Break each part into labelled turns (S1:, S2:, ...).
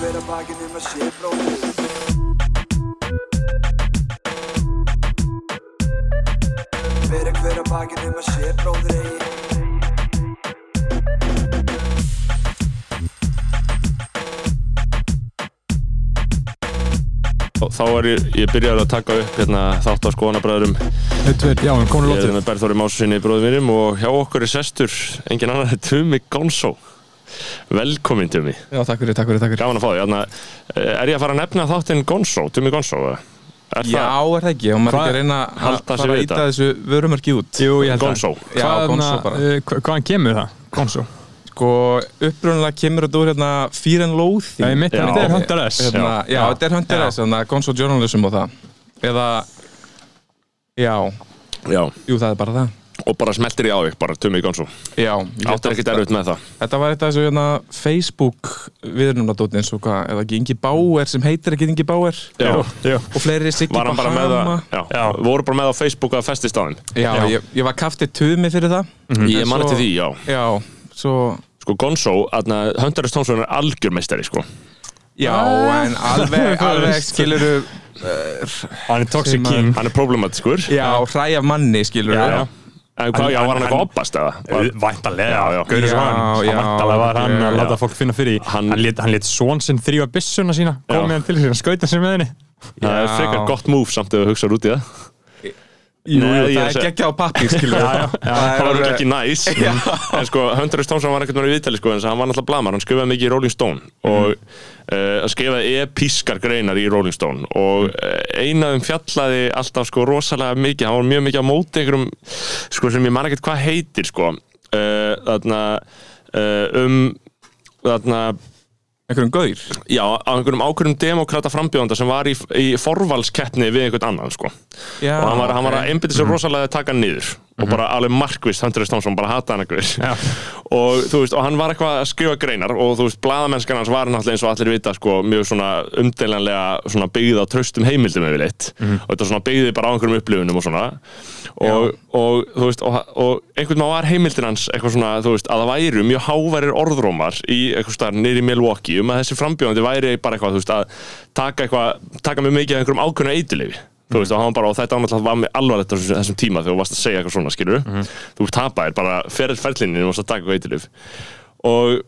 S1: vera bakið nema sé bróðið Vera hver að bakið nema sé bróðir eigi
S2: Og Þá er ég, ég byrjaður að taka upp hérna, þátt á skoðanabræðurum
S3: Eitt, tveir, já, hann konur
S2: Ég er
S3: lótið
S2: hérna með Berþóri Másusinni bróðum mínum og hjá okkur er sestur engin annar en Tumi Gonso Velkomin Tumi
S3: Já, takk fyrir, takk fyrir, takk fyrir
S2: Gaman að fá því hérna, Er ég að fara að nefna þáttinn Gonso, Tumi Gonso? eða? Er
S4: Já, er það ekki, og maður
S3: Hvað-
S4: er ekki að reyna að
S2: Halda sig
S4: fara að
S2: við
S4: íta
S2: þetta.
S4: þessu vörumörki út
S3: Jú, ég
S2: það
S3: held að
S2: Gonso?
S4: Já, Gonzo
S3: Hvaðan,
S4: bara
S3: uh, hva- hvaðan kemur það? Gonzo
S4: Sko, upprunalega kemur þetta úr hérna Fear and Loathing
S3: Já, ég mitt
S2: Já.
S3: þetta er Hunter S
S4: hérna,
S2: já.
S4: Já, þetta er Hunter S, þannig að Gonzo Journalism og það Eða, já,
S2: Já,
S4: jú, það er bara það
S2: og bara smeltir ég á því, bara Tumi Gonso
S4: Já, ég
S2: Áttir
S4: held
S2: ekkert
S4: að-
S2: erfitt með það
S4: Þetta var þetta þessu hérna Facebook viðurnumnadóti eins og hvað, eða ekki Ingi Bauer sem heitir ekki Ingi Bauer
S2: Já,
S3: já.
S4: og fleiri Siggi
S2: var hann bara með það
S4: Bahama
S2: já, voru bara með það á Facebook að festist á þeim
S4: Já, Ég, ég var kaftið tumi fyrir það
S2: Ég
S4: En
S2: man
S4: svo-
S2: eftir því, já
S4: Já, svo
S2: Sko Gonzo, hérna, Hunterist Thompson er algjörmeistari, sko
S4: Já, en alveg, alveg skiluru
S3: Hann er Toxic
S4: Sem að-
S3: King
S2: Hann er problematiskur
S4: Já, hræ af manni skiluru
S3: Já, já.
S2: En hvað,
S3: Hann-
S2: já, var hann
S3: hann-
S2: eitthvað oppast eða? Var-
S3: Væntalega,
S2: Já, já.
S3: gaurið sem hann
S4: Já, já,
S3: Væntalega var hann að
S4: já.
S3: láta fólk finna fyrir því
S2: Hann-
S3: Hann, hann lét, hann lét svon sinn þrýfa byssuna sína
S2: Já.
S3: Komið hann til sér, hann skauta sér með henni
S2: Það er
S4: Já.
S2: frekar gott move samt ef þú hugsaður út í það
S4: Jú,
S2: Nei, ég
S4: það
S2: er
S4: er
S2: að segja-
S4: geggja á pappi skiluru
S3: Já, já,
S2: Það var örugglega ekki næs En sko, Hunterist Thompson var ekkert með í viðtali sko En hann var náttúrulega blamar, hann skrifaði mikið í Rolling Stone Og uh, skrifaði episkar greinar í Rolling Stone Og uh, einaðum fjallaði alltaf sko rosalega mikið Hann var mjög mikið á móti einhverjum Sko sem ég man ekkert hvað heitir sko uh, Þarna uh, um Þarna
S4: Einhverjum gaur
S2: Já, á einhverjum ákveðum demokrata frambjóðanda sem var í, í forvalskeppni við einhvern annan sko.
S4: Já,
S2: og hann var, hann var
S4: ok. Mhm.
S2: að einbytta sér rosalega að taka hann niður og bara alveg markvist, Hunter S. Thompson bara hata hann einhverjum og þú veist, og hann var eitthvað að skrifa greinar og þú veist, blaðamennskan hans var náttúrulega eins og allir vita sko, mjög svona umdelanlega svona byggð á traustum heimildum yfirleitt
S4: Mhm.
S2: og þetta svona byggði bara á einhverjum upplifunum og svona og, og þú veist, og, og einhvern veginn var heimildin hans eitthvað svona, þú veist, að það væru mjög háværir orðrómar í eitthvað starf nýri Milwaukee um að þessi frambjóðandi væri bara eitthvað, þú veist, að taka eitthvað taka mjög mikið af einhverjum ákveðnu eitulifi þú veist, og hann bara, og þetta ámætla var með alvarlegt á þessum, þessum tíma þegar þú varst að segja eitthvað svona, skilur þú tapaðir bara ferðið ferlinni og varst að taka eitthvað eitilif og,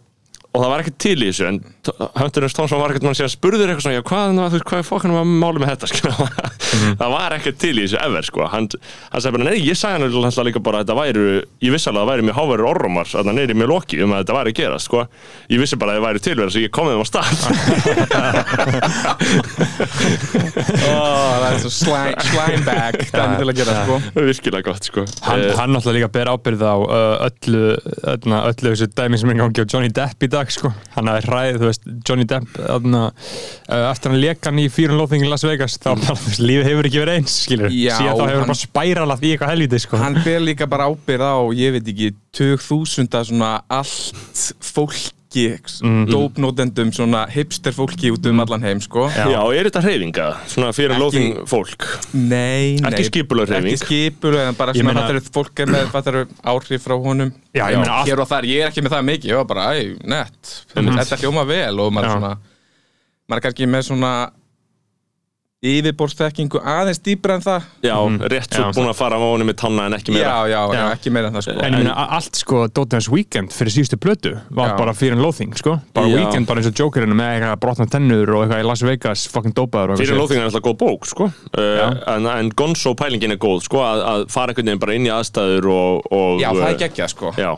S2: og það var ekkert til í þessu en T- Hunter S. Thompson var ekkert mann síðan spurður eitthvað svona, já, hvað, hvað, hvað er fokkanum að máli með þetta, skilur það var ekkert til í þessu ever, sko hann, hann sagði bara, nei, ég sagði hann alltaf líka bara að þetta væru, ég vissi alveg að það væri mjög háværi orrumar að það neyri mjög loki um að þetta væri að gera, sko ég vissi bara að það væri tilverð, svo ég kom þeim á stað
S4: Ó, það er svo slime, slime bag Það er til að gera sko
S2: virkilega gott, sko
S3: Hann,
S2: Eh,
S3: hann náttúrulega líka ber ábyrð á uh, öllu, öllu, öllu þessu dæmi sem er í gangi á Johnny Depp í dag sko. hann hafði hræðið, þú veist, Johnny Depp öðna, uh, eftir hann leik hann í Fear and Loathing í Las Vegas, þá bara, þú veist, lífið hefur ekki verið eins, skilur,
S4: Já,
S3: síðan þá hefur
S4: hann-
S3: hann bara spæralað í eitthvað helviti, sko
S4: Hann ber líka bara ábyrð á, ég veit ekki tug þúsunda svona allt fólki dópnótendum, svona hipster fólki út um allan heim sko
S3: Já.
S2: Já, er þetta hreyfinga? Svona fyrir
S4: Ekki-
S2: lóðing fólk?
S4: Nei, nei
S2: Ekki skipuleg hreyfing.
S4: Ekki skipuleg, en bara
S3: Ég
S4: svona
S3: meina-
S4: fattar fólk er með fattar áhrif frá honum
S3: Já, ég meina, allt,
S4: hér og þar, ég er ekki með það mikið ég var bara, æ, nett, þetta hljóma vel og maður
S3: Já.
S4: er svona maður er kannski með svona yfirborðstekkingu aðeins dýpra en það
S2: Já, rétt svo
S3: Já,
S2: búin að fara á honum með tanna en ekki
S4: já,
S2: meira.
S4: já, já,
S3: Já.
S4: ekki meira en það sko
S3: en ég meina, a- allt sko Dóttinans Weekend fyrir síðustu blötu var
S4: Já.
S3: bara Fear and Loathing, sko bara
S2: Já.
S3: Weekend bara eins og Jokerinu með eitthvað brotna tennur og eitthvað í Las Vegas, fucking dópaður
S2: Fyrir
S3: og eitthvað shit.
S2: lóðing er alltaf góð bók, sko. Uh, en, en Gonzo pælingin er góð, sko, að, að fara einhvern veginn bara inn í aðstæður og... og eh,
S4: já, það er geggjað sko
S2: Já,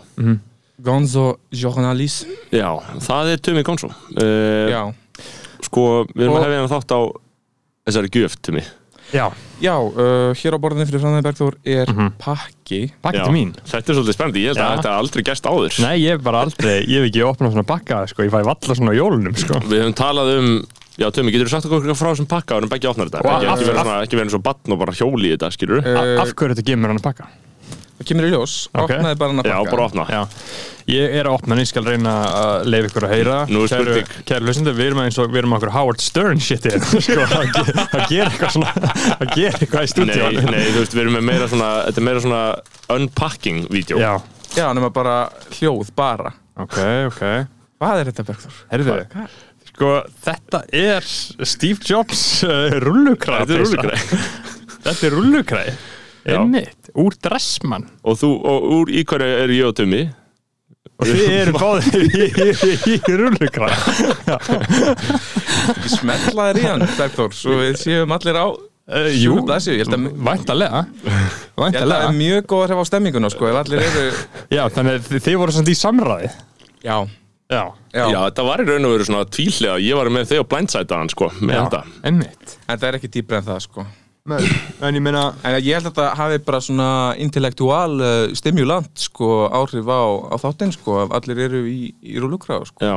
S4: Gonzo Journalist
S2: já, það er Tumi Gonzo. Uh,
S4: já,
S2: sko, við erum
S4: Og-
S2: að hefja hann þátt á þessari gjöf, Tumi.
S3: Já,
S4: já uh, hér á borðinni fyrir framlega Bergþór er pakki
S2: Já.
S3: pakkið mín
S2: Þetta er svolítið spennandi, ég held að
S3: Já.
S2: þetta er aldrei gæst áður.
S3: Nei, ég hef bara aldrei, ég hef ekki opnað svona bakka, sko, ég fæ valla svona á jólunum, sko
S2: Við höfum talað um, já, Tumi, getur þú sagt okkur eitthvað frá þessum pakka og erum begge opnar þetta? Ekki,
S3: Og
S2: ekki
S3: af-
S2: verið
S3: af- Eh,
S2: svona, ekki verið eins og batn og bara hjóli í þetta, skilur
S3: A- Af hverju þetta gefur mér hann að pakka?
S4: það kemur í ljós,
S3: Ok.
S4: opnaði bara hann að
S2: Já,
S4: pakka
S2: bara opna.
S3: Já, ég er að opna hann, ég skal reyna að leifa ykkur að heyra
S2: Nú er spurning.
S3: Kæru, kæru lusindu, við erum eins og, við erum okkur Howard Stern shit hér, sko, að ge- að gera eitthvað svona, að gera eitthvað í stúdíu
S2: Nei, nei, þú veist, við erum með meira svona Þetta er meira svona unpacking-vídeó
S3: Já,
S4: já, nema bara hljóð, bara
S3: ok, ok
S4: hvað er þetta Bergþór?
S3: Herðu,
S4: Hvað-
S3: Sko, þetta er Steve Jobs uh,
S2: Þetta
S3: rullukræði
S2: er rullukræði.
S3: Þetta er rullukræði
S2: Já.
S3: Einmitt, úr dressmann
S2: og þú, og úr í hverju er ég og Tumi
S3: Og þið eru báðir í, í, í rullukræði
S4: Ekki smetla þér í hann, Bergþór Svo við séum allir á
S3: uh,
S4: Jú, það séu, ég held að
S3: Væntalega
S4: Ég held að það
S3: Væntalega
S4: er mjög góð að hrefa á stemminguna sko Ef allir eru
S3: Já, þannig að þið- þið voru samt í samræði
S4: Já,
S3: Já,
S4: já,
S2: já, þetta var í raun og veru svona tvíhlega ég var með þig og blindsæta hann sko með
S3: Já.
S2: þetta
S3: einmitt
S4: en það er ekki dýpra en það sko
S3: Nei, En ég meina
S4: En ég held að þetta hafi bara svona intellektual uh, stimulant sko áhrif á, á þáttinn sko ef allir eru í, í rúlukráð sko
S2: já,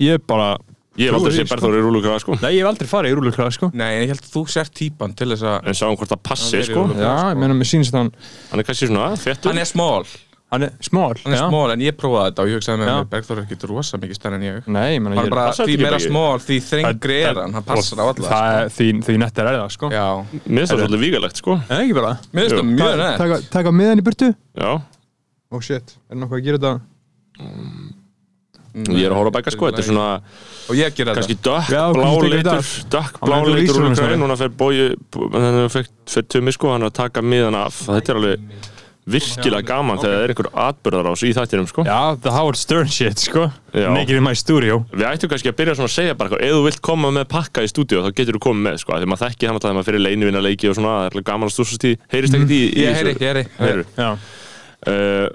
S3: Ég er bara
S2: ég hef aldrei sé Berþór í rúlukaða sko
S3: Nei, ég hef aldrei farið í rullukræði sko
S4: Nei, en ég held að þú sér típan til þess að
S2: en sjáum hvort það passi
S4: Það er í
S2: sko
S4: rúllukaða.
S3: Já, ég meina, mér sýnist að hann
S2: hann er kannski svona þettur
S4: Hann er smól,
S3: Hann er smál
S4: hann er
S3: já.
S4: smól en ég prófaði þetta og ég hugsaði með
S3: Já.
S4: mér Bergþór er ekki rosa mikið stærn en ég
S3: Nei, ég meina,
S4: Hann
S3: ég
S4: er bara,
S2: passar
S4: því
S2: þetta ekki
S4: meira
S2: bara í-
S4: smól, því þrengri er hann, hann passar á alla
S3: Það er, því, því nettar er það, sko
S4: sko.
S2: mér
S4: Já,
S2: finnst það svolítið vígalegt sko
S3: En ekki bara
S4: mér finnst
S2: Jú.
S4: það mjög nætt
S3: Taka, taka miðan í burtu
S2: já,
S3: Ó, oh, shit, er nokkuð að gera þetta?
S4: Mm.
S2: ég er að horfa bæka sko þetta er svona
S4: Og ég ger þetta
S2: kannski dökk
S3: Já,
S2: blá
S3: kannski tekur
S2: leitur
S3: þetta.
S2: dökk
S3: Hann
S2: blá
S3: veit að
S2: leitur
S3: lýsa
S2: úr
S3: honum
S2: græn
S3: svona.
S2: núna fer bóju þannig að fer tumi sko hann er að taka miðan af þetta er alveg virkilega gaman þegar það er einhver atbyrðar á í þættinum sko
S3: Já, the Howard Stern shit, sko
S2: Já.
S3: Naked in my studio
S2: við ættum kannski að byrja svona að segja bara eitthvað, ef þú vilt koma með pakka í stúdíu þá getur þú komið með sko þegar maður þekki hann alltaf þegar maður fyrir leinivina leiki og svona það er alveg gaman að stúrsast í heyrist ekkert í, í
S4: Ég heyri, ég heyri
S2: heyri.
S3: Já
S2: Uh,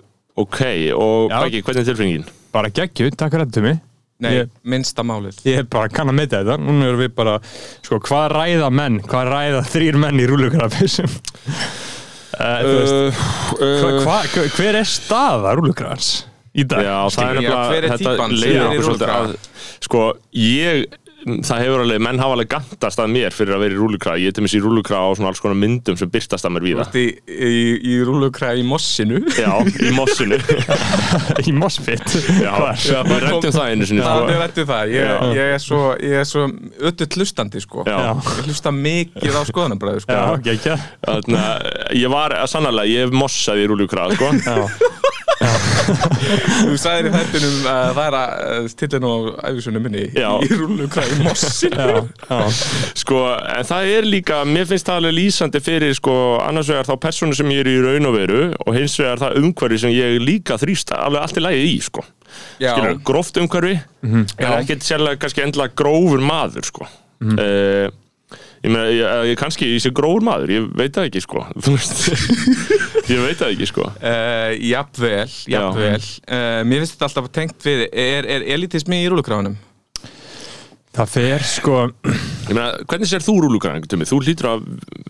S2: ok, og
S3: Já.
S2: Bæki, hvernig er tilfinningin?
S3: Bara geggju, takk fyrir þetta til mig
S4: Nei,
S3: Ég-
S4: minnsta málið
S3: Ég er bara kann að meita þetta Núna erum við bara, sko, hvað ræða menn Hvað ræða þrýr menn í rúlugrafisum uh,
S2: Uh,
S3: hva, hva, hva, Hver er staða rúlugrafans í dag?
S2: Já, það er
S4: Skilur, já, hver
S2: nefnilega, þetta
S4: er típan sem
S2: leiðir
S4: er í
S2: okkur svolítið að
S4: rúllukraga?
S2: sko, ég það hefur alveg, menn hafa alveg gantast að mér fyrir að vera í rúlukra, ég er til mér í rúlukra á svona alls konar myndum sem byrtast að mér
S4: Þú
S2: víða
S4: ert í, í, í rúlukræði í mossinu
S2: Já, í mossinu Já,
S3: Í Mosfit
S2: já við rættum það einu sinni
S4: Það er
S2: sko.
S4: rættu það, ég,
S2: Já.
S4: ég er svo, ég er svo öll hlustandi sko
S2: Já.
S4: Ég hlusta mikið á skoðanabræðu sko
S3: Já, geggja
S2: Þannig að ég var, sannlega, ég hef mossað í rúlukra sko.
S4: Þú sagðir í þættinum að það er að stilla nú á æfisunum minni
S2: Já.
S4: í rúlukræði í mossinu
S3: Já, já
S2: sko, en það er líka, mér finnst það alveg lýsandi fyrir, sko, annars vegar þá persónu sem ég er í raun og veru og hins vegar það umhverfi sem ég líka þrýst alveg allt í lagi í, sko
S4: Já, Mhm.
S2: skilur, gróft umhverfi en
S4: Já. Mhm.
S2: ekkert sérlega kannski endilega grófur maður sko mm ég meina, ég, eh, ég kannski ég sé grófur maður, ég veit það ekki sko Þú veist, ég veit það ekki sko
S4: uh, jafnvel, jafnvel uh, Mér finnst þetta alltaf tengt við Er, er elitismi í rúlukræðunum?
S3: Það fer sko
S2: ég meina, hvernig sér þú rúlugræðing Tumi? þú hlýtur að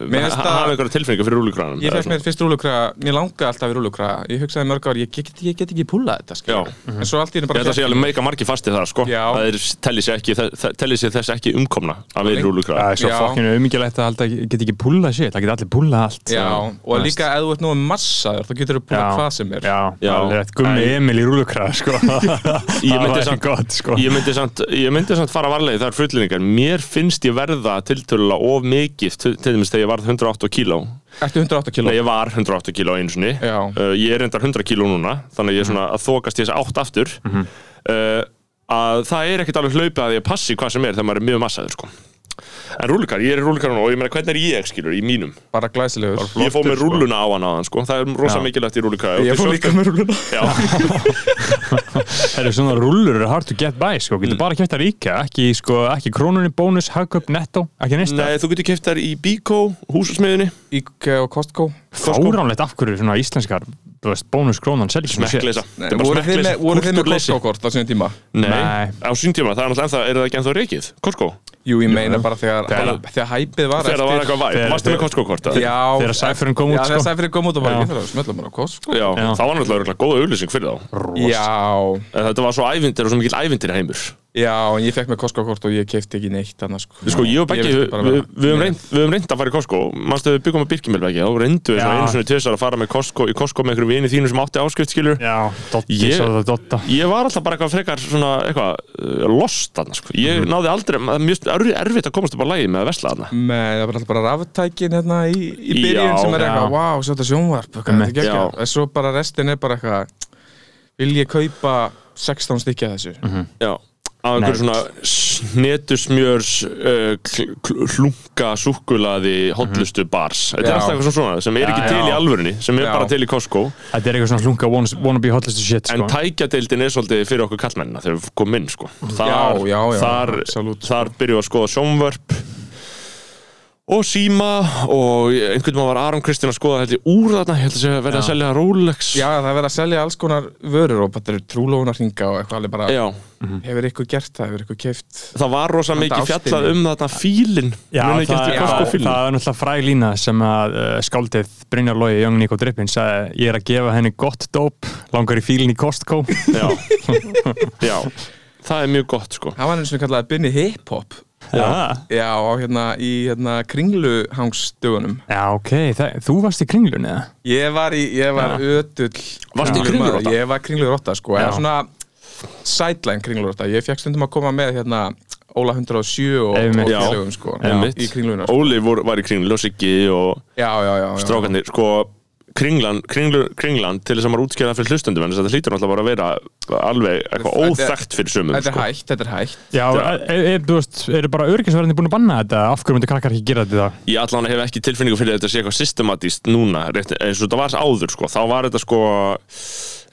S4: Mér
S2: ha
S4: finnst að-
S2: hafa einhverja tilfinningar fyrir rúlugræðinum
S4: Ég fekk mér fyrst rúlukræða, mér langa alltaf í rúlukræða Ég hugsaði mörg ár, ég get, ég get ekki púlað þetta
S2: Já. Mhm.
S4: skilur. En svo allt í
S2: Ég
S4: henni bara
S2: held að sé alveg meika margir fasti það sko
S4: Já.
S2: Það er, telli sér ekki, þe- þe- telli sér þess ekki umkomna að vera
S3: Það er
S2: rúlugræðing
S3: svo
S4: Já.
S3: fokkinu umíkjulegt að halda, get ekki púla sér Það get allir púla allt
S4: Já, og
S3: Þú veist.
S4: líka ef þú ert nú massaður þá getur þú
S3: Já.
S4: púlað hvað sem er
S3: Já,
S2: Já.
S3: alveg rétt Gummi
S2: Æ.
S3: Emil í rúlukræða sko
S2: Ég
S3: Ég
S2: myndi samt-
S3: gott sko
S2: Ég myndi samt, ég myndi samt fara varlega í þar fullinningar Mér finnst ég verða tiltölulega of mikið til til dæmis þegar ég varð 108 kíló
S4: Ertu 108 kíló?
S2: Nei, ég var 108 kíló einu sinni
S4: Já.
S2: uh, Ég er reyndar 100 kíló núna Þannig að ég er svona að þokast í þess átt aftur
S4: Mhm.
S2: uh, Að það er ekkert alveg hlaupið að ég passi hvað sem er Þegar maður er mjög massaður sko En rúlukar, ég er rúlukar núna og ég meina hvernig er ég skilur í mínum
S4: Bara glæsilegur
S2: Ég fór með rúluna á hann á sko Það er rosa
S3: Já.
S2: mikilvægt í rúlukar
S4: Ég fór líka með rúluna
S2: Já,
S3: Það eru svona rúllur eru hard to get by sko
S2: Mm.
S3: Getur bara kæft að ríka Ekki sko, ekki krónunni, bónus, hagköp, netto Ekki neist
S2: nei, þú getur keft þær í Bíkó, húsusmiðinni
S4: Íke og Costco
S2: sko.
S3: Fáránlegt af hverju svona íslenskar þú veist, Bónus, krónan, selg
S2: Smekkleisa Þetta er bara
S4: Voru þið
S2: smekkleysa.
S4: með, voru þið með
S2: Kulturleysi.
S4: Costco-kort á sinni tíma?
S2: Nei,
S3: Nei.
S2: á sín tíma, það er náttúrulega ennþá, er það ekki ennþá reikið? Costco?
S4: Jú, ég meina bara þegar
S2: Þegar-
S4: Þegar hæpið var
S2: Þegar það var eitthvað væg,
S3: Þegar-
S2: varstu með Costco-korta?
S4: Já
S3: Þegar sæfurinn kom út,
S4: Já, þegar
S3: sko.
S4: sæfurinn kom út og bara
S3: Já.
S4: ekki þegar smöllum bara á Costco
S2: Já,
S3: Já.
S2: það var náttúrulega örugglega góð auglýsing fyrir þá
S4: Já,
S2: En Þetta var svo ævindir og svo mikil ævindir heimur
S4: já, en ég fekk með Costco-kort og ég kefti ekki neitt annars sko
S2: Sko, ég og Beggi,
S4: vildi
S2: við,
S4: bara
S2: við,
S4: vera-
S2: við höfum reynd, við höfum reynd að fara í Costco Manstu við byggum að Birkimil Beggi Þá reyndu við svona
S3: Já.
S2: einu svona tvisar að fara með Costco Í Costco með einhverjum vini þínu sem átti áskipt, skilur
S3: Já, dotti,
S2: Ég-
S3: ég... svo það dotta
S2: Ég var alltaf bara eitthvað frekar svona eitthvað uh, lost þarna, sko Ég
S3: Mhm.
S2: náði aldrei, það er mjög erfi- erfitt að komast upp á lægi með að vesla þarna
S4: Með, það var alltaf bara raftækin hérna í, í byrjun
S2: Já.
S4: sem er eitthvað,
S3: Já.
S4: wow, sjá þetta sjónvarp hvað þetta
S3: Einmitt.
S4: er geggjað."
S2: Já.
S4: en svo bara restin er bara eitthvað vil ég kaupa 16 stykki af þessu
S2: Já á einhverjum
S3: Nei.
S2: svona snetusmjörs uh, kl- kl- hlunga súkkulaði hotlustu bars þetta
S4: Mhm. Já.
S2: er alltaf eitthvað svona sem er
S3: Já,
S2: ekki til í
S3: já.
S2: alvörunni sem er
S4: Já.
S2: bara til í Costco
S3: Þetta er eitthvað svona hlunga wanna- wannabe hotlistu shit
S2: en
S3: sko.
S2: tækjadeildin er svolítið fyrir okkur kallmennina þegar við komum inn sko. þar,
S4: já, já,
S2: þar,
S4: absolutt, sko.
S2: þar byrjum við að skoða sjónvörp og síma og einhvern veginn var Aron Kristinn að skoða þetta úr þarna, ég held að segja verið að selja Rolex
S4: Já, það er verið að selja alls konar vörur og bara þetta eru trúlónar hringa og eitthvað alveg bara
S2: Já.
S4: Hefur ykkur gert það, hefur ykkur keift
S2: það var rosa mikið
S4: ástinni.
S2: fjallað um þarna fílin
S3: Já, það,
S2: Munið
S3: er,
S2: ekki eftir
S3: já, það er
S2: Costco-fílnum?
S3: náttúrulega fræg lína sem að uh, skáldið Brynjar Lógi, Young Nico Drippin sagði, ég er að gefa henni gott dóp langar í fílinn í Costco
S2: Já. Já, það er mjög gott sko
S4: Hann var eins og kallaði Binni Hip-Hop
S3: Já,
S4: Já, á hérna í hérna kringluhangsdögunum
S3: já ok, það, þú varst í kringlunni eða?
S4: Ég var í, ég var ödull
S2: Varstu í kringlurotta?
S4: Ég var kringlurotta, sko,
S3: Já.
S4: eða svona sideline kringlurotta Ég fekk stundum að koma með hérna Óla 107 og, og
S3: Einmitt.
S2: Já.
S4: félögum, sko
S2: Einmitt.
S4: Í kringluna, sko
S2: Óli vor, var í kringlu og Siggi og
S4: Já, já, já, já.
S2: strákarnir sko Kringlan, kringlu, kringlan til þess að maður útskjæða fyrir hlustendum en þess að það hlýtur náttúrulega bara að vera alveg eitthvað
S4: Þetta er-
S2: óþægt fyrir sömum
S4: Þetta er
S2: sko.
S4: hægt, þetta er hægt
S3: Já, e- e- e- þú veist, eru bara öryggisverðinni búin að banna þetta? Af hverju myndu krakkar ekki gera þetta? í dag?
S2: Ég allan hef ekki tilfinningu fyrir að þetta sé eitthvað systematíst núna rétt, eins og þetta var áður sko þá var þetta sko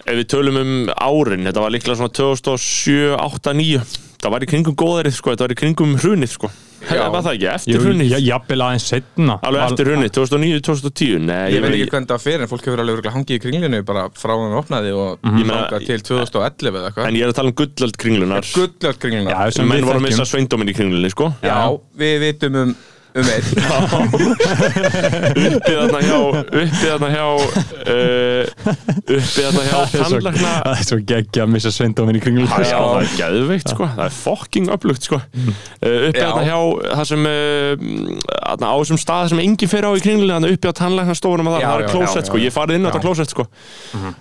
S2: ef við tölum um árin þetta var líklega svona 2007, 8, 9 það var í kringum góðarið sko þetta var í kringum hrunið sko
S4: Já.
S2: var það ekki
S3: Jú,
S2: eftir hrunið
S3: ja- jafnvel aðeins setna
S2: alveg eftir hrunið 2009, 2010 Nei,
S4: Ég veit ekki hvernig það fer en fólk hefur alveg örugglega hangið í kringlinu bara frá hann opnaði og
S2: Mhm. Ég meina-
S4: þangað til 2011 eða eitthvað
S2: En ég er að tala um gullöld kringlunar
S4: Gullöld
S3: Já,
S4: kringluna
S3: sem
S2: Menn
S3: við
S2: voru að missa
S3: þekkjum
S2: sveindóminn í kringlunni, sko
S4: Já, við vitum um um einn
S2: Uppið þarna hjá Uppið þarna hjá uh, Uppið þarna hjá
S3: Það er svo-
S2: tannlagna
S3: Það er svo geggja að missa sveindómin í kringlunni
S2: Já, það er geðveikt, sko Það er fucking upplugt, sko uh, Uppið
S4: Já.
S2: þarna hjá Það sem uh, þarna Á þessum stað sem enginn fer á í kringlunni Þannig uppið á tannlagna stofunum að
S4: Já,
S2: það Það
S4: já,
S2: er
S4: já, já,
S2: klósett, sko Ég hef farið inn á þetta klósett, sko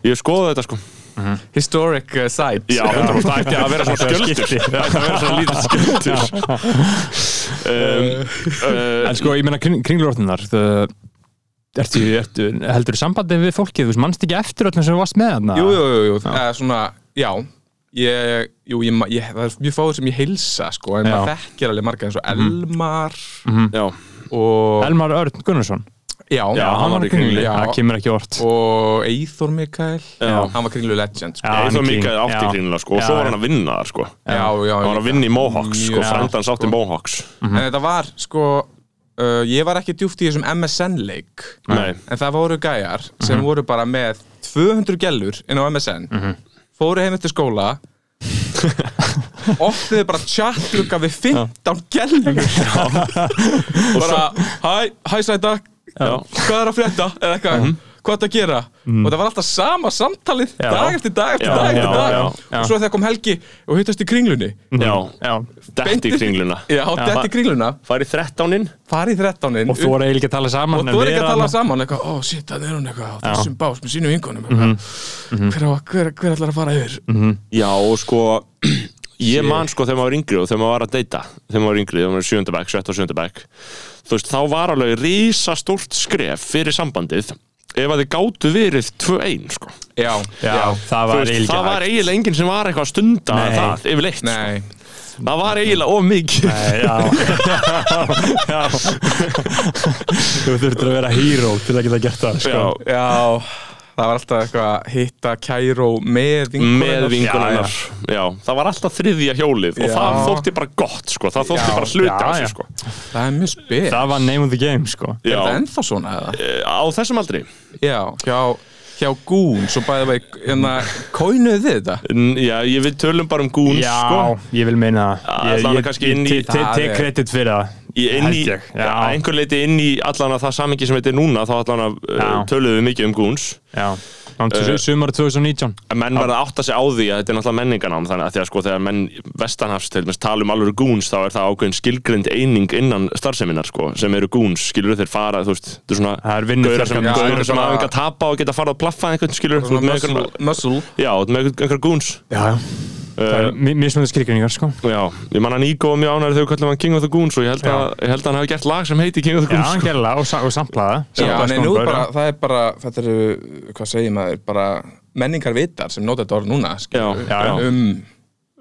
S2: Ég hef skoðað þetta, sko
S4: Historic uh, site
S2: Já, 100% það ætti að vera svona skjöldur Það ætti að vera svona lítið skjöldur um, uh,
S3: En sko, ég meina kring, kringlurortunar Ertu, ertu, heldur þú sambandi við fólkið, þú veist, mannst ekki eftir öllum sem þú varst með þarna?
S4: Jú, jú, jú, jú.
S3: Já.
S4: Já. svona, já Ég, jú, ég, ma- ég, það er mjög fáið sem ég heilsa sko, en
S3: Já.
S4: maður þekkir alveg marga eins og Elmar
S2: Já,
S4: og,
S3: Elmar Örn Gunnarsson
S4: já,
S2: Mm-hmm. Já, hann var í Kringlunni.
S4: Já.
S3: Það kemur ekki orð
S4: og Eithor Mikael
S2: Já.
S4: hann var kringlu legend sko.
S3: Já.
S2: Eða
S3: hann er
S2: mikið
S3: king.
S2: átti
S3: Já.
S2: kringla sko, og svo
S3: Já,
S2: var
S3: já.
S2: hann að vinna þar sko
S4: já, já, já,
S2: hann var að vinna Mhm. í Mohawks sko,
S4: Mjög-
S2: frændans átti Mohawks
S4: en þetta var sko uh, ég var ekki djúft í þessum MSN-leik
S2: Nei.
S4: en það voru gæjar sem
S2: Mhm.
S4: voru bara með 200 gellur inn á MSN fóru heim eftir skóla ofþiðu bara tjattlugga við 15 gellur bara hæ, hæ sæta hvað er að frétta eða eitthvað hvað er að gera og það var alltaf sama samtalið
S3: Já.
S4: dag eftir dag eftir
S2: Mhm. Já,
S4: dag eftir
S2: já,
S4: dag
S2: já,
S4: og svo þegar kom helgi og hittast í kringlunni
S2: Já,
S3: Já.
S2: dætt í kringluna
S4: já, já þetta í kringluna
S2: Farið 13
S4: farið 13
S3: Og þú voru eiginlega ekki að tala saman
S4: og
S3: en
S4: þú er ekki
S3: vera
S4: að tala
S3: þarna.
S4: saman eitthvað, ó oh, shit, það er hún eitthvað á þessum bás með sínum vingunum mm hver, á- hver, hver ætlar að fara yfir
S2: Já, og sko Ég man sko þegar maður var yngri og þegar maður var að deyta þegar maður var yngri, þegar maður var sjöndabæk, sjött og sjöndabæk þú veist, þá var alveg risastórt skref fyrir sambandið ef að þið gátu verið 2-1 sko.
S4: já,
S3: Já, það
S2: Þú
S3: var
S2: veist,
S3: eiginlega
S2: það var eiginlega enginn sem var eitthvað að stunda
S3: Nei.
S2: það yfirleitt, sko.
S4: nei,
S2: það var eiginlega of mikið
S3: Já, já, já. Þú þurftur að vera híró til að geta gert það sko.
S2: Já,
S4: já það var alltaf eitthvað að hitta Kæró með
S2: með
S4: vingunum
S2: vingunarnar já, það var alltaf þriðja hjólið og
S4: Já.
S2: það þótti bara gott sko. það þótti
S4: Já.
S2: bara hluta
S3: Já,
S2: af
S3: já.
S2: þessu sko.
S4: það er mjög spil
S3: Það var name of the game sko.
S4: er
S2: Já,
S4: það ennþá svona eða?
S2: eh, á þessum aldri
S4: já, hjá, hjá Gún svo bæði vei, hérna, kóinuðu þið þetta?
S2: N- já, ég við tölum bara um gún
S3: Já,
S2: sko.
S3: ég vil meina það.
S2: Allan
S3: Ég,
S2: kannski
S3: ég,
S2: inn í-
S3: ég te-
S4: Það
S3: tek
S4: er-
S3: kredit fyrir það
S2: Í- inn í,
S3: Held ég, já.
S2: að einhver leiti inn í allan að það samingi sem þetta er núna þá allan að
S3: Já.
S2: töluðum við mikið um gúns
S3: Já,
S4: Eh.
S3: uh, sumar 2019
S2: að menn verða að átta sig á því að þetta er náttúrulega menninganám þannig að því að sko þegar menn vestanhafs til dæmis tala um alveg gúns þá er það ákveðin skilgrind eining innan starfseminar sko sem eru gúns, skilur þeir fara þú veist, þetta er svona
S3: Það er vinnufélagskapur.
S2: gaurar sem,
S3: Já,
S2: gaurar sem
S4: svona-
S2: hafa enga tapa og geta farað að plaffa einhvern skilur þú
S4: Svona
S2: ert með
S4: muscle,
S2: einhvern-
S4: muscle
S2: já, þú ert með einhvern- einhver gúns
S3: Já, já Mismunandi skilgrinningar sko
S2: já, ég man að Nico var mjög ánæri þegar við kallum hann King of the Goons og ég held, að, ég held að hann hafi gert lag sem heiti King of the
S3: Já,
S2: Goons
S3: hann
S2: sko.
S3: gerði það og, sa- og samplaða
S4: Já, nei, nú er bara, það er bara, þetta eru, hvað segir maður, bara menningarvitar sem nota þetta orð núna, skilur,
S2: Já, já, já.
S4: um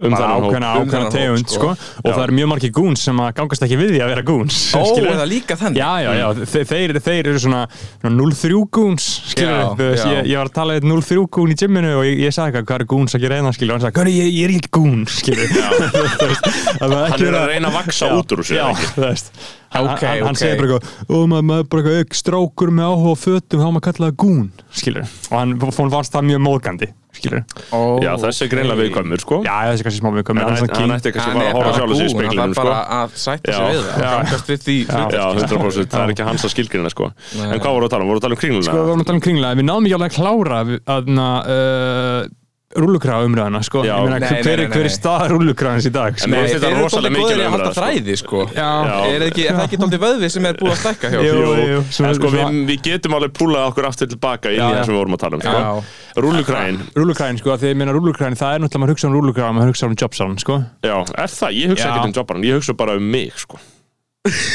S2: um
S3: bara
S2: þennan hóp.
S3: ákveðna,
S4: um
S3: ákveðna
S4: þennan hóp,
S3: tegund
S4: sko.
S3: sko. og það eru mjög margir gúns sem að gangast ekki við því að vera gúns
S4: Ó,
S3: skilurðu?
S4: eða líka þannig
S3: Já, já, já,
S4: Mm.
S3: þe þeir, þeir eru svona svona 0-3 gúns, skilur
S4: Já,
S3: þú veist,
S4: já.
S3: ég, ég var að tala eitt 0-3 gún í gymminu og ég, ég sagði eitthvað, hvað er gúns að gera eina, skilur, og hann sagði, hvað er ég, ég er ekki gún, skilur Þú veist, að það
S2: Hann
S3: ekki
S2: er
S3: vera-
S2: að reyna að vaksa
S3: Já,
S2: út úr þessu
S3: já,
S2: eða ekki?
S3: þú veist Hann,
S4: Ok,
S3: hann, hann
S4: ok.
S3: segir bara eitthvað og maður maður bara eitthvað strákur með áhuga á fötum þá maður kallaði gún, skilur og hann fór fannst það mjög móðgandi, skilur
S4: Ó,
S2: Já, þessi er greinlega viðkvæmur, sko.
S3: Já, þessi er kannski smá mjög
S2: En
S3: komið
S2: hann, hann ætti kannski
S4: Hann
S2: bara
S4: er
S2: að horfa
S4: bara
S2: sjálf sig í
S4: búinn,
S2: speiklinum,
S4: Hann
S2: sko.
S4: var bara að sætta sig
S2: Já.
S4: við það Gangast við því sko.
S2: Já, 100%, það er ekki hans að skilgrina, sko. En hvað voru að tala um? Voru að tala um
S3: sko, við
S2: kringluna?
S3: vorum að tala um kringla við náðum ekki alveg að klára aðna uh, rúllukrafa umræðana sko.
S2: Já.
S3: Ég meina,
S4: Nei,
S3: hver,
S4: nei,
S3: hver,
S4: nei, nei.
S3: hver er stað rúllukrafans í dag
S2: En
S3: sko?
S2: mér finnst
S4: Þeir
S2: þetta
S4: eru
S2: rosalega
S4: dálítið góðir í
S2: mikilvæg
S4: að halda
S2: umræða, sko.
S4: þræði sko
S3: Já.
S4: Er ekki- er það ekki tóldið vöðvi sem er búið að stækka hjá
S3: Jú,
S2: Jú,
S3: jú, svona-
S2: en sko við,
S3: svona-
S2: við getum alveg púlað okkur aftur tilbaka inn í
S3: Já, já.
S2: það sem við vorum að tala um sko. Rúllukræn,
S3: rúllukrafin, sko, því ég meina rúllukrafin það er náttúrulega maður hugsa um rúllukrafa, maður hugsa um jobsan sko.
S2: já, er það? Ég hugsa
S3: Já.
S2: ekkert um jobbaran, ég hugsa bara um mig sko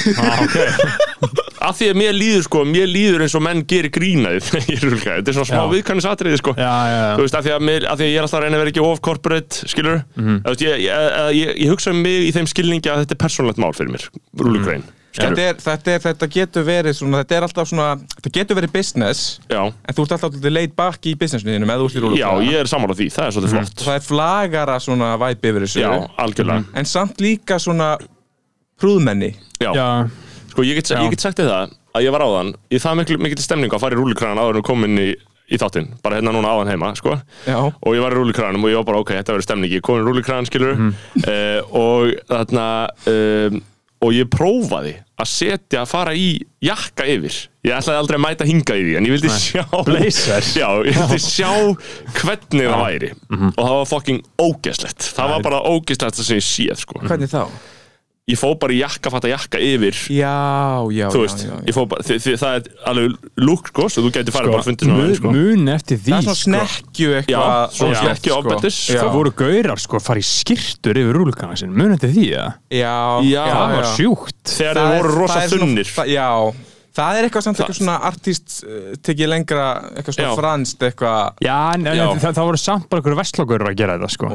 S2: Af því að mér líður sko, mér líður eins og menn gerir grínaði þegar ég er rúllukræn Þetta er svona
S3: Já.
S2: smá viðkannisatriði sko
S3: já, já,
S2: Þú veist, af því, að mér, af því að ég er alltaf að reyna að vera ekki of corporate, skilur mm. veist, ég, ég, ég, ég, ég hugsa um mig í þeim skilningi að þetta er persónlegt mál fyrir mér, rúllukræn
S4: þetta, er, þetta, er, þetta getur verið svona, þetta er alltaf svona, þetta getur verið business
S2: Já,
S4: en þú ert alltaf alltaf leit bak í businessniðinu með þú ert í
S2: já,
S4: rúllukrafa.
S2: ég er sammála því, það er svolítið flott
S4: það er Mhm. flagara svona væpi yfir þessu
S2: Já, algjörlega
S4: en samt líka svona prúðmenni
S2: já.
S3: já,
S2: Sko ég get, ég get sagt þér það að ég var áðan í það mikil, mikil stemning að fara í rúlikræðan áður en við komum inn í, í þáttinn bara hérna núna áðan heima sko.
S4: Já.
S2: og ég var í rúlikræðanum og ég var bara ok, þetta verður stemning ég kom í rúlikræðan skilur mm. og þarna um, og ég prófaði að setja að fara í jakka yfir ég ætlaði aldrei að mæta hinga í því en ég vildi sjá
S3: Blazer.
S2: já, ég vildi sjá hvernig það væri og það var fucking ógeslegt það var bara ógeslegt sem ég séð sko.
S4: hvernig þá?
S2: ég fó bara í jakka fatta jakka yfir
S4: já, já,
S2: þú
S4: já,
S2: veist,
S4: já, já.
S2: ég fór bara, þi, þi, það er alveg lúk, sko, svo þú gæti farið bara að fundi svona
S3: mun,
S2: aðeins, sko.
S3: mun eftir því
S4: það er svona snekkju eitthvað
S2: Já, svona
S4: ógeðslegt,
S2: snekkju
S4: sko.
S2: ofbeldis,
S4: já,
S3: sko. voru gaurar sko að fara í skirtur yfir rúllukrafan sin, mun eftir því ja?
S4: já,
S2: Já,
S3: það var sjúkt
S2: Þegar þeir
S4: Það er-
S2: voru rosa
S4: það er svona-
S2: þunnir
S4: það- já, það er eitthvað samt eitthvað svona artist uh, tekið lengra, eitthvað svona
S2: Já.
S4: franskt eitthvað
S3: já, en, en
S2: Já.
S3: það, það voru samt bara einhverju vestlokkur að gera þetta sko.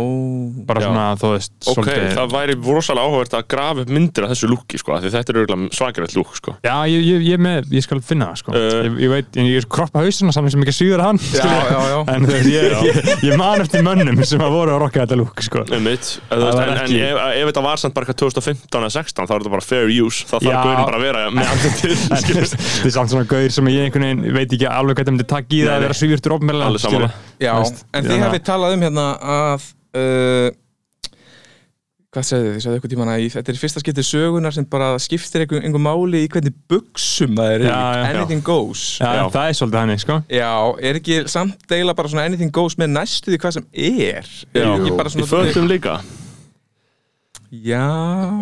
S3: bara
S2: Já.
S3: svona, þú veist,
S2: Ok, það væri rosalega áhugavert að grafa upp myndir af þessu lúki, sko, af því þetta er auðvitað svakirvægt lúk, sko.
S3: Já, ég, ég, ég, með, ég skal finna það sko.
S2: Eh.
S3: ég, ég veit, ég er kroppa hausina saman sem ekki síður hann
S4: já, já, já,
S3: En þú veist, ég, ég, ég man eftir mönnum sem að voru að rokka þetta lúk sko.
S2: Um mitt, en, þú veist,
S3: var
S2: en, en
S3: ekki-
S2: ef, ef þetta var samt bara eitthvað 2015 eða 16, þá er þetta bara fair use, þá þarf
S3: Já.
S2: gaurin bara að vera með allir til,
S3: En þú veist, Þetta er samt svona gaur sem ég einhvern veginn veit ekki alveg hvað það myndi takk í það
S2: Nei,
S3: að
S2: nei.
S3: vera svífurtur
S2: Alveg
S3: ofnmælilega
S2: sammála.
S4: já. en þið hafið talað um hérna að uh, hvað segðu þið, þið segðu eitthvað tíman að í- þetta er í fyrsta skiptið sögunar sem bara skiptir einhver, einhver máli í hvernig buksum það er
S3: Já, já, já.
S4: anything goes
S3: Já,
S2: Já.
S3: það er svolítið hannig sko.
S4: Já, er ekki samt deila bara svona anything goes með næstu því hvað sem er? Er
S2: Já.
S4: ekki bara
S2: Í
S4: svona...
S2: fötum líka.
S4: Já,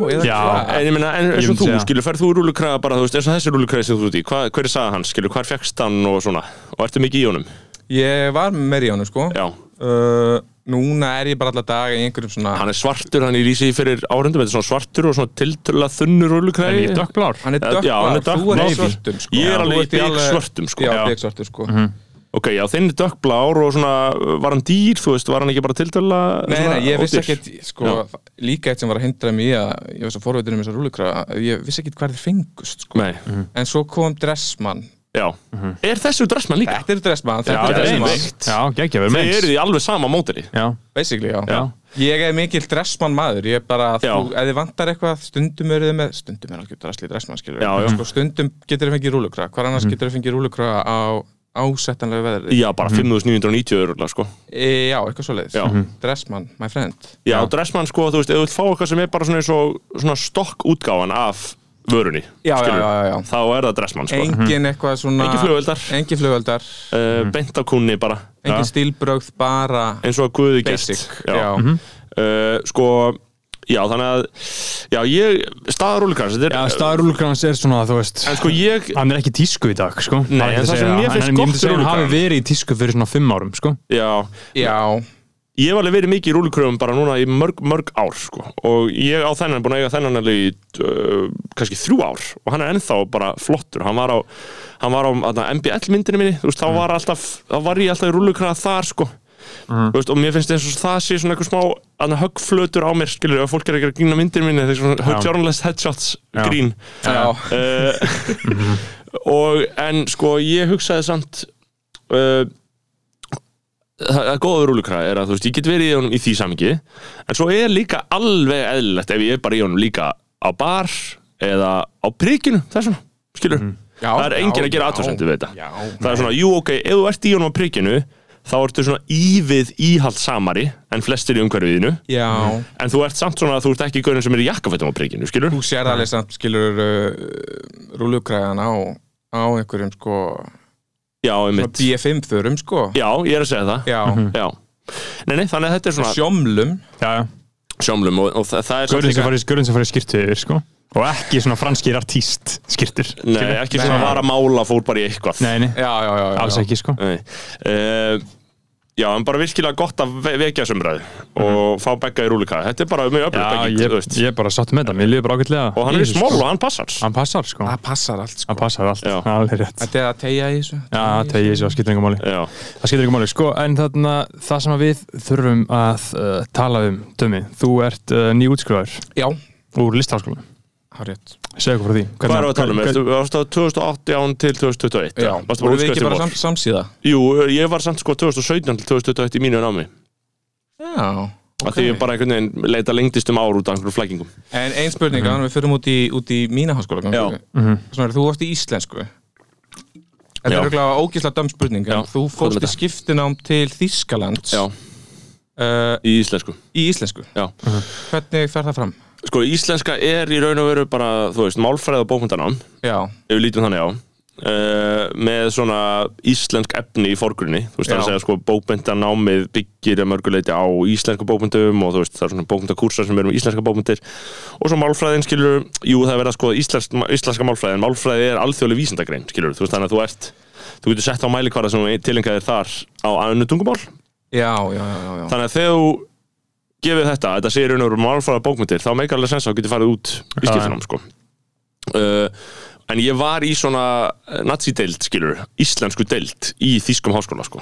S4: eða
S3: Já.
S4: hvað?
S2: En ég meina, en eins
S3: Ég
S2: og
S3: myndi
S2: þú,
S3: segja.
S2: skilur, ferð þú rúlukræða bara, þú veist, eins og þessi rúlukræði sem þú ert í, hvað, hver er saða hans, skilur, hvar fegst hann og svona, og ertu mikið í honum?
S4: Ég var með í honum sko
S2: Já.
S4: uh, Núna er ég bara alla daga í einhverjum svona
S2: Hann er svartur, hann er í sig fyrir áhendum, þetta er svona svartur og svona tiltölulega þunnur
S3: En
S2: rúlukræði.
S3: ég er dökkblár
S4: Hann er
S2: Já, hann er
S4: dökkblár, þú er á
S2: dökkblár.
S4: svörtum sko
S2: Ég er
S4: Já,
S2: alveg í
S4: þú ert alveg-
S2: biksvörtum, sko.
S4: Já,
S2: Já. Mhm.
S4: byggsvörtum sko
S2: Ok, já, þinn er dökkblár og svona, uh, var hann dýr, þú veist, var hann ekki bara tiltöla
S4: Nei, nei, ég vissi ekkert, sko,
S2: Já.
S4: líka eitt sem var að hindra mig í að, ég var svo forveitur um þessar rúlukra, ég vissi ekkert hvað þeir fengust, sko.
S2: Nei,
S4: En svo kom dressmann.
S2: já
S4: Mhm.
S2: Er þessu dressmann líka?
S4: Þetta er
S3: Já,
S4: dressmann, þetta er
S2: þetta er
S4: dressmann,
S2: eins.
S3: Já, geggja, við erum
S2: Þeir
S3: eins.
S2: eru í alveg sama móteri
S3: Já,
S4: basically, já.
S3: Já.
S4: Ég er mikill dressmann maður, ég er bara,
S2: Já.
S4: þú, ef þið vantar eitthvað, stundum eru þið með, stundum er alveg dressli dressmann, skilur.
S2: Já, Mhm. já.
S4: Sko, stundum getur þið fengið rúlukra, hvar annars getur þið fengið rúlukra á ásettanlega veðri.
S2: Já, bara 5990 öruglega, sko
S4: E, já, eitthvað svoleiðis
S2: Já. Mhm.
S4: Dressmann, my friend
S2: Já, dressmann, sko, þú veist, ef þú vilt fá eitthvað sem er bara svona, eins og, svona stokk útgáfan af vörunni
S4: Já, já,
S2: skilurðu,
S4: já, já, já.
S2: Þá er það dressmann, sko
S4: Engin eitthvað svona
S2: Engin flugvéldar.
S4: Engin flugöldar,
S2: uh, Beint af kunni bara
S4: engin stílbrögð bara
S2: Eins og að guði gert
S4: basic Já,
S2: Uh, Sko, já, þannig að Já, ég, staðarúlikans
S3: já staðrúllukrafans er svona, þú veist
S2: En sko, ég
S3: Hann er ekki í tísku í dag sko.
S2: Nei, en
S3: er ekki að
S2: það
S3: segja
S2: sem mér
S3: En-
S2: finnst
S3: en ég
S2: gott
S3: myndi segja að Hann hafi
S2: rúllukrafann-
S3: verið í tísku fyrir svona fimm árum sko.
S2: Já,
S4: já,
S2: ég hef alveg verið mikið í rúlukröfum bara núna í mörg, mörg ár sko. og ég á þennan, búin að eiga þennan alveg í uh, kannski þrjú ár og hann er ennþá bara flottur hann var á,
S3: Mm.
S2: hann var á atna, MBL myndinu minni þú veist, þá var, alltaf, þá var ég alltaf í rúlukröða þar sko.
S3: Mm.
S2: Þú veist, og mér finnst eins og það sé svona einhver smá annar höggflötur á mér skilur ef fólk er ekki að grína myndir minni þegar svona höggjónalist headshots
S3: Já.
S2: grín
S4: Já,
S2: uh, og en sko ég hugsaði samt uh, það, það góða við rúlukra er að þú veist ég get verið í honum í því samingi en svo er líka alveg eðlilegt ef ég er bara í honum líka á bar eða á prikinu þessum skilur
S4: já,
S2: það er enginn að
S4: já,
S2: gera aðtöðsendu við þetta
S4: Já,
S2: það er svona, jú ok, ef þú ert í honum á prikinu þá ertu svona ívið íhaldssamari en flestir í umhverfiðinu
S4: já
S2: en þú ert samt svona að þú ert ekki gaurin sem er í jakkafættum á prikinu, skilur
S4: Þú sér alveg samt skilur uh, rúlukræðan á, á einhverjum sko
S2: já, einmitt, Mhm.
S4: B5 þörum sko
S2: já, ég er að segja það
S4: Já,
S2: Já Nei, nei, þannig að þetta er svona
S4: sjómlum
S3: já, já.
S2: sjómlum og, og það, það er samt
S3: Gaurin sem
S2: líka-
S3: farið, gaurin sem farið skýrtu yfir, sko. Og ekki svona franskir artíst skýrtur.
S2: Nei, ekki svona
S4: Nei.
S2: var að mála fór bara í eitthvað
S3: Nei, nei,
S4: Já, já, já, já
S3: alls ekki, sko.
S2: Nei. Eh, Já, en bara virkilega gott að ve- vekja sömræð og fá begga í rúlika Þetta er bara mjög öfnir
S3: Já,
S2: begging,
S3: ég,
S2: þú veist
S3: ég er bara sátt með þetta, mér líður bara ágætlega
S2: Og hann er í
S3: þessu,
S2: smól
S3: sko.
S2: og hann passar
S3: Hann passar, sko
S4: Það passar allt sko
S3: Hann passar allt,
S2: Já.
S3: alveg rétt
S4: Þetta er að tegja í þessu
S3: Já, það tegir þessu, það skiptir engum máli
S2: Já,
S3: Það skiptir engum máli, sko, en þarna það sem að við þurfum að uh, tala um Dömi, þú ert uh, nýjútskrifaður
S4: Já,
S3: úr listaháskólanum
S4: hárið
S3: Segðu okkur frá því
S2: hvað er það að tala um? Ertu- Varstu á 2018 til 2021?
S4: Já,
S2: Varstu
S4: voru
S2: bara
S4: við ekki bara sam,
S2: útskjöldum?
S4: samsíða?
S2: Jú, ég var samt sko 2017 til 2021 í mínu námi
S4: Já
S2: okay. Því ég bara einhvern veginn leita lengdist um ár út af einhverjum flækingum
S4: En ein spurning, mm við förum út í, út í mína háskóla gangi.
S2: Mhm. Já.
S4: Svona, þú varst í íslensku Þetta
S2: Já.
S4: er auðvitað ógislega döm spurning en
S2: Já,
S4: Þú
S2: hvað er
S4: fórst í
S2: þetta?
S4: skiptinám til Þýskalands
S2: Já,
S4: uh,
S2: í íslensku
S4: í íslensku
S2: Já
S4: Hvernig fer það fram?
S2: Sko, íslenska er í raun og veru bara, þú veist, málfræð og bókundanám,
S4: Já,
S2: ef við lítum þannig á, uh, með svona íslensk efni í forgrunni, þú veist, það er
S4: Já.
S2: að segja, sko, bókundanámið byggir að mörguleiti á íslenska bókundum og þú veist, það er svona bókundakúrsar sem eru um íslenska bókundir og svo málfræðin, skilur, jú, það er verið að sko íslensk, íslenska málfræðin, málfræði er alþjóðleg vísindagrein, skilur, þú veist, þannig að þú ert, þú getur sett á mælikvara sem tilengaðir þar á annu tungumál
S4: já, já, já, já, já.
S2: þannig að þegar þú gefið þetta, þetta sé í raun og veru málfræða bókmyndir, þá meikar alveg sens að þú getur farið út í skiptunum, sko uh, en ég var í svona nazi-deild, skilur, íslensku deild í þýskum háskóla, sko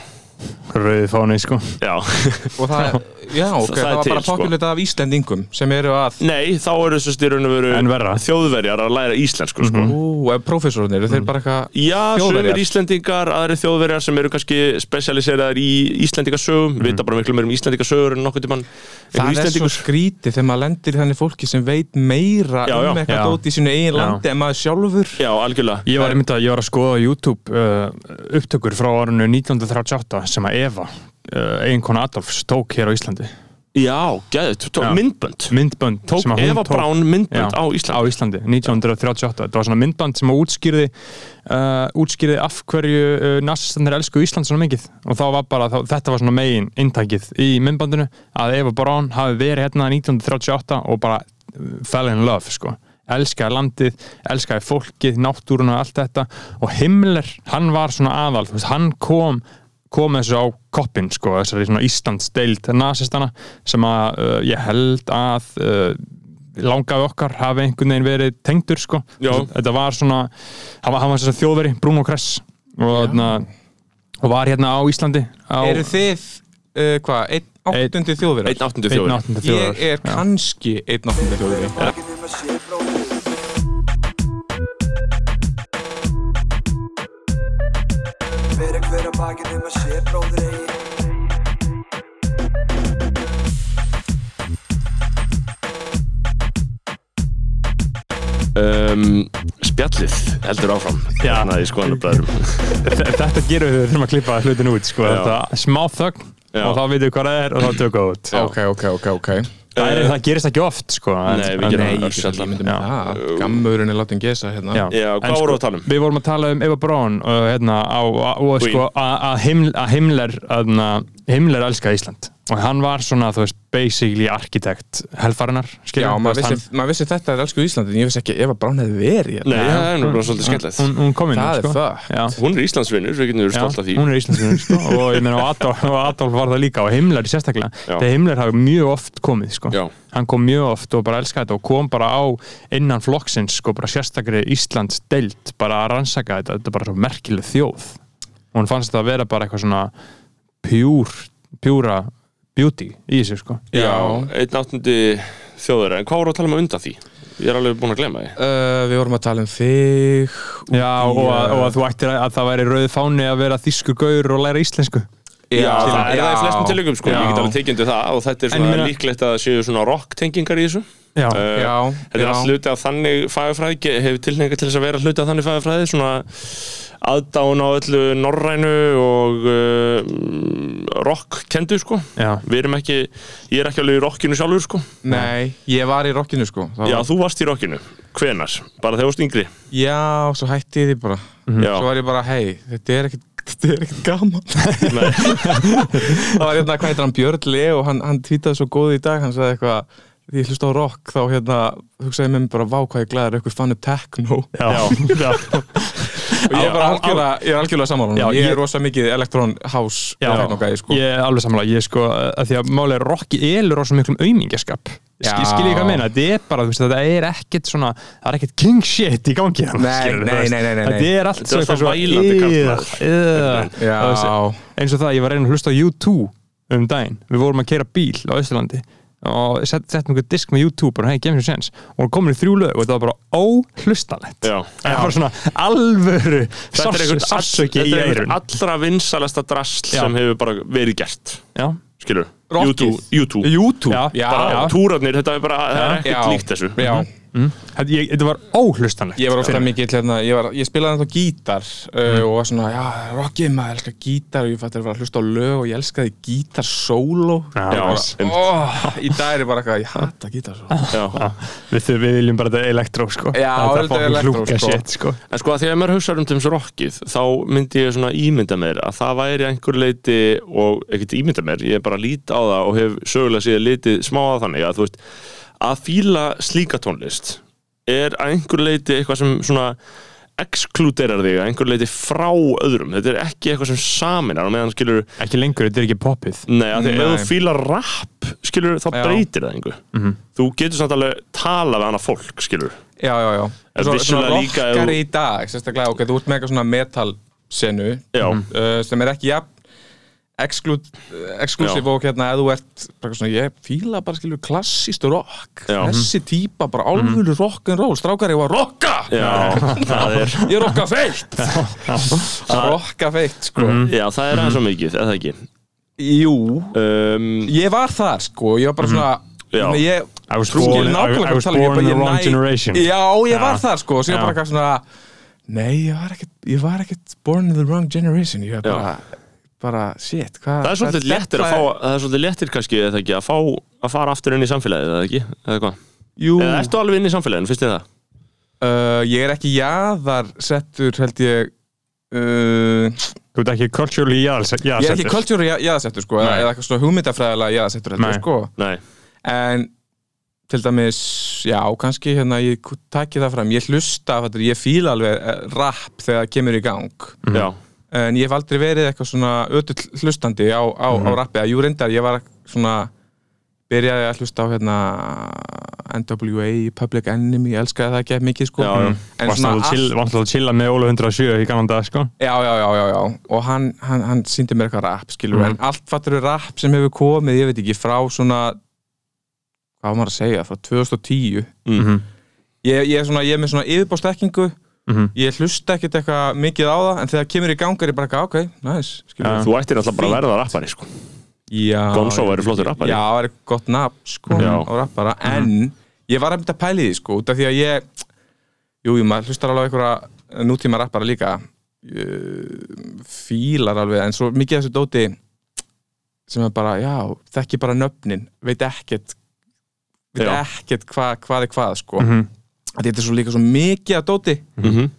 S3: Rauði fáni, sko
S2: já,
S4: Og það, já, ok,
S2: Það-
S4: það,
S2: það er
S4: var
S2: til,
S4: bara
S2: sko.
S4: populita af Íslendingum sem eru að
S2: nei, þá eru þessi í raun og
S3: En
S2: veru
S3: verra.
S2: þjóðverjar að læra íslensku, sko
S4: Ú, ef prófessornir,
S2: Mm.
S4: þeir bara eitthvað
S2: Já,
S4: Mhm. Þjóðverjar.
S2: sömur Íslendingar, aðri þjóðverjar sem eru kannski spesialiseraðar í Íslendingasögum vita bara miklu meir um Íslendingasögur en nokkuð tímann
S4: Mhm. Það er svo skrítið þegar maður lendir í þannig fólki sem veit meira
S2: Já, já.
S4: um
S3: Já.
S4: eitthvað dót í sínu eigin
S3: Já.
S4: landi en maður sjálfur
S2: Já, algjörlega
S3: Ég var einmitt að, ég var að skoða á YouTube uh, upptökur frá árunnu 1938 sem að Eva, uh, eiginkona Adolfs, tók hér á Íslandi
S2: Já, gæðið, tók
S3: Já.
S2: myndbönd
S3: Myndbönd
S2: Tók
S3: sem að hún
S2: Eva
S3: tók-
S2: Brown myndbönd
S3: Já,
S2: á Íslandi
S3: á Íslandi 1938, þetta var svona myndband sem að útskýrði uh, útskýrði af hverju uh, nasistandir elsku Ísland svona mikið og þá var bara, þá, þetta var svona megin intakið í myndbandinu að Eva Braun hafi verið hérna 1938 og bara uh, fell in love sko elskaði landið, elskaði fólkið náttúruna og allt þetta og Himmler, hann var svona aðal þú veist, hann kom kom þessu á koppin sko, þessari svona Íslands deild nasistana sem að uh, ég held að uh, langaði okkar hafi einhvern veginn verið tengdur sko
S2: Já.
S3: þetta var svona, hann var, hann var svona þjóðveri Bruno Kress og, na, og var hérna á Íslandi á
S4: Eru þið, uh, hvað, einn áttundi þjóðverðar?
S2: Einn áttundu
S3: einn
S2: þjóður
S3: áttunda
S4: Ég
S3: þjóðar
S4: er kannski einn áttundi þjóðverði
S1: Fyrir hver að bakið um að sé bróðir eigi
S2: um, Spjallið heldur áfram Hérna
S3: Já.
S2: Þannig að ég skoðan upplæðurum
S3: þetta gerum við, við þurfum að klippa hlutin út sko,
S2: Já.
S3: þetta smá þögn
S2: Já.
S3: og þá veitum við hvað það er og þá tökum við út
S4: Ok, ok, ok, ok
S3: það, er, það gerist ekki oft sko en-
S2: Nei, við
S3: en-
S2: gerum
S4: Nei,
S2: það
S4: ég get
S2: örsjaldan.
S4: ekki ímyndað
S3: Já.
S4: mér það. Gammurinn er látin gesa hérna
S3: Já,
S2: Já,
S3: En sko,
S2: hvað voru að tala um?
S3: Við vorum að tala um Eva Braun og, hérna, á, á, og
S2: Queen.
S3: sko, að- að Himml- að Himmler aðna, Himmler elskaði Ísland og hann var svona, þú veist, basically arkitekt helfarinnar,
S4: Já,
S3: skilur
S4: maður vissi, maður vissi þetta er elsku Íslandi en ég vissi ekki Eva Brán hefði verið
S2: Nei,
S4: hérna
S2: það er nú bara svolítið skemmtilegt
S3: hún, hún kom inn
S4: Það er
S3: sko.
S4: fucked.
S3: Já.
S2: Hún er Íslandsvinnur, við getum verið
S3: Já,
S2: stolt af því
S3: hún er íslenskunum sko, og ég meina og Adolf, og Adolf var það líka og Himmler sérstaklega,
S2: Já.
S3: þegar Himmler hafi mjög oft komið sko,
S2: Já.
S3: hann kom mjög oft og bara elskaði þetta og kom bara á innan flokksins sko, bara sérstakri Íslands deilt, bara að rannsaka þetta, þetta er bara svo merkileg þjóð og hann fannst þetta að vera bara eitthvað svona pjúr pjúra beauty í þessu sko
S2: Já, einn áttundi þjóður En hvað voru að tala um undan því? Ég er alveg búin að glemma því
S4: uh, Við vorum að tala um þig
S3: Já, og að, og að þú ættir að, að það væri rauð fáni að vera þýskur gaur og læra íslensku
S2: Já, það er það í
S4: já.
S2: flestum tilökum sko,
S3: Já.
S2: ég get alveg tekjandi það og þetta er svona
S3: En ég meina-
S2: líklegt að það séu svona rock-tengingar í þessu
S3: Já,
S2: Eh,
S4: Já,
S2: Þetta er
S4: já.
S2: allt hluti af þannig fagafræði ge- hefur tilhengar til þess að vera hluti af þannig fagafræði svona aðdáun á öllu norrænu og uh, rock-kendu sko
S3: já,
S2: Við erum ekki, ég er ekki alveg í rockinu sjálfur sko
S4: Nei, ég var í rockinu sko Það
S2: Já,
S4: var-
S2: þú varst í rockinu, hvenar? Bara þegar þú varst yngri
S4: já, svo hætti ég því bara
S2: Já.
S4: Svo var ég bara, hei, þetta er ekkert Þetta er ekkert gaman
S2: Nei.
S4: Það var hérna, hvað heitir hann, Björn Leo Hann, hann tvítaði svo góð í dag, hann sagði eitthvað Því ég hlusta á rock, þá hérna Hugsaði ég með mér bara, vá hvað ég glæður, eitthvað fann upp techno
S3: já, já,
S4: Og ég er bara algjörlega, ég er algjörlega saman
S3: Já,
S4: Ég
S3: ég-
S4: er rosa mikið Electron House
S3: já,
S4: techno gæi, sko.
S3: Ég er alveg samlega, ég sko að því að málega rocki elur á svo miklum aumingaskap
S4: Já.
S3: Skiljið hvað að meina, þetta er bara, þú veist, þetta er ekkert svona, það er ekkert king shit í gangi þarna,
S4: Nei,
S3: skilurðu,
S4: nei,
S3: þú veist.
S4: nei, nei, nei, nei.
S3: Þetta er allt
S2: Þetta er alltaf vælandi karlmaður.
S3: karlmaður
S4: Já.
S3: eins og það, ég var reyna að hlusta á U2 um daginn, við vorum að keira bíl á Östurlandi og sett, settum einhver disk með U2 bara, hei, gemsum sens og hún komur í þrjú lög og þetta var bara óhlustalegt
S2: Já.
S3: það var svona alvöru
S2: Þetta er
S3: sárs-
S2: einhvern
S3: sársauki í
S2: þetta er einhvern
S3: eirun
S2: allra vinsalasta drasl
S3: Já.
S2: sem hefur bara verið gert
S3: já,
S2: skilur,
S4: Rockið.
S2: YouTube, YouTube.
S4: YouTube
S3: Já.
S2: bara
S3: Já.
S2: túrarnir, þetta er bara það er ekkert
S4: Já.
S2: líkt þessu
S4: Já,
S3: þetta ég- þetta var óhlustanlegt
S4: ég var ofta mikill hérna, ég, var, ég spilaði þetta á gítar
S2: Mm.
S4: uh, og var svona, já, rockið maður, elskar gítar og ég fætti að vera að hlusta á lög og ég elskaði gítar solo
S3: Já,
S4: Ég bara,
S2: einmitt.
S4: oh, Í dag er ég bara eitthvað, ég hata gítar solo
S2: Já.
S3: við, þau- við viljum bara þetta elektró sko
S4: Já,
S3: þetta
S4: þetta er
S3: fucking
S4: elektró,
S3: klúka
S4: sko.
S3: shit sko
S2: en sko að því að maður hugsaður um til þessu rockið þá myndi ég svona ímynda mér að það væri einhver leiti og ekkert ímynda mér, ég er bara lít á það og hef sögulega síðan litið smá að þannig að þú veist, að fíla slíka tónlist er að einhver leiti eitthvað sem svona exkluderar þig að einhver leiti frá öðrum þetta er ekki eitthvað sem saminar og meðan skilur
S3: ekki lengur, þetta er ekki poppið
S2: Nei, Mhm. af því ef
S4: Nei.
S2: þú fílar rap, skilur, þá
S4: Já.
S2: breytir það einhver. Þú getur samt alveg talað við annað fólk, skilur.
S4: Já, já, já
S2: En
S4: Svo-
S2: vissulega
S4: Svona
S2: líka ef þú-
S4: rockari í dag, sérstaklega, ok, þú ert með eitthvað svona metal senu
S2: Já,
S4: uh, sem er ekki jafn exclu- exclusive
S2: Já.
S4: og hérna eða þú ert bara svona, ég fíla bara skilur klassíst rock,
S2: Já. Mm.
S4: þessi típa bara álfur rock'n'roll, strákar ég var að rocka
S2: já, það er,
S4: ég rocka feitt að rocka feitt sko
S3: Mhm.
S2: já, það er aðeins svo mikið, eða ekki.
S4: jú,
S2: Um,
S4: ég var þar sko ég var bara svona
S2: Já.
S4: mm. ég,
S3: Mhm. I was
S4: Trú,
S3: born-
S4: ég er nákvæmlega
S3: I- I
S4: hvað
S3: was
S4: tala um, ég
S3: born in
S4: bara-
S3: the
S4: ég
S3: wrong
S4: næ-
S3: generation.
S4: já, ég var
S3: Já.
S4: þar sko og síðan
S3: Já.
S4: bara eitthvað svona nei, ég var ekkert ég var ekkert born in the wrong generation ég
S2: Já.
S4: var bara, bara shit hva,
S2: það er svolítið léttir að fá, það er svolítið léttir kannski, eða ekki, að fá, að fara aftur inn í samfélagið, eða ekki, eða hvað.
S4: jú,
S2: Eða ertu alveg inn í samfélaginu, finnst þið það?
S4: Uh, ég er ekki jaðar settur held ég uh,
S3: þú ert ekki culturally jaðalsettur
S4: ég er ekki kultúri jaðarsettur sko eða
S3: Nei.
S4: eða eitthvað svona hugmyndafræðilega jaðarsettur held ég
S3: Nei.
S4: sko
S2: Nei,
S4: en til dæmis já kannski hérna ég ku- taki það fram ég hlusta þetta ég fíla alveg eh, rap þegar það kemur í gang
S2: já,
S4: en ég hef aldrei verið eitthvað svona ötull hlustandi á, á,
S2: Mhm.
S4: á rappi að jú reyndar ég var svona byrjaði að hlusta á hérna NWA, Public Enemy, ég elskaði það ekki mikið sko
S2: Já, já.
S4: en
S3: Varst náttúrulega
S4: allt-
S3: að chill- varst náttúrulega að chilla með Óla 107 í kannan dag sko
S4: Já, já, já, já, já. og hann, hann, hann síndi mér eitthvað rap, skilur
S2: Mhm.
S4: en allt fattur er rap sem hefur komið, ég veit ekki, frá svona hvað á maður að segja, frá 2010
S2: mm
S4: ég, ég, er svona, ég er með svona yfirbóstekkingu
S3: Mhm.
S4: ég hlusta ekkert eitthvað mikið á það en þegar það kemur í gangar ég bara eitthvað, ok, nice skilur
S2: Þú ættir náttúrulega bara að verða rappari, sko.
S4: Já,
S2: Gonzo
S4: ég-
S2: væri flottur rappari.
S4: Já, það er gott nafn sko
S2: Já. Mhm.
S4: á rappara, en ég var einmitt að pæli því sko, út af því að ég jú, jú, maður hlustar alveg á einhverja nútíma rappara líka eh, fílar alveg, en svo mikið af þessu dóti sem er bara, já, þekki bara nöfnin veit ekkert veit
S2: Já. Mhm.
S4: ekkert hva, hvað er hvað sko Af því þetta er svo líka svo mikið af dóti
S2: Mm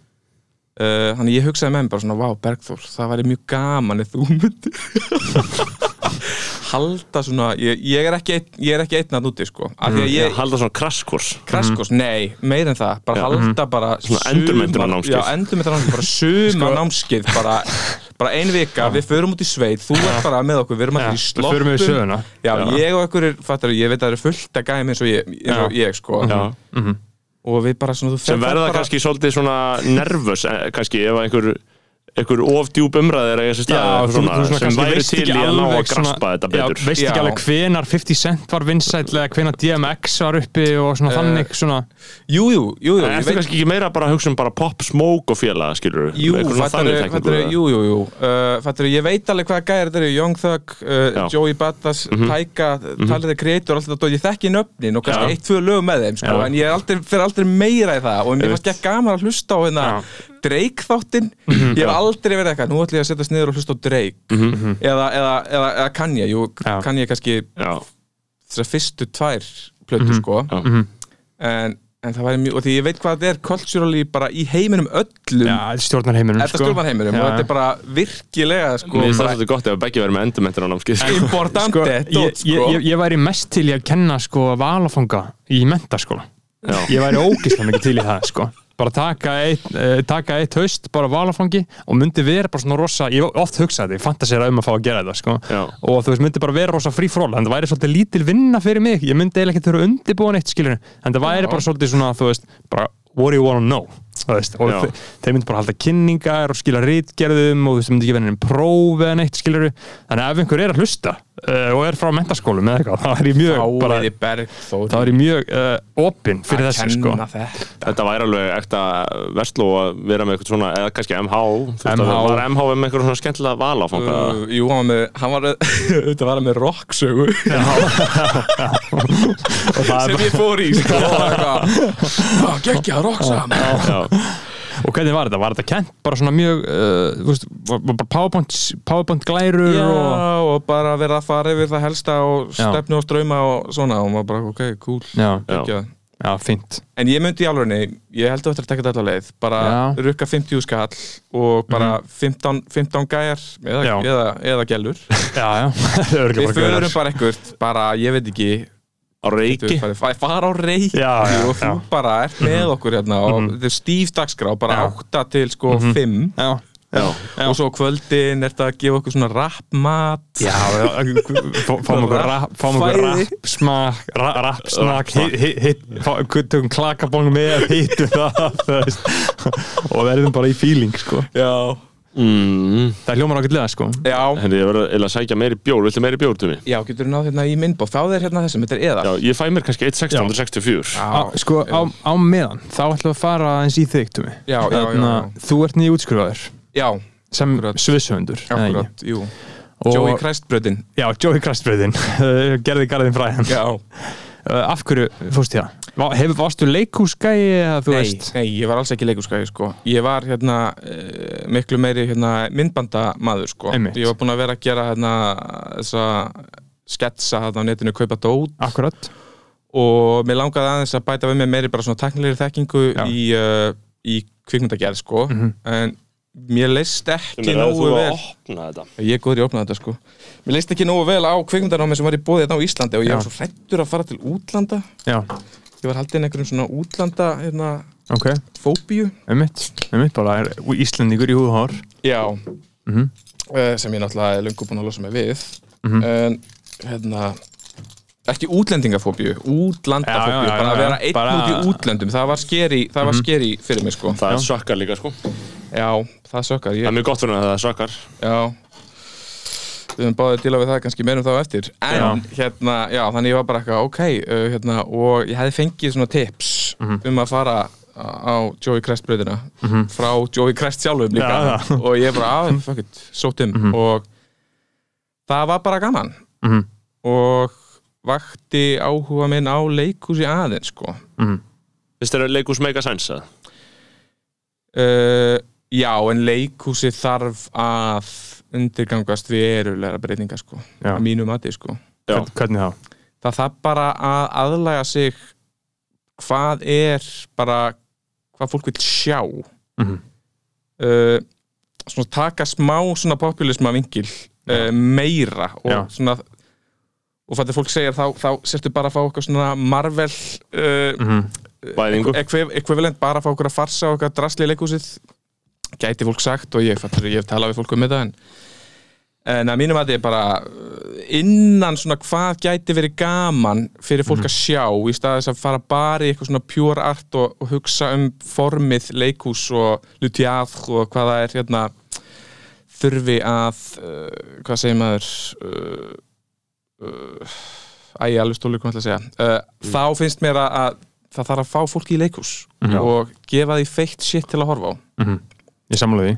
S4: Uh, þannig ég hugsaði með mér bara svona Vá Bergþór, það væri mjög gaman ef þú myndir Halda svona Ég, ég er ekki einn- ég er ekki einn að núti sko Af því að ég,
S2: Halda svona krasskurs.
S4: kraskos, nei, meir en það Bara halda bara
S2: mm. Svona
S4: sumar-
S2: endurmenntunarnámskeið.
S4: Já, endurmenntunarnámskeið, bara suma námskið Bara, bara ein vika, við förum út í sveit Þú ert bara með okkur, við erum allir í
S3: við
S4: sloppum
S3: förum yfir söguna.
S4: Já,
S2: Já.
S4: ég og okkur, fattar, ég veit að það eru fullt að gæmi eins og ég, eins og
S3: Já.
S4: ég sko
S2: Já.
S4: Og við bara svona
S2: Mhm.
S4: þú
S2: sem
S4: ferð
S2: verða
S4: bara-
S2: kannski svolítið svona nervös eh, kannski ef að einhver einhver of djúp umræðir eða þessi
S3: Já,
S2: stað
S3: þú- þú svona
S2: sem
S3: kannski
S2: væri
S3: veist
S2: til í að
S3: ekki
S2: ná að
S3: alveg
S2: graspa
S3: svona-
S2: þetta betur
S3: Já, veist ekki
S4: Já.
S3: alveg hvenar 50 Cent var vinsæll eða hvenar DMX var uppi og
S4: Eh,
S3: svona þannig svona
S4: Jú, jú, jú, jú,
S2: En
S4: ég
S2: ertu
S4: veit
S2: kannski ekki meira bara að hugsa um bara pop, smoke og félaga, skilur
S4: Jú, fattari, fattari, jú, jú, jú. Uh, fattari, ég veit alveg hvaða gæðir þetta eru Young Thug, uh,
S2: Já. Mhm.
S4: Joey Badass, mm Tyga, Tyler the Creator, allt þetta og ég þekki nöfnin og
S2: Já.
S4: kannski eitt, tvö lög með þeim sko,
S2: Já.
S4: en ég er aldrei, fyrir aldrei meira í það og mér fannst ekki gaman að hlusta á hérna
S2: Já. Mhm.
S4: Drake þáttinn, ég hef aldrei verið eitthvað, nú ætlum ég að setjast niður og hlusta á Drake eða, eða, eða, eða Kanye jú,
S3: Já.
S4: Kanye kannski
S2: Já,
S4: þessar fyrstu tvær plötu sko
S2: Mhm. já,
S4: en, en það væri mjög, og því ég veit hvað þetta er culturally bara í heiminum öllum
S3: Já, stjórnar heiminum
S4: Þetta sko- stjórnar heiminum og þetta er bara virkilega sko,
S2: Mér finnst það
S4: bara
S2: svolítið gott ef Beggi verið með endurmentur á námskið sko.
S4: importante
S3: sko,
S4: dót,
S3: ég,
S4: sko.
S3: ég, ég, ég væri mest til í að kenna sko valafanga í mentaskóla
S2: Já.
S3: ég væri ógislega mikið til í það sko bara taka eitt, eh, taka eitt haust bara valafangi og myndi vera bara svona rosa ég hef oft hugsaði, ég fantasera um að fá að gera þetta sko.
S2: Já.
S3: og þú veist, myndi bara vera rosa frí fról en það væri svolítið lítil vinna fyrir mig ég myndi eiginlega ekki þurfa undirbúin eitt skilur en það væri bara svolítið svona, þú veist bara, what do you wanna know þú veist, og
S2: Já.
S3: þe- þeir myndi bara halda kynningar og skila rítgerðum og þú veist, myndi ekki vera nefnum próf eða neitt skilur þannig að ef einhver er að hlusta uh, og er frá mentaskólum eða eitthvað, þá er ég mjög bara,
S4: Áiði Bergþór
S3: þá er ég mjög uh, opinn fyrir þessu sko
S4: þetta
S2: Þetta væri alveg ekta versló að vera með eitthvað svona, eða kannski MH þú veist,
S3: MH.
S2: Var MH með eitthvað svona skemmtilega val á fanga
S4: Uh, Jú, hann var með, hann var, þetta var hann með rocksögu
S3: og það
S4: sem
S3: er,
S4: ég fór í sko, og eitthvað Gekki að rocksa
S2: Já,
S3: sko. og hvernig var þetta, var þetta kent bara svona mjög uh, þú veist, var, var bara powerpoint, powerpoint glærur
S4: Já,
S3: og
S4: og bara vera að fara yfir það helsta og
S3: Já.
S4: stefnu og strauma og svona og maður bara, ok, cool
S3: já,
S2: Já.
S4: Geggjað.
S3: já, fínt
S4: En ég myndi í alvegni, ég held að þetta er að taka þetta alla leið bara
S3: Já. Mhm.
S4: rukka 50 skall og bara 15, 15 gæjar eða,
S3: Já.
S4: eða, eða gælur
S3: já, já,
S4: Við
S3: örgulega
S4: förum bara eitthvað, bara ég veit ekki
S2: á reiki
S4: við farið- fara á reiki
S3: Já, já,
S4: og þú
S3: já. Mhm.
S4: bara ert með okkur hérna og þetta er stíf dagskrá,
S3: Já.
S4: bara
S3: Mhm.
S4: 8 til sko 5
S3: já,
S2: Já,
S4: og svo á kvöldin er þetta að gefa okkur svona rappmat
S3: Já, fá- fáum okkur rap, fáum okkur
S4: Fæði.
S3: rap, smak, rap, smak, hitt, hitt, hitt, fá- tökum klakabong með, hittum það, þú veist, og verðum bara í feeling, sko.
S4: Já,
S2: mm,
S3: Það hljómar ákveldlega, sko.
S4: já,
S2: henni, ég verið eiginlega að sækja meiri bjór Viltu meiri bjór, Tumi?
S4: já getur þú náð hérna í minnbóð þá er hérna þessum, þetta er eðal
S2: Já, ég fæ mér kannski 1.1664
S4: Já,
S3: Á, sko, á, á meðan, þá ætlum við að fara aðeins í þig, Tumi. Hérna,
S4: Já, já, já, já.
S3: Þú ert nýja útskrifaður
S4: já,
S3: sem
S4: Akkurat.
S3: sviðsöfundur. eða ekki?
S4: akkurat, jú
S3: Og,
S4: Joey Christbröðin
S3: Já, Joey Krastbröðin, gerði garðin fræðan.
S4: Já
S3: Uh, af hverju fórst ég það? Va- Hefur varstu leikhúsgæi eða þú
S4: nei,
S3: veist?
S4: nei, ég var alls ekki leikurskæði sko. Ég var hérna eh, miklu meiri hérna, myndbandamaður sko.
S3: Einmitt.
S4: Ég var búinn að vera að gera hérna, þessa sketsa hérna á netinu kaupa dót
S3: Akkurat.
S4: og mér langaði aðeins að bæta við mér meiri bara svona teknilegri þekkingu
S3: Já. Mhm.
S4: í, uh, í kvikmyndagerð sko. en mér leist ekki
S2: Þannig að
S4: nógu
S2: þú að
S4: vel
S2: opna þetta
S4: Ég er góður í að opna þetta sko Mér leist ekki nógu vel á kvikmyndanámi sem var í bóðið hérna á Íslandi og ég
S3: Já.
S4: var svo hrættur að fara til útlanda
S3: Já,
S4: Ég var haldin einhverjum svona útlanda hérna,
S3: ok.
S4: fóbíu
S3: Einmitt, einmitt bara er Íslendingur í húðhár
S4: Já
S3: Mhm.
S4: Eh, sem ég náttúrulega er lungu búin að losa mig við en hérna ekki útlendingafóbíu, útlandafóbíu
S3: Já, já, já,
S4: bara að
S3: já,
S4: vera einn
S3: bara- Mhm.
S4: út í útlöndum það var skeri, það var skeri fyrir mig sko
S2: Það sökkar líka, sko Það
S4: já, það sökkar,
S2: er
S4: ég,
S2: mjög gott fyrir hann að það sökkar
S4: já við höfum báðið að díla við það kannski meirum þá á eftir en hérna, já, þannig ég var bara eitthvað ok, uh, hérna, og ég hefði fengið svona tips
S3: Mhm.
S4: um að fara á Joey Crest bröðina frá Joey Crest sjálfum líka
S3: Já, já.
S4: og ég bara, ah, fuck it, sótt um og það var bara gaman
S3: Mhm.
S4: og vakti áhuga minn á leikhúsi aðeins sko
S2: Finnst þér að leikus mega sæns, eða?
S4: uh, já, en leikhúsi þarf að undirgangast verulega breytinga sko,
S3: Já.
S4: að mínu mati sko
S2: Já.
S3: Hvern- Hvernig þá?
S4: það þarf bara að aðlæga sig hvað er bara hvað fólk vil sjá
S3: Mhm.
S4: uh, svona taka smá svona populisma vingil uh, meira og
S3: Já.
S4: svona og fattir fólk segir þá, þá sértu bara að fá okkur svona Marvel
S3: Mhm.
S4: uh,
S2: Bæðingu
S4: ekviv- ekvivalent bara að fá okkur að farsa og eitthvað drasli í leikhúsið gæti fólk sagt og ég fattur ég hef talað við fólk um þetta en en að mínum að þetta er bara uh, innan svona hvað gæti verið gaman fyrir fólk að sjá í stað þess að fara bara í eitthvað svona pure art og, og hugsa um formið leikhús og lutiað og hvað það er hérna þurfi að uh, hvað segir maður uh, uh, æg, alveg stólu hvað ég ætla að segja uh, þá finnst mér að, að það þarf að fá fólki í leikus
S3: Já.
S4: og gefa því feitt shit til að horfa á
S3: Ég samla því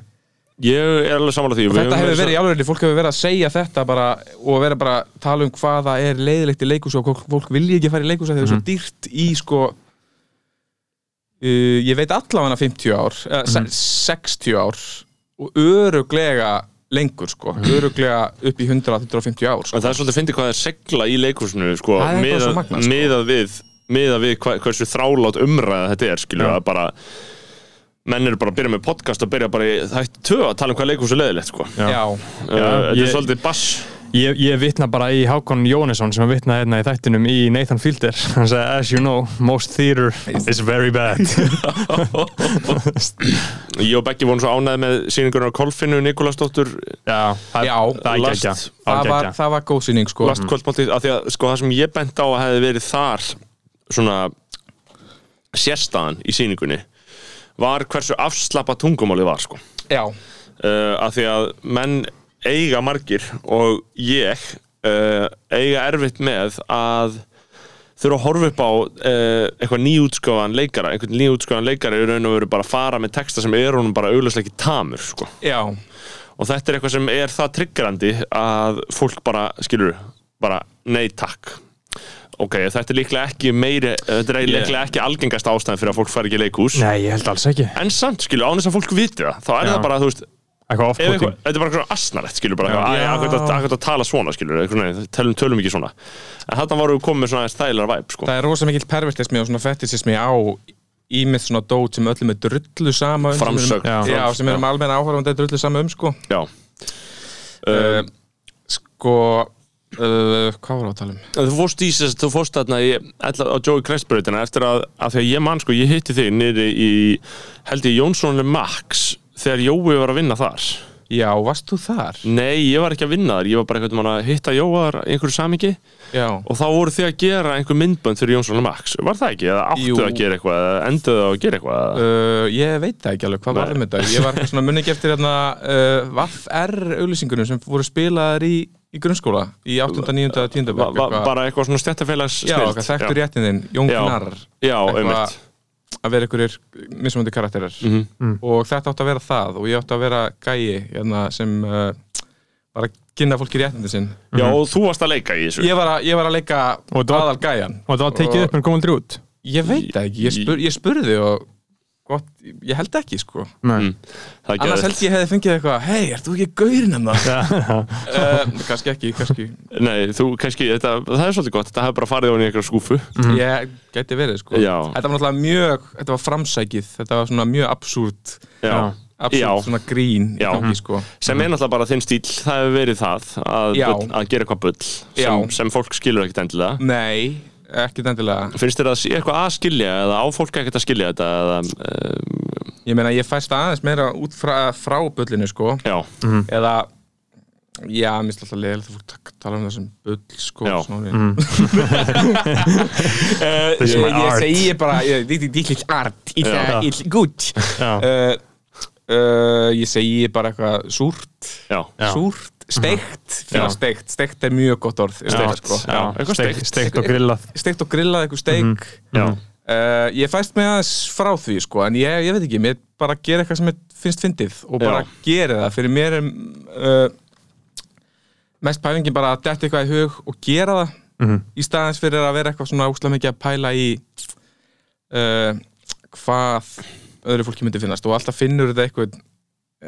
S2: Ég er alveg sammála því
S4: Og
S2: Við
S4: þetta
S2: höfum
S4: hefur verið í alveg, fólk hefur verið að segja þetta bara, og verið bara að tala um hvaða er leiðilegt í leikus og fólk, fólk vilja ekki fara í leikus að það er svo dýrt í sko uh, ég veit allavega 50 ár eh, se- 60 ár og öruglega lengur sko, öruglega upp í 100-150 ár sko.
S2: En það er svolítið að fyndi hvað það er segla í leikúsinu sko,
S4: Það er bara
S2: miðað-
S4: svo magnað, sko.
S2: miðað við, miðað við hva, hversu þrálát umræða þetta er skilur að bara menn eru bara að byrja með podcast og byrja bara í þætt tvö að tala um hvað leikús er leiðilegt sko. uh,
S4: Já,
S2: þetta
S3: ég-
S2: er svolítið bass
S3: Ég, ég vitna bara í Hákon Jónesson sem að vitna hérna í þættinum í Nathan Fielder hann sagði as you know, most theater is very bad
S2: ég og Beggi vorum svo ánæði með sýningurinn á Kolfinu Nikolasdóttur
S3: Já, það,
S4: Já,
S3: það er
S2: last-
S3: gekkja
S4: það var, það var góð sýning sko
S2: last kvöldmáltíð af því að sko það sem ég bent á að hefði verið þar svona sérstaðan í sýningunni var hversu afslappa tungumáli var sko
S4: Já,
S2: uh, að því að menn eiga margir og ég uh, eiga erfitt með að þurfa að horfa upp á uh, eitthvað nýjútskofan leikara einhvern nýjútskofan leikara í raun og veru bara að fara með texta sem er honum bara augljóslega ekki tamur sko.
S4: já,
S2: og þetta er eitthvað sem er það triggerandi að fólk bara, skilur bara nei takk ok, þetta er líklega ekki meiri þetta er líklega ekki algengast ástæðan fyrir að fólk fari ekki í leikhús
S3: Nei, ég held alls ekki
S2: en samt, skilur, án þess að fólk viti það þá er
S3: Já.
S2: það bara, þú veist,
S3: Eitthvað
S2: Ef
S3: off-putting
S2: eitthvað, þetta er bara eitthvað asnarett skilur bara,
S3: Já.
S2: já,
S3: Já.
S2: akkur að tala svona skilur, eitthvað, nei, tölum, tölum ekki svona en þarna vorum við komið með svona aðeins þægilega væp sko.
S4: það er rosa mikill pervertismi og svona fetisismi á ímið svona dót sem öllum er drullu sama um, sem erum-
S2: framsögn,
S3: Já.
S4: Já, sem erum almenna áhverfandi drullu saman um sko
S2: já.
S4: uh,
S2: Uh,
S4: Sko uh, Hvað var það að tala um?
S2: þú fórst í þess þú fórst þarna í, ætla, á Joey Crestbrautina eftir að, að því að ég mann sko, ég hitti þig niðri í, held ég Jónssonle Max þegar Jói var að vinna þar
S4: Já, varst þú þar?
S2: nei, ég var ekki að vinna þar, ég var bara einhvern veginn að hitta Jóa þar í einhverju samingi
S4: Já
S2: og þá voru þið að gera einhver myndbönd fyrir Jónssonle Max, var það ekki, eða áttu
S4: Jú.
S2: að gera eitthvað, eða enduðu að gera eitthvað eða-
S4: Uh, ég veit það ekki alveg, hvað var
S2: Nei.
S4: það með þetta? Ég var eitthvað svona munið eftir hérna uh, Vaff-R auglýsingunum sem voru spilaðar í, í grunnskóla í 8. 9. 10.
S2: ba ba bara eitthvað svona stjættafélags
S4: Já, eitthvað þekktur réttin þinn, Jón
S2: Já.
S4: Gnar
S2: já, einmitt
S4: að vera einhverjir mismöndi karakterar
S2: Mhm.
S3: Mm.
S4: og þetta átti að vera það og ég átti að vera gæi hérna, sem uh, var að kynna fólki réttindi sinn
S2: já, og þú varst að leika í þessu
S4: Mhm. ég var að, ég var að leika
S3: Mm. Og þú-
S4: aðal gæjan
S3: Og það var tekið upp en komum aldrei út
S4: Ég veit það ekki, ég, spur, ég spurði og gott, ég held ekki sko
S3: Nei
S2: það er
S4: Annars
S2: geðveikt.
S4: held ég hefði fengið eitthvað Hei, ert þú ekki gaurinn um það? uh, kannski ekki, kannski
S2: nei, þú kannski, þetta, það er svolítið gott þetta hefur bara farið á henni einhverja skúfu
S3: Mhm.
S4: Ég gæti verið sko
S2: Já.
S4: Þetta var náttúrulega mjög, þetta var framsækið Þetta var svona mjög absúrt
S2: já. Já.
S4: Absúrt svona grín í
S2: Já. Mhm.
S4: gangi sko
S2: sem er náttúrulega bara þinn stíl, það hefur verið það að,
S4: Já.
S2: bull, að gera eitthvað bull sem,
S4: Já. Mm.
S2: sem fólk skilur ekkert endilega
S4: Nei, ekki endilega
S2: finnst þér að sé eitthvað að skilja eða á fólk ekkert að skilja þetta eða, uh,
S4: Ég meina, ég fæst það aðeins meira út frá, frá bullinu sko
S2: já,
S3: Mm.
S4: Eða, já, mér slá alltaf leiðilegt að fólk tak- tala um það sem bull sko
S2: Já.
S4: svona,
S3: Mm.
S4: Eh,
S3: This is
S4: ég,
S3: my
S4: ég
S3: art.
S4: segi bara ég- þetta er líklega art it's,
S2: Já.
S4: a, it's good
S3: Já.
S4: uh, uh, ég segi bara eitthvað súrt
S2: já, já.
S4: súrt, steikt fyrir
S2: Já.
S4: steikt, steikt er mjög gott orð steikt, sko.
S3: Mhm. Já,
S2: eitthvað
S3: steikt-
S2: steikt.
S3: Steikt og grillað
S4: steikt og grillað eitthvað steik
S2: Mhm. Já.
S4: uh, ég fæst mig aðeins frá því sko, en ég, ég veit ekki, mér bara gera eitthvað sem mér finnst fyndið og bara
S2: Já.
S4: gera það fyrir mér er uh, mest pælingin bara að detta eitthvað í hug og gera það
S2: Mhm.
S4: í staðins fyrir að vera eitthvað svona úslega mikið að pæla í uh, hvað öðru fólki myndi finnast og alltaf finnur þetta eitthvað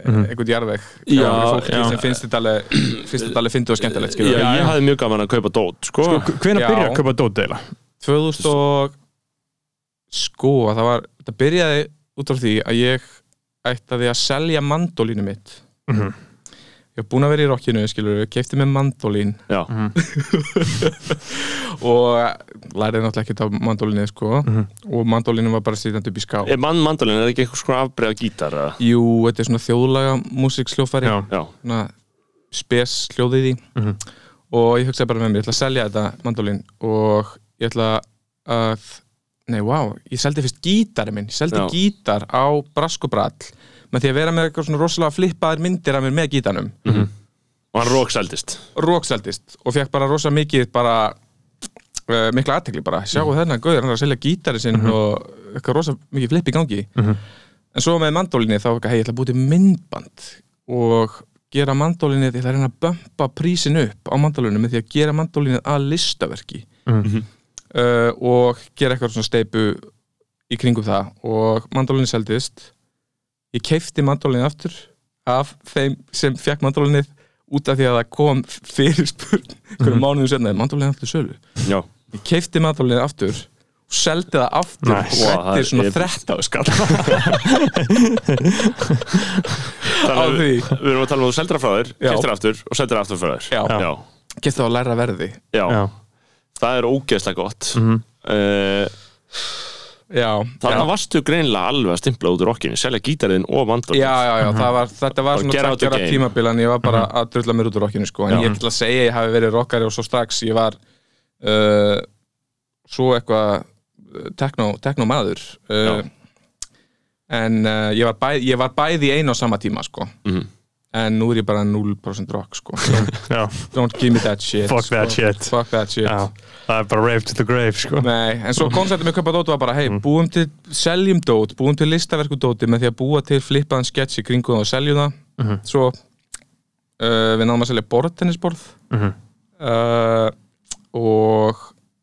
S2: Mhm.
S4: eitthvað jarðveg hjá
S2: Já,
S4: öðru fólki
S2: já.
S4: sem finnst þetta alveg finnst þetta alveg fyndið og skemmtilegt skilur
S2: Já,
S4: við.
S2: ég hafði mjög gaman að kaupa dót sko.
S3: Hvenær
S4: Já.
S3: byrja að kaupa dót eila?
S4: 2000 og sko, það var, það byrjaði út af því að ég ætlaði að selja mandólínu mitt ég var búin að vera í rockinu, skilur við keipti með mandólín
S2: já,
S4: og læriði náttúrulega ekkert á mandólínu sko, og mandólínu var bara sýtandi upp í ská
S2: Er Eh, mann mandalinn er ekki eitthvað svona afbreið gítar eða?
S4: Jú, þetta er svona þjóðlaga músiksljófari
S3: Já.
S2: já,
S4: svona spes hljóðið í og ég hugsaði bara með mér, ég ætla að selja þetta mandolin og ég ætla að nei, wow, ég seldi fyrst gítari minn, ég seldi
S2: Já.
S4: gítar á Braskobral með því að vera með eitthvað svona rosalega flippaðar myndir af mér með gítanum
S2: og hann róksældist
S4: róksældist og fekk bara rosa mikið bara uh, mikla aðtekli bara, sjáu þennan gauður hann er að selja gítari sinn og eitthvað rosa mikið flipp í gangi en svo með mandólinni þá eitthvað, hei, ég ætla að búti myndband og gera mandólinni ég ætla að reyna að bömpa prísin upp á mandólinu með því að gera mandólinni að listaverki uh, og gera eitthvað svona steipu í kringum það og mandólinni seldist ég keifti mandólinni aftur af þeim sem fekk mandólinnið út af því að það kom fyrirspurn hverju mánuðum senna, mandolinni aftur sölu
S2: já
S4: ég keipti mandolinni aftur og seldi það aftur
S3: Nice.
S4: og grætti svona 13
S2: þrett á skall Þannig
S4: á
S2: að
S4: því
S2: við, við erum að tala um að þú seldir það frá þér
S4: Já.
S2: keftir aftur og seldir það aftur frá þér
S4: Já.
S2: Já.
S4: keipti það á læra verði
S2: Já.
S3: Já.
S2: það er ógeðslega gott mm
S3: Mhm.
S4: já,
S2: Þannig
S4: já,
S2: varstu greinilega alveg að stimpla út úr rockinni selja gítarinn og
S4: já,
S2: mandolin
S4: já,
S3: Mhm.
S4: já það var, þetta
S2: Og
S4: var svona
S2: get out the
S4: takkjara
S2: game.
S4: tímabilan ég var bara að drulla mér út úr rockinu sko. en
S2: Já.
S4: ég ætla að segja að ég hafi verið rockari og svo strax ég var uh, svo eitthvað tekno, tekno maður uh,
S2: Já.
S4: en uh, ég, var bæ, ég var bæði í einu á sama tíma sko.
S2: Mhm.
S4: en nú er ég bara 0% rock sko.
S3: Já,
S4: don't give me that shit
S3: Fuck that
S4: sko.
S3: shit.
S4: fuck that shit
S3: já, það er bara rave to the grave sko.
S4: Nei, en
S2: Mm.
S4: svo konceptum með Kaupa Dót var bara hei, búum til, seljum dót, búum til listaverku dóti með því að búa til flippaðan sketch í kringu það og seljum það
S2: Mhm.
S4: svo uh, við náðum að selja borðtennisborð
S2: Mhm.
S4: uh, og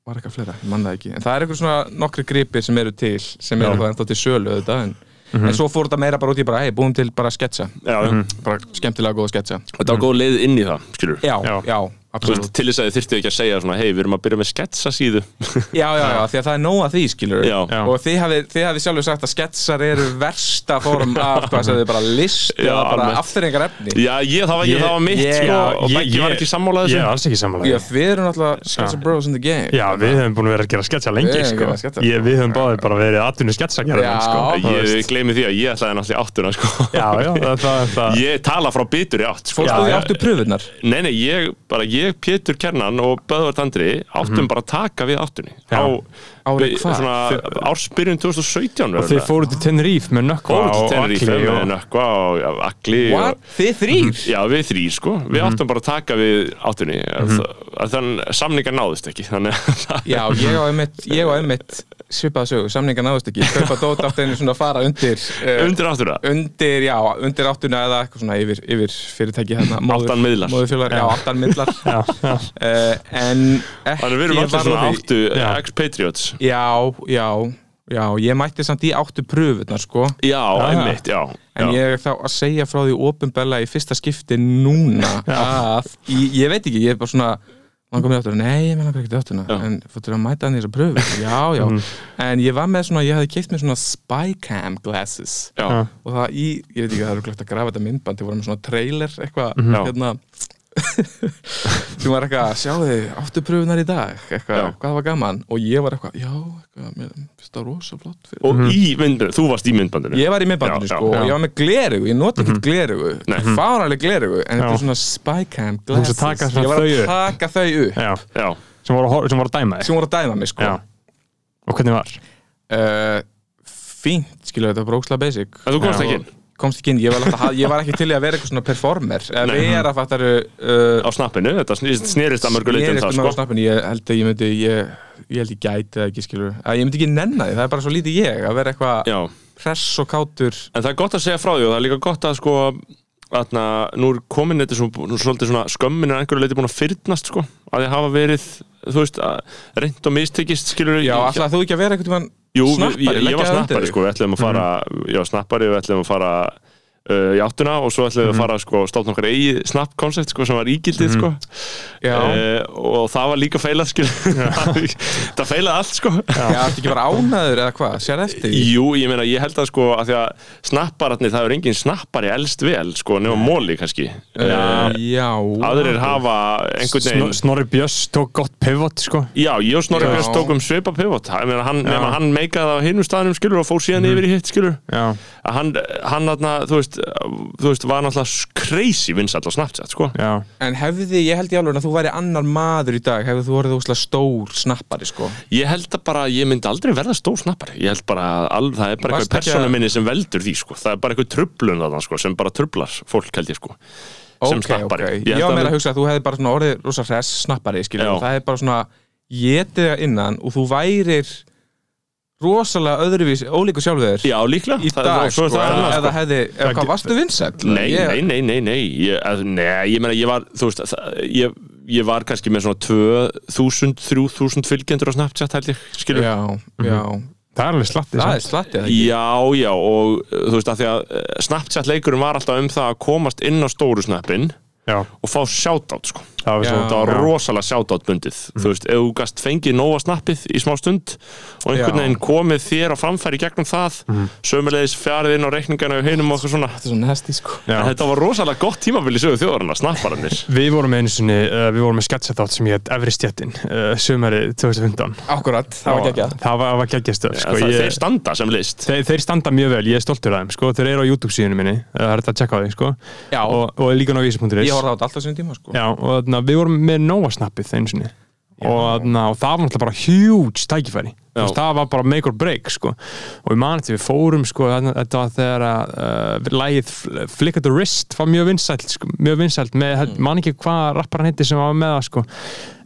S4: var eitthvað fleira, ég man það ekki en það er eitthvað svona nokkri gripir sem eru til sem eru þá ennþá til sölu auðvitað en,
S2: Mhm.
S4: en svo fór þetta meira bara út í bara hei, búum til bara sketcha,
S2: já.
S4: bara skemmtilega góða sketcha
S2: Þetta var góð leið inn í það, skilur
S4: Mhm. Já, já,
S3: Já.
S2: Þú
S4: absolutt
S2: veist, til þess að þið þyrftu ekki að segja svona hei, við erum að byrja með sketsa síðu
S4: já, já, já, því að það er nóg að því, skilur
S2: Já.
S3: Já.
S4: og þið hafið þið hafi sjálfur sagt að sketsar eru versta form af hvað sem þið bara list
S2: Já,
S4: eða bara
S2: almennt.
S4: afturrengar efni
S2: Já, ég, það var, ég,
S3: Ég-
S2: það var mitt
S4: ég-
S2: sko,
S4: já,
S2: og Beggi var ekki sammála
S3: Ég
S2: þessu
S3: er alls ekki sammála
S4: Já, við erum alltaf sketsar bros in the game
S3: Já, við höfum búin að vera að gera sketsa lengi
S4: Við höfum
S3: sko.
S4: verið að sketsa.
S3: ég, Við höfum báðið bara verið atvinni sketsa
S4: Já.
S3: sko. Þú
S2: Ég,
S3: veist.
S2: ég gleymi því að ég ætlaði náttúrulega í áttuna sko.
S3: já, já, það, það, það
S2: Ég tala frá bitur í átt sko.
S4: Fórstu
S3: Já,
S4: því
S3: já.
S4: áttu pröfunar
S2: Nei, nei, ég, bara ég, Pétur Kernan og Böðvart Andri áttum bara að taka við áttunni
S3: Já.
S4: Árið hvað?
S2: svona, ársbyrjun 2017
S3: Og þið fóruð til Tenerife með nökkva
S2: fóru
S3: og
S2: til Tenerife
S3: Agli
S2: með
S3: og-
S2: Nökkva og ja, Agli og,
S4: What? Þið þrýr?
S2: Já, við þrý, sko. Við áttum bara að taka við áttunni. Mm -hmm. Þannig samningar náðist ekki. Þannig að það-
S4: Já, ég á einmitt, ég á einmitt svipaða sögu, samninga náðust ekki Kaupa dót átti einu svona að fara undir uh,
S2: undir áttuna.
S4: undir, já, undir áttuna eða eitthvað svona yfir, yfir fyrirtæki hérna móður-
S2: Áttan miðlar.
S4: móðurfélag, já, áttan miðlar
S3: já.
S4: uh, en ekki
S2: Þannig að við erum allir
S4: var
S2: svona
S4: á því-
S2: áttu
S3: Já.
S2: ex-patriots.
S4: Já, já, já, ég mætti samt í áttu pröfunar sko
S2: Já, einmitt, já.
S4: En
S2: já.
S4: ég er þá að segja frá því ofinbella í fyrsta skipti núna að, ég, ég veit ekki, ég er bara svona langar mig áttur, nei, ég meðlangar ekki áttuna já. en fóttur að mæta hann í þessa pröfu já, já, en ég var með svona, ég hafði keitt mér svona spycam glasses
S2: Já.
S4: og það í, ég veit ekki, það eru glætt að grafa þetta myndband, ég voru með svona trailer eitthvað,
S2: Já.
S4: hérna sem var eitthvað, sjáðu þið, áttu pröfunar í dag eitthvað,
S2: Já.
S4: hvað var gaman, og ég var eitthvað, já, eitthvað, mér finnst það rosa flott fyrir
S2: Og í myndbandinu, þú varst í myndbandinu.
S4: Ég var í miðbandinu
S2: Já, já,
S4: sko og
S2: já.
S4: ég var með glerugu, ég nota ekkert glerugu fáraleg glerugu, en þetta er svona spycam
S3: varst
S4: glasses,
S3: að taka svona
S4: ég var
S3: þau
S4: að
S3: upp.
S4: taka þau upp
S3: Já,
S2: Já,
S3: sem voru að hor- sem voru að dæma þig
S4: sem voru að dæma mig sko
S3: Já. Og hvernig var?
S4: uh, fínt, skilur þetta bróksla basic
S2: en þú komst
S4: Já.
S2: ekki inn
S4: komst ekki inn, ég var, alltaf, að- ég var ekki til í að vera eitthvað svona performer, eða vera fattaru uh,
S2: á snappinu. Þetta snýrist- snerist að mörgu leitum
S4: Ég er
S2: það,
S4: eftir maður á
S2: sko.
S4: snappinu, ég held að ég myndi ég, ég held ég gæti það ekki skilur að ég myndi ekki nenna því, það er bara svo lítið ég að vera eitthvað
S2: Já.
S4: press og kátur
S2: En það er gott að segja frá því og það er líka gott að sko Atna, nú er komin þetta svo, nú er svolítið svona skömmin er einhverju leiti búin að fyrnast sko að þið hafa verið, þú veist, að reynd og mistekist, skilur
S4: Já, alltaf þú ekki að vera eitthvað tímann
S2: Jú, snappari,
S4: snappari,
S2: ég, ég
S4: leggja
S2: var
S4: það undir
S2: snappari
S4: þig. Mhm.
S2: sko, við ætlum að fara ég var snappari og við ætlum að fara uh, í áttuna og svo ætlum við
S4: Mhm.
S2: að fara sko, státt okkar eigið snapp koncept sko, sem var ígildið sko
S4: Mhm. Já.
S2: Eh, og það var líka feilað skil það feilaði allt sko
S4: Já, ertu ekki bara ánæður eða hvað? Sér eftir því?
S2: Jú, ég meina, ég held að sko að því að snappararnir, það er engin snappari elst vel, sko, nema móli kannski
S4: Já,
S2: uh, aðrir hafa einhvern
S3: Snor,
S2: veginn
S3: Snorri Björns tók gott pivot sko.
S2: Já, ég og Snorri
S4: Já.
S2: Björns tókum svipa pivot Ég meina, hann, nema hann meikaði það á hinnum staðnum skilur og fór síðan yfir í hitt skilur
S3: Já,
S2: að hann, hann þarna, þú veist, veist, þú veist, var náttúrulega crazy vinsall á Snapchat, sko
S3: já,
S4: En hefði, ég held í alveg að þú væri annar maður í dag Hefði þú voruð óslega stór snappari sko
S2: Ég held að bara, ég myndi aldrei verða stór snappari Ég held bara að al, það er bara
S4: Varst
S2: eitthvað
S4: ekki að-
S2: persónu minni sem veldur því, sko Það er bara eitthvað tröflun þarna, sko, sem bara tröflar fólk, held ég, sko Sem
S4: Ok,
S2: snappari.
S4: ok.
S2: Ég
S4: Ég
S2: held
S4: var
S2: að
S4: meira að
S2: við-
S4: hugsa að þú hefði bara svona orðið rosa hress snappari skiljum
S2: Já.
S4: og það er bara svona getið það innan og þú værir rosalega öðruvís ólíku sjálfur
S2: Já, líklega
S4: í
S2: það,
S4: dag
S2: svo er
S4: sko,
S2: það annað,
S4: eða,
S2: sko.
S4: eða hefði, eða hvað varstu vinsæll
S2: Nei,
S4: Ég-
S2: nei, nei, nei, nei Ég, að, nei, ég meina, ég var, þú veist það, ég, ég var kannski með svona 2000, 3000 fylgjendur á Snapchat, held ég, skilur
S4: Já,
S2: Mhm.
S4: já,
S3: það er alveg sko. slatti
S4: það
S3: samt.
S4: er slattið
S2: Já, já, og uh, þú veist að því að uh, Snapchat leikurinn var alltaf um það að komast inn á stóru snappin
S3: já,
S2: og fá shoutout, sko
S3: það var
S4: Já.
S3: svo
S2: þetta var
S3: já. Mm.
S2: rosalega shoutout bundið þú veist, ef þú gast fengið nóga snappið í smá stund og einhvern
S4: Já.
S2: veginn komið þér á framfæri gegnum það
S3: Mm.
S2: sömulegis fjarið inn á reikningana og hinum og okkur svona
S4: Þetta er svona hesti sko
S3: Já.
S2: En þetta var rosalega gott tímabil í sögu þjóðarinn snappararnir
S3: Við vorum einu sinni, uh, við vorum með sketsatátt sem ég hett Evri Stjettin, uh, sumari 2015
S4: Akkurat, það var geggjað
S3: Það var, var geggjastöð sko.
S2: það,
S3: ég,
S2: þeir standa sem list
S3: þeir, þeir standa mjög vel, ég er stoltur af þeim sko. Þeir eru á YouTube síðunum minni, eh, það er þetta að tjekka á því sko.
S4: Já.
S3: og, og líka ná vísi.is
S4: Ég horfði á þetta alltaf sem tíma sko
S3: Já, og na, við vorum með Nóasnappið einu sinni og, na, og það var náttúrulega bara huge tækifæri Þú veist, það var bara make or break sko. og ég mani til við fórum sko, þarna- þetta var þegar að uh, lægið Fl- Flick at the Wrist var mjög vinsælt sko, mjög vinsælt, með, mm. man ekki hvað rapparan hitti sem var með það sko.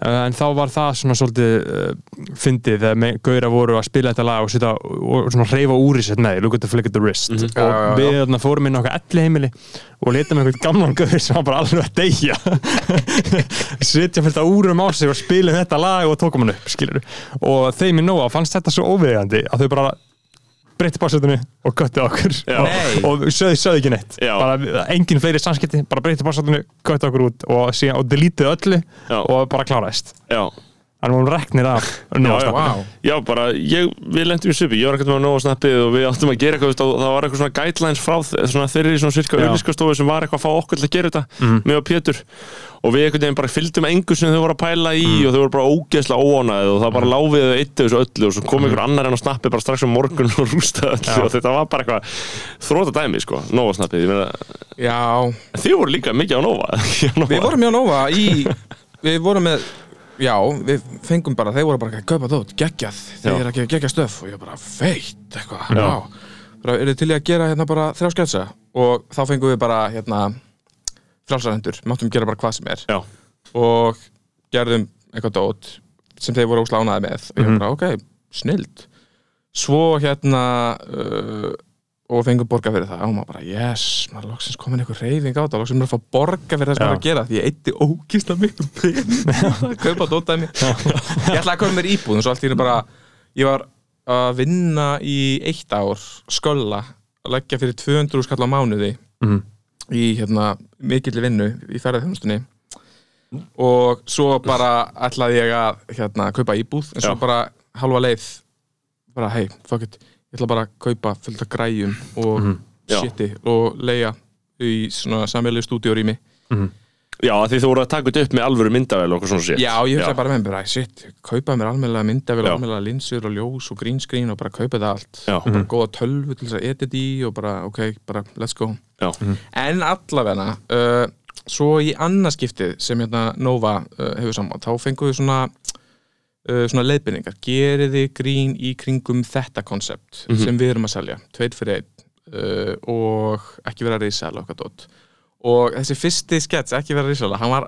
S3: uh, en þá var það svona svolítið uh, fyndið þegar með gauðra voru að spila þetta lag og, sita, og svona reyfa úr í sér með því, look at the Flick at the Wrist og
S4: Mhm. Já, já, já.
S3: við þarna, fórum inn á okkar elli heimili og letum einhvern gamlan gauður sem var bara alveg að deyja sitja fullt að úrum á sig og spila um þetta lag og tókum hann upp skilur. og þeim í nóa fannst þetta svo óviðjandi að þau bara breytti básetunni og göttið okkur
S2: Já.
S3: og,
S4: Nei.
S3: og sögðu, sögðu ekki neitt
S2: Já.
S3: bara engin fleiri samskipti, bara breytti básetunni göttið okkur út og, síðan, og delítið öllu
S2: Já.
S3: og bara kláraðist
S2: já.
S3: þannig vorum reknir af
S2: Já, já.
S3: nóa
S4: Vá.
S2: já, bara, ég, við lendum í svipi ég var ekkert með að nóga snappið og við áttum að gera eitthvað þú veist, og það var eitthvað svona guidelines frá þ- svona þeirri svona sirka
S3: Já.
S2: auðlískastofu sem var eitthvað að fá okkur til að gera þetta
S4: Mhm.
S2: mm. með Pétur og við einhvern veginn bara fylgdum engu sem þau voru að pæla í
S4: Mhm.
S2: og þau voru bara ógeðslega óánæðið og það bara láfið þau eitt þessu öllu og svo
S4: Mhm.
S2: kom einhver annar enn á snappi bara strax um morgun og rústa öllu og þetta var bara eitthvað þróta dæmi sko, nóga snappið
S4: Já,
S2: þau voru líka mikið á nóga
S4: Við vorum hjá Nova í Við vorum með Já, við fengum bara, þeir voru bara að kaupa þótt, geggjað, þeir
S2: Já.
S4: eru að gefa geggjað stöf og ég bara, feitt, eitthvað,
S2: Já.
S4: já bara, eru til í að gera hérna bara þrjá sketsa og þá fengum við bara, hérna frálsarendur, máttum gera bara hvað sem er
S2: já,
S4: og gerðum eitthvað dót sem þeir voru óslánaði með og ég
S2: Mhm.
S4: bara, ok, snild svo hérna uh, og fengum borga fyrir það og maður bara, yes, maður er loksins komin einhver reyfing á það, loksins maður er að fá borga fyrir það sem
S3: Já.
S4: maður er að gera, því ég eitti ógista miklu pening í það, kaupa dótaði mér ég ætlaði að kaupa mér íbúð, en svo allt í hérna bara ég var að vinna í eitt ár, skölla að leggja fyrir 200 skall á mánuði
S3: Mhm.
S4: í hérna mikilli vinnu í ferðarþjónustunni og svo bara ætlaði ég að hérna, kaupa íbúð en svo
S2: Já.
S4: bara halva leið bara hei, fuck it, ég ætla bara að kaupa fullt af græjum og mm.
S2: Mhm. Já.
S4: shiti og leiga í svona samveilu stúdíorými
S2: já, af því þau voru að taka þetta upp með alvöru myndavel og okkur svona sétt
S4: Já, ég hugsaði bara með mér, æ, shit, kaupa mér almennilega myndavel,
S2: Já.
S4: almennilega linsur og ljós og green screen og bara kaupa það allt
S2: Já. Mhm.
S4: og bara góða tölvu til þess að edit í og bara, ok, bara let's go
S2: já,
S4: En allavegna uh, Svo í annarskiptið sem hérna Nova uh, hefur saman þá fengum við svona uh, svona leiðbyrningar, gerið þið grín í kringum þetta konsept
S3: Mhm.
S4: sem við erum að selja, tveit fyrir einn uh, og ekki vera risala okkar dót og þessi fyrsti skets ekki vera risala, hann var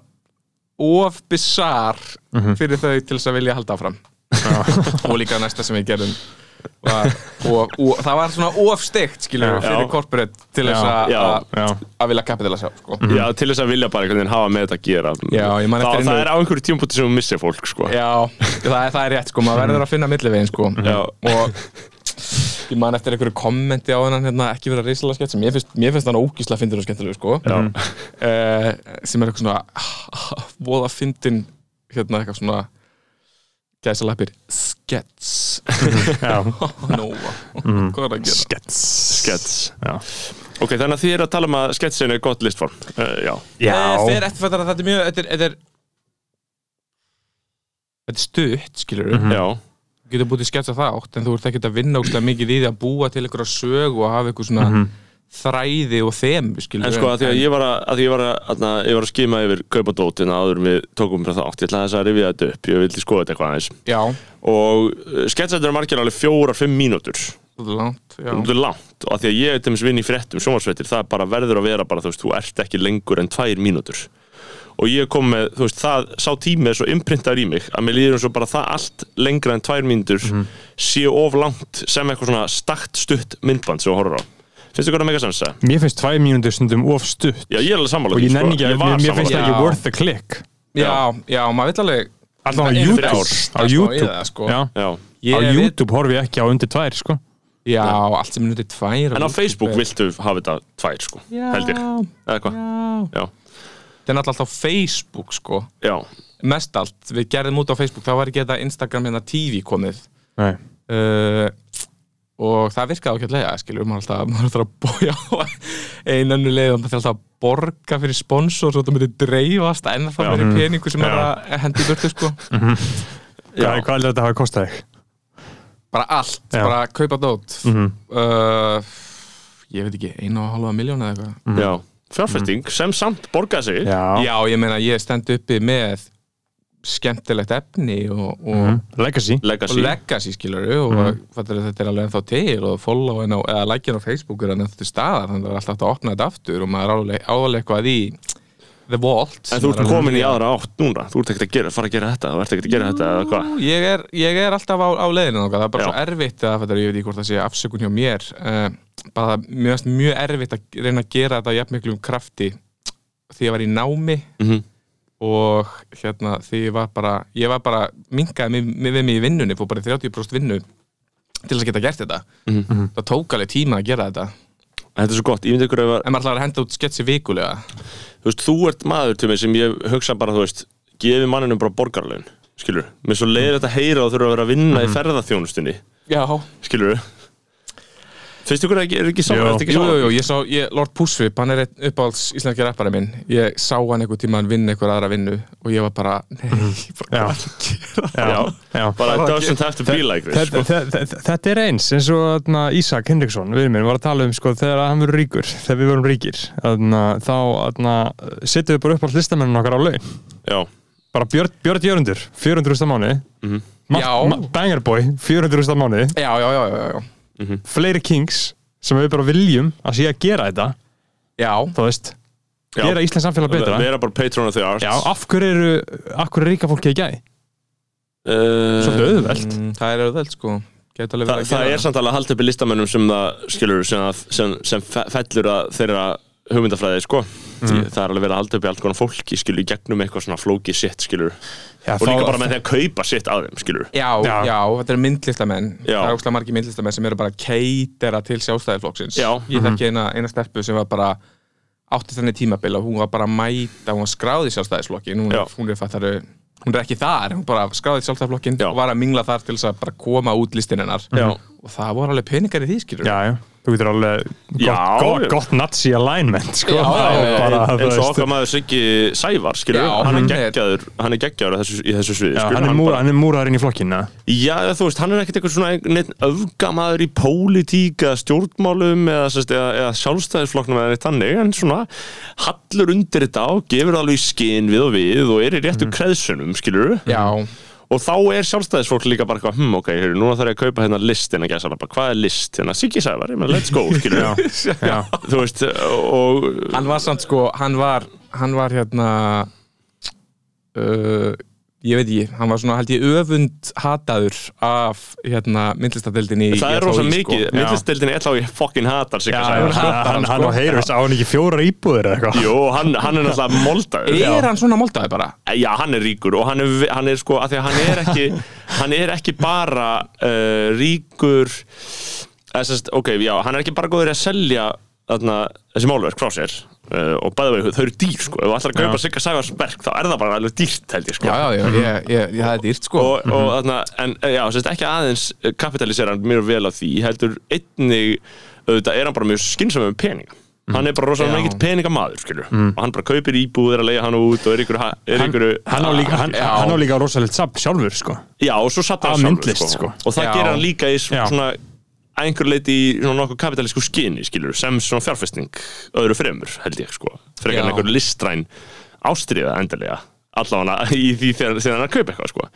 S4: of bizarr
S3: Mhm.
S4: fyrir þau til þess að vilja halda áfram og líka næsta sem við gerðum var, og, og það var svona of steikt skilur
S3: Já.
S4: fyrir corporate til þess
S3: Já.
S4: að-
S2: Já.
S4: að
S3: Já.
S4: að vilja kapitalasa sko.
S2: Já, til þess að vilja bara einhvern veginn hafa með þetta að gera
S4: Já, ég man
S2: Þa,
S4: eftir einu-
S2: Það er á einhverju tímpúti sem þú missir fólk, sko
S4: Já, það er, það er rétt sko, maður verður að finna millivegin sko
S2: Já.
S4: og ég man eftir einhverju kommenti á hennan hérna, ekki vera reisala skett sem ég finnst, mér finnst hann ógísla fyndir og skemmtilegu sko uh, sem er eitthvað svona ah, voða fyndin hérna eitthvað svona gæsa lappir skets Nóa, hvað er að gera?
S3: Skets
S2: Skets
S3: Já,
S2: Ok, þannig að þið eru að tala um að sketsin er gott listform uh, Já,
S4: Eh,
S3: já.
S4: Þeir eftirfættar að þetta er mjög þetta er, þetta er, þetta er stutt, skilur við
S2: já,
S4: Þú getur búið til sketsa þátt en þú ert ekkert að vinna ógstlega mikið í því að búa til einhverja sög og hafa einhver svona þræði og þem skilur
S2: Mhm. En
S4: við.
S2: sko að því að ég var að, að, því ég var að, aðna, ég var að skima yfir kaupadótina áður en við tókum frá þátt, ég ætla þess að rifja þetta upp ég vildi skoða þetta eitthvað aðeins
S4: Já,
S2: og sketsættur er margir alveg fjórar, fimm mínútur
S4: þetta er langt já.
S2: þetta er langt og að því að ég til dæmis vinn í fréttum sjónvarsveitir það bara verður að vera bara þú veist, þú ert ekki lengur en tvær mínútur og ég kom með, þú veist, það sá tími er svo imprintar í mig að mér líður eins og bara það allt lengra en tvær mínútur
S3: Mhm.
S2: sé of langt sem eitthvað svona stakt stutt myndband sem þú horfir á finnst þið hvað það mega sens að?
S3: Mér finnst tværi mínútur stundum of stutt
S2: Já, ég er alveg sammála
S3: og ég nenni ekki
S2: sko.
S3: að, mér, mér finnst
S2: sammála
S3: það ekki
S4: Já.
S3: worth the click
S4: já, já, maður vill alveg
S3: Alltaf á
S2: einu fyrir ár.
S3: YouTube, á
S4: Það er smá í
S3: YouTube.
S4: það, sko.
S3: Já.
S2: Já.
S3: Á
S4: Ég veit-
S3: YouTube horfi ég ekki á undir tvær sko.
S4: Já, allt sem er undir tvær
S2: En á
S4: YouTube
S2: Facebook
S4: er-
S2: viltu hafa þetta tvær sko,
S4: Já,
S2: held ég Eða hvað?
S4: já.
S2: Já.
S4: Þetta er náttúrulega alltaf á Facebook sko
S2: Já.
S4: Mest allt, við gerðum út á Facebook þá var ekki þetta Instagram hérna TV komið
S3: Nei.
S4: uh, og það virkaði ákveðlega skilur, maður alltaf, maður alltaf að bója á einannu leið og maður þarf alltaf að borga fyrir sponsor svo þetta myndi dreifast en það
S2: Já.
S4: verið peningu sem maður er að hendi í burtu sko.
S3: Hvað, hvað heldur þetta hafa kostað þig?
S4: bara allt,
S3: Já.
S4: bara kaupa dót uh, ég veit ekki einu og halva miljón eða eitthvað
S2: Já. Fjárfesting sem samt borgaði sig
S3: Mhm. Já.
S4: já, ég meina ég stend uppi með skemmtilegt efni og, og
S3: Legacy
S2: Legacy
S4: og legacy skilur og fattar, þetta er alveg ennþá til og followin á, eða lækjan á Facebook er ennþá til staðar þannig að það er alltaf hægt að opna þetta aftur og maður er alveg- áðurlega eitthvað í the vault
S2: En
S4: sem
S2: þú
S4: er
S2: ert
S4: alveg-
S2: komin í aðra átt núna Þú ert ekkert að gera, fara að gera þetta Þú ert ekkert að gera þetta eða hvað
S4: ég er, ég er alltaf á, á leiðinu nokkað, það er bara
S2: Já.
S4: svo erfitt að, fattar, ég veit ekki hvort það sé afsökun hjá mér uh, bara það er mjög, mjög erfitt að reyna að gera þetta jafn miklum krafti því ég var í námi
S2: Mhm.
S4: og hérna því ég var bara ég var bara, minkaði mig, mig, við mig í vinnunni fór bara í 30% vinnu til þess að geta gert þetta
S2: Mhm.
S4: það tók alveg tíma að gera þetta
S2: Þetta er svo gott, ég myndi ykkur að
S4: en maður ætlar að henda út sketsi vikulega
S2: Þú veist, þú ert maður til mig sem ég hugsa bara, þú veist Gefi manninu bara borgarlegin, skilur Mér er svo leiðir þetta að heyra og þurfa að vera að vinna
S3: Mhm.
S2: í ferðaþjónustinni
S4: já,
S2: Skilur Finnst ykkur að er ekki saman,
S3: Jú.
S2: er ekki
S4: Jú, jú,
S2: saman?
S4: jú, ég sá, ég, Lord Pusvip, hann er einn uppáhalds íslenski rappari minn Ég sá hann einhvern tíma hann vinna einhver aðra vinnu og ég var bara, nei, ég bara
S3: Já. Já. Já.
S2: Bara it doesn't have to be like this
S3: Þetta,
S2: sko.
S3: þetta, þetta, þetta er eins eins og atna, Ísak Henriksson, við minn, var að tala um sko, þegar hann verður ríkur, þegar við vorum ríkir atna, þá atna, setjum við bara upp allt listamennin okkar á laun
S2: Já,
S3: bara Björn, Björn Jörundur, 400.000 á mánu
S2: Mhm.
S4: Já.
S3: Bangerboy, 400.000 á mánu
S4: Já, já, já, já, já
S3: fleiri Kings sem við bara viljum að sé að gera þetta
S4: Já,
S3: þú veist,
S2: Já.
S3: gera Íslands samfélag betra
S2: vera bara patron of the arts
S3: Já, af hverju eru, af hverju er ríka fólki ekki gæði?
S2: Eh,
S3: Svolítið auðvelt
S4: mm, það er auðveld, sko Geta alveg
S2: Þa,
S4: verið að
S2: það
S4: gera
S2: er samt alveg að halda upp í listamönnum sem það skilur sem, að, sem, sem fe- fellur að þeirra hugmyndafræði sko mm. það er alveg verið að halda upp í allt konar fólki skilur í gegnum eitthvað svona flóki sitt skilur
S3: Já,
S2: og líka bara með því að kaupa sitt að þeim skilur
S4: Já, já,
S3: Já.
S4: þetta eru myndlistamenn
S2: Já.
S4: Það er óslega margir myndlistamenn sem eru bara að keitera til sjálfstæðiflokksins
S2: Já.
S4: Ég þekki eina, eina stelpu sem var bara átti þenni tímabil og hún var bara að mæta hún var skráði sjálfstæðisflokkin hún,
S2: Já.
S4: hún, er fattaru, hún er ekki þar, hún bara skráði sjálfstæðisflokkin
S2: Já.
S4: og var að mingla þar til þess að bara koma út listin hennar
S2: Já.
S4: og það voru alveg peningar í því skilur
S3: Já, já, þú getur alveg gott,
S2: Já.
S3: gott, gott nazi alignment sko.
S4: Já, já,
S3: Það er
S4: já,
S3: bara,
S2: En-
S3: þú
S2: eins og
S3: veist,
S2: okkar maður Siggi Sævar skilur
S4: Já,
S2: hann er
S4: hann er-
S2: geggjaður hann er geggjaður í þessu, í þessu sviði
S3: já,
S2: skilur,
S3: hann, er múra,
S2: bara-
S3: hann er múraður inn í flokkinu
S2: Já, þú veist, hann er ekkert eitthvað svona neitt öfgamaður í pólitík eða stjórnmálum eða, sest, eða, eða sjálfstæðisflokknum eða neitt þannig en svona hallur undir þetta og gefur það alveg í skinn við og við og er í
S3: Mhm.
S2: réttu kreðsunum, skilur
S4: Já,
S2: og þá er sjálfstæðisfólk líka bara eitthvað, hm, ok, heyrðu, núna þarf ég að kaupa hérna listina gæsala, bara hvað er list, hérna, Siggi Sævar, ég meina, let's go, skilur
S3: já.
S2: þú veist, og
S4: hann var samt sko, hann var, hann var hérna, uh, ég veit ekki, hann var svona held ég öfund hataður af hérna myndlistadeldinni í
S2: það er
S4: LHÍ,
S2: rosa mikið,
S4: Sko.
S2: myndlisteldin er alltaf ég fucking hatar Siggi
S3: Já,
S2: Sævar,
S3: hann,
S2: sko.
S3: hann,
S4: hann,
S3: hann
S4: sko.
S3: og Heyrus á hann ekki fjóra íbúðir eða eitthvað
S2: Jú, hann, hann er náttúrulega moldaður
S4: Er hann svona moldaði bara?
S2: Eh, Já, hann er ríkur og hann er, hann er sko, af því að hann er ekki, hann er ekki bara uh, ríkur, eða sem sagt, ok, já, hann er ekki bara góður í að selja þarna, þessi málverk frá sér uh, og bæða veginn, þau eru dýr sko, ef þú ætlar að kaupa Sigga Sævars verk þá er það bara alveg dýrt held ég sko.
S4: Já, já, já, ég, ég, ég, það er dýrt sko.
S2: Og, og
S3: Mhm.
S2: þarna, en eh, já, sem sagt, ekki aðeins kapitalisera hann mjög vel á því, heldur einnig, auðvitað, er hann bara mjög skynsam með peninga.
S3: Mhm.
S2: Hann er bara rosalega
S4: Já.
S2: mikill peningamaður, skilur. Og hann bara kaupir íbúðir að leiða hann út og er ykkur... Er
S3: hann,
S2: ykkur
S3: hann á líka, hann,
S4: Já.
S3: hann á líka rosalegt samt sjálfur sko.
S2: Já, og svo satt hann
S3: Af
S2: sjálfur
S3: myndlist, sko.
S2: Og það
S4: Já.
S2: gerir hann líka í
S3: Já.
S2: svona að einhver leiti í svona nokkuð kapitalísku skinni skilur, sem svona fjárfesting öðru fremur, held ég sko frekar en
S3: Já.
S2: einhver listræn ástriða endalega allavega í því þegar þegar hann er að kaupa eitthvað sko um,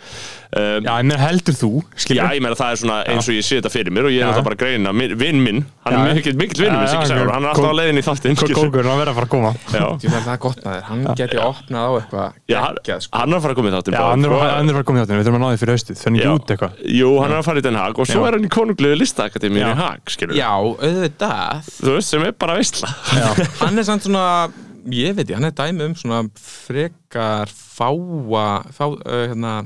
S3: Já, ég meina heldur þú,
S2: Já,
S3: skilur
S2: ég meina það er svona eins og ég sé þetta fyrir mér og ég er náttúrulega bara að greina, minn- vinn minn hann
S3: Já.
S2: er mikill, mikill vinn minn,
S3: Já,
S2: Siggi
S3: já,
S2: Sævar, hann er alltaf
S3: kók-
S2: á leiðin í þáttinn skilur.
S3: Kókurinn að vera að fara að koma
S2: Já,
S4: Ég fæl það er gott maður, hann geti opnað á eitthvað
S2: já hann,
S4: geggjað, sko.
S2: hann er að fara að koma í þáttinn
S3: Já,
S2: bráðum,
S3: hann er
S2: sko.
S3: hann er að fara að koma hjá þetta, við þurfum að ná því fyrir haustið Þannig
S2: Já.
S3: ekki út eitthvað
S2: Jú, hann er að fara í Den Haag og svo
S3: Já.
S2: er hann í konunglegu listaakademíun í
S3: Já.
S2: Haag, skilur
S4: Já, auðvitað
S2: Þú veist, sem er bara veistla
S4: Hann er samt svona, ég veit ég, hann er dæmi um svona frekar fáa, fá, uh, hérna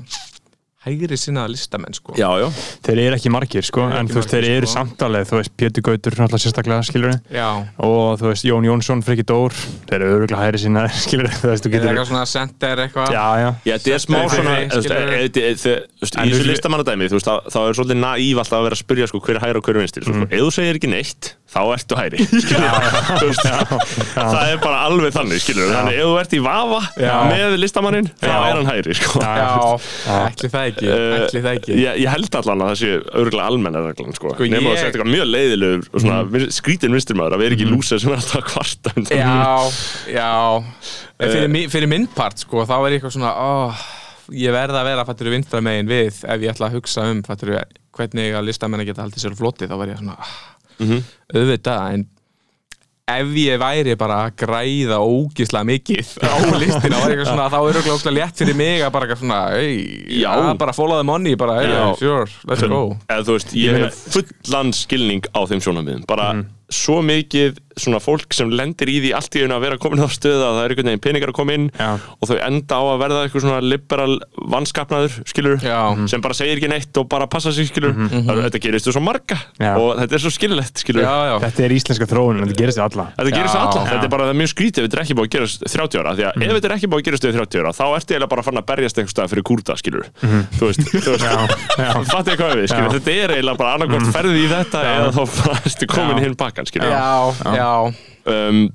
S4: hægri sinna listamenn, sko
S2: Já, já
S3: Þeir eru ekki margir, sko,
S4: Þeir eru
S3: en
S4: ekki
S3: þú veist, þeir
S4: margir,
S3: eru
S4: sko.
S3: samtalið Þú veist, Pétur Gautur, náttúrulega sérstaklega, skilur
S4: Já.
S3: Og þú veist, Jón Jónsson, Friki Dór Þeir eru öruglega hæri sinna, skilur Þú veist, þú
S4: Er það
S3: getur
S4: eitthvað svona center eitthvað
S3: Já, já,
S2: Já, þetta er smá
S4: Þetta er
S2: svona,
S4: fyrir-
S2: þú veist,
S4: skilur-
S2: e- e- e- þe- þú veist,
S3: En
S2: í þessu
S3: þú-
S2: listamannadæmi, þú veist, þá- þá er svolítið naív alltaf að vera að spyrja, sko, hver er hægri og hver er vinstri,
S4: Mm.
S2: svo, sko, ef þú segir ekki neitt, þá ertu hægri, skilur, þú veist, það er bara alveg þannig, skilur, þannig, ef þú ert í vafa
S3: Já.
S2: með listamanninn, þá
S3: Já.
S2: er hann hægri, sko.
S4: Já, ætli það ekki,
S2: Eh,
S4: ætli það ekki
S2: ég, ég held allan að það sé örgulega almenna reglan sko.
S4: Sko,
S2: nema
S4: ég- Mm.
S2: að setja eitthvað mjög leiðilegur og svona mm. skrítin vinstirmaður að vera ekki lúsa sem er alltaf að kvarta undan.
S4: Já, já En fyrir, mi- fyrir minn part, sko, þá er ég eitthvað svona ó, ég verð að vera fattur vinstra megin við ef ég ætla að hugsa um fattur hvernig að listamenni geta haldið sér floti þá verð ég svona mm
S2: Mhm.
S4: auðvitað, en ef ég væri bara að græða ógislega mikið á listina, þá er eitthvað svona þá er eitthvað ógislega létt fyrir mig að bara eitthvað svona, ei,
S2: Já.
S4: að bara follow the money bara,
S2: Já.
S4: ei, sure, let's go
S2: eða þú veist, ég hef fullan skilning á þeim sjónamiðum, bara
S3: Mhm.
S2: svo mikið svona fólk sem lendir í því allt í einu að vera komin á stöða að það er einhvern veginn peningar að koma inn
S3: Já.
S2: og þau enda á að verða eitthvað svona liberal vanskapnaður, skilur
S4: Já. Mhm.
S2: sem bara segir ekki neitt og bara passa sig, skilur þetta gerist þú svo marga
S3: Mhm. Já.
S2: og þetta er svo skililegt, skilur
S4: Já, já,
S3: þetta er íslenska þróun, en þetta gerist í alla
S2: Þetta gerist
S4: Já.
S2: alla,
S4: Já.
S2: þetta er bara það er mjög skrítið ef þetta er ekki búið að gerast 30 ára
S3: Mhm.
S2: því að ef þetta er ekki búið að gerast við 30 ára þá ertu eiginlega bara að fann að berjast einhver stað fyrir kúrta skilur
S3: Mhm.
S2: þú veist, þú veist fattu ég hvað við, skilur,
S3: Já. Mm.
S2: þetta er eiginlega bara annarkvort ferðið í þetta eða þá bara ertu komin
S3: Já.
S2: í hinn bakkan skilur
S4: já, já,
S2: Um,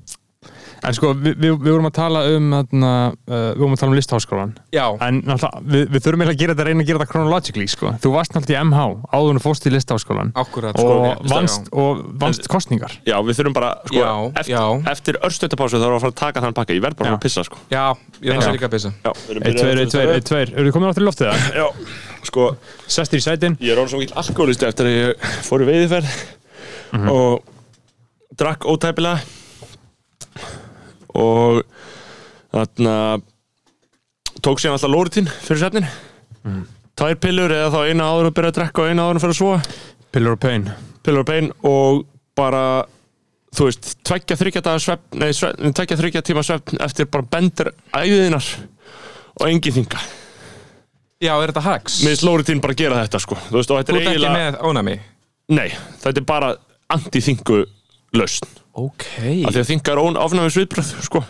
S3: En sko, við, við, við vorum að tala um þarna, uh, við vorum að tala um listháskólan
S4: já.
S3: En náttúrulega, við, við þurfum eiginlega að gera þetta reyna að gera þetta chronologically, sko Þú varst náttúrulega í MH, áður en þú fórst í listháskólan
S4: Akkúrat, sko,
S3: og,
S4: já.
S3: vannst, og vannst kostningar
S2: já, við þurfum bara sko,
S4: Já,
S2: eftir,
S4: já.
S2: eftir örstutapásu þá erum við að fara að taka þann pakka ég verð bara
S3: Já.
S2: að pissa sko
S4: Já, ég þarf
S3: Já.
S4: líka að pissa
S2: já, við erum
S3: Eitt,
S2: byrjaðir
S3: tveir,
S2: að-
S3: eitt, tveir, eitt, tveir Eru þið komin áttur í loftið það?
S2: Já, sko,
S3: Sestir í sætin
S2: ég er orðin svo mikil alkoholist eftir að ég fór í veiðiferð
S3: Mhm.
S2: og drakk ótæpilega og þarna tók síðan alltaf lóritinn fyrir svefnin
S3: Mhm.
S2: tvær pillur eða þá eina áður að byrja að drekka og eina áður að fyrir að svo
S3: Pillur og pain
S2: pillur og bein og bara þú veist, tveggja þryggja dagar svefn nei, svefn, tveggja þryggja tíma svefn eftir bara bendur æðiðinar og engin þinga
S4: Já, er þetta hacks?
S2: minnst lóritinn bara gera þetta sko þú veist, og þetta
S4: Þú
S2: er
S4: ert ekki
S2: eiginlega
S4: með ónami
S2: Nei, þetta er bara anti-þingu lausn
S4: Ok
S2: af því að þinga er ón ofnæmis viðbröð sko.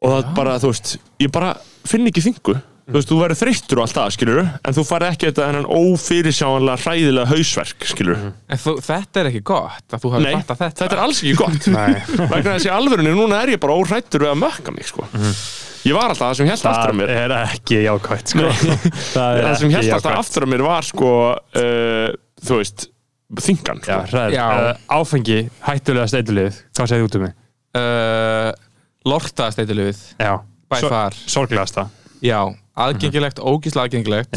S2: og það bara, þú veist ég bara finn ekki þingu þú veist, þú verður þreyttur og allt það, skilur en þú farið ekki þetta hennan ófyrirsjáanlega hræðilega hausverk, skilur
S4: En þú, þetta er ekki gott að þú hafi
S2: Nei,
S4: fattað þetta
S2: þetta er alls ekki gott vegna þessi alvörunni, núna er ég bara órættur við að mökka mig, sko ég var alltaf það sem held aftur af
S3: Mhm. Það
S2: mér
S3: er ekki jákvæmt, sko Það
S2: það sem
S3: ekki
S2: held alltaf
S3: jákvætt.
S2: aftur af mér var, sko uh, þú veist, þingan
S3: Já,
S2: sko.
S3: hræður.
S4: Já.
S3: Uh, Áfengi, hættulegast eitthulíð Hvað segir þú út um mig?
S4: uh, Lortaðast eitthvað við
S3: Já
S4: By far.
S3: Sorglegasta
S4: Já, aðgengilegt, ógísla aðgengilegt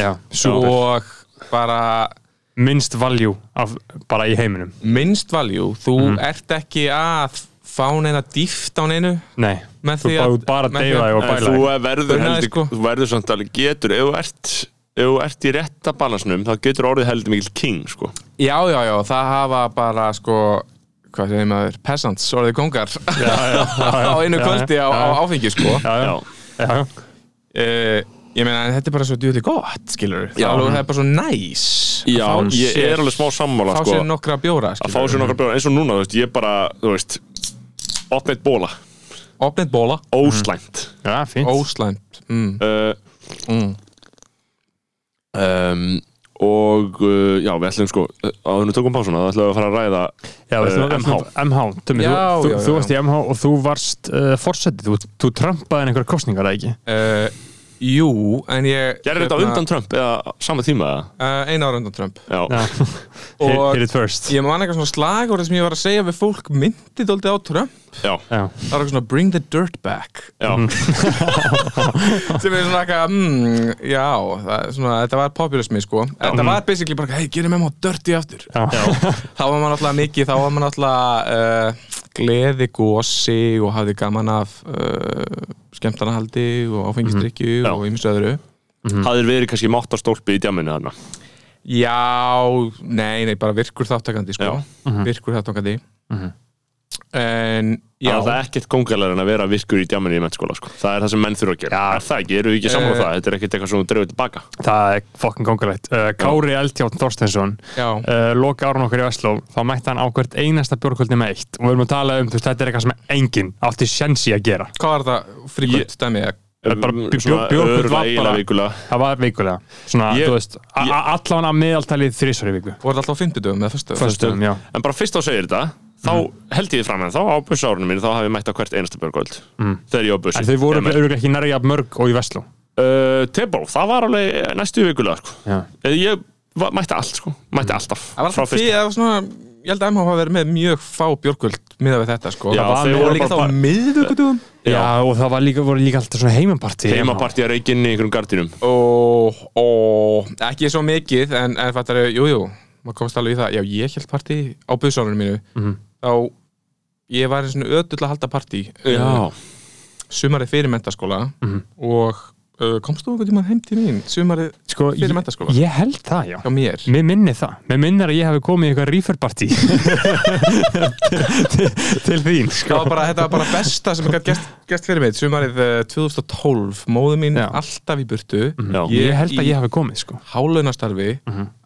S3: Mhm. Já,
S4: Svo bara
S3: Minnst valjú af, bara í heiminum
S4: minnst valjú Þú
S3: Mhm.
S4: ert ekki að fá neina dýft á neinu
S3: Nei,
S4: Með
S3: þú
S4: því
S3: bara,
S4: að-
S3: út bara
S4: með því
S3: deyfa
S4: að-
S3: þig og
S2: En
S3: bæla
S2: þú
S3: þig.
S2: verður,
S4: Unaði,
S2: heldur,
S4: sko.
S2: þú verður samt alveg getur, ef þú ert ef þú ert í rétta balansnum þá getur orðið heldur mikil king sko.
S4: Já, já, já, það hafa bara sko hvað segir maður, peasants, orðið kongar á einu
S3: já, já,
S4: kvöldi á,
S3: já, já.
S4: á áfengi sko
S3: Já, já, já, já.
S4: uh, ég meina, en þetta er bara svo djúli gott, skilur
S2: Já.
S4: Alveg, það er bara svo næs að
S2: Já,
S4: fá
S2: ég
S4: sér-
S2: er alveg smá sammála
S4: fá
S2: sko,
S4: sér nokkra bjóra,
S2: að fá sér
S4: skilur
S2: nokkar bjóra eins og núna, þú veist, ég bara þú veist, opnið bóla,
S4: opnið bóla,
S2: óslæmt
S3: já fínt
S4: óslæmt mm.
S2: uh,
S4: Mm.
S2: um, og uh, já, við ætlum sko áður en við tökum pásuna, þá ætlum við að fara að ræða
S3: já, uh,
S2: uh,
S3: MH,
S2: MH.
S3: MH Tumi,
S4: Já,
S3: þú,
S4: já,
S3: þú, þú
S4: já.
S3: varst í MH og þú varst uh, forsetið, þú, þú trampaði einhverja kostningar eða ekki
S4: uh, Jú, en ég hérna,
S2: Gerði
S3: Hérna-
S2: þetta á undan Trump eða sama tíma eða?
S4: uh, Einu ára undan Trump
S2: Já,
S3: Já. Hit
S4: Og-
S3: hit it first
S4: Ég man eitthvað svona slagorð sem ég var að segja við fólk myndi dóldi á Trump
S2: já,
S3: Já.
S4: Það var eitthvað svona bring the dirt back
S2: já,
S3: Mhm,
S4: sem er svona eitthvað mm, Já, það, er svona, þetta var populismi sko Þetta
S2: Mm.
S4: var basically bara, hei, gerum emma dirty aftur
S3: Já.
S4: Þá var maður alltaf mikið, þá var maður alltaf uh, gleði gósi og hafði gaman af uh, skemmtanahaldi og áfengistrykju
S2: Mhm. Já.
S4: og ymsu öðru
S2: hafðir verið kannski máttastólpi í djáminu þarna
S4: Já, nei, nei, bara virkur þáttakandi sko.
S2: Mhm.
S4: virkur þáttakandi en já,
S2: Já, það er ekkert kongalegur en að vera virkur í djáminu í mennskóla sko. Það er það sem menn þurfa að gera já. Er það ekki, eru við ekki saman á
S4: Eh.
S2: það? Þetta er ekkert eitthvað sem þú dreifir tilbaka
S3: Það er fokkin kongalegt uh, Kári Eldjárn Þorstensson
S4: Já.
S3: uh, Loka árun okkar í Vestló Þá mætti hann á hvert einasta björkvöldi með eitt Og við erum að tala um, þú veist, þetta er eitthvað sem enginn átti sjensi að gera
S4: hvað var það fríkvöld
S2: Ég-
S4: dæmi eða?
S3: er bara bjó-
S2: Svona
S3: bjó- bjó-
S2: örugglega
S3: var bara-
S2: eiginlega vikulega.
S3: Það var vikulega Svona,
S2: Ég-
S3: þú veist, a- a- allan að meðaltalið þrísvar í viku
S4: voru það alltaf á fimmtudöfum eða fyrstu
S3: Föstum, já
S2: En bara fyrst þá segir þetta Þá
S3: Mhm.
S2: held ég því fram en þá á bussárunum mín Þá hafði ég mætt á hvert einasta björgöld Þegar ég á bussi
S3: Mhm. En þau voru auðvitað ekki nærja mörg og í Vestló
S2: uh, Tebó, það var alveg næstu vikulega sko.
S3: Já. Mm.
S2: Eh, Ég var, mætti allt sko. Mætti alltaf
S4: það var
S2: frá
S4: alltaf
S2: fyrsta.
S4: því að svona ég held að MH hafa verið með mjög fá björkvöld miðað við þetta sko
S2: Já,
S4: það var
S2: þau
S4: og
S2: voru
S4: líka
S2: bara
S4: þá á
S2: bara-
S4: miðvikudöfum
S2: Já.
S3: Já, og það var líka, voru líka alltaf svona heimapartí
S2: Heimapartí að reikinni í einhverjum gardinum
S4: og, og ekki svo mikið en, en fattar ég, jú, jú, maður komst alveg í það já, ég held partí á bussánunum mínu
S2: Mhm.
S4: þá ég var eins og öðull að halda partí um
S2: Já, Mhm.
S4: sumarið fyrir mentaskóla og uh, komst þú einhvern tímann heim til mín sumarið
S3: sko,
S4: fyrir
S3: ég-
S4: menntaskóla?
S3: Ég held það, já
S4: hjá mér
S3: Mér minni það, mér minnir að ég hefði komið í eitthvað reeferpartí til, til þín
S4: það
S3: sko.
S4: var bara, þetta var bara besta sem ég gætt gest, gest fyrir mig sumarið uh, 2012, móðu mín
S3: Já. Mhm.
S4: alltaf í burtu
S2: já,
S3: Ég,
S4: Ég
S3: held að
S4: í-
S3: ég hefði komið sko.
S4: hálunastarfi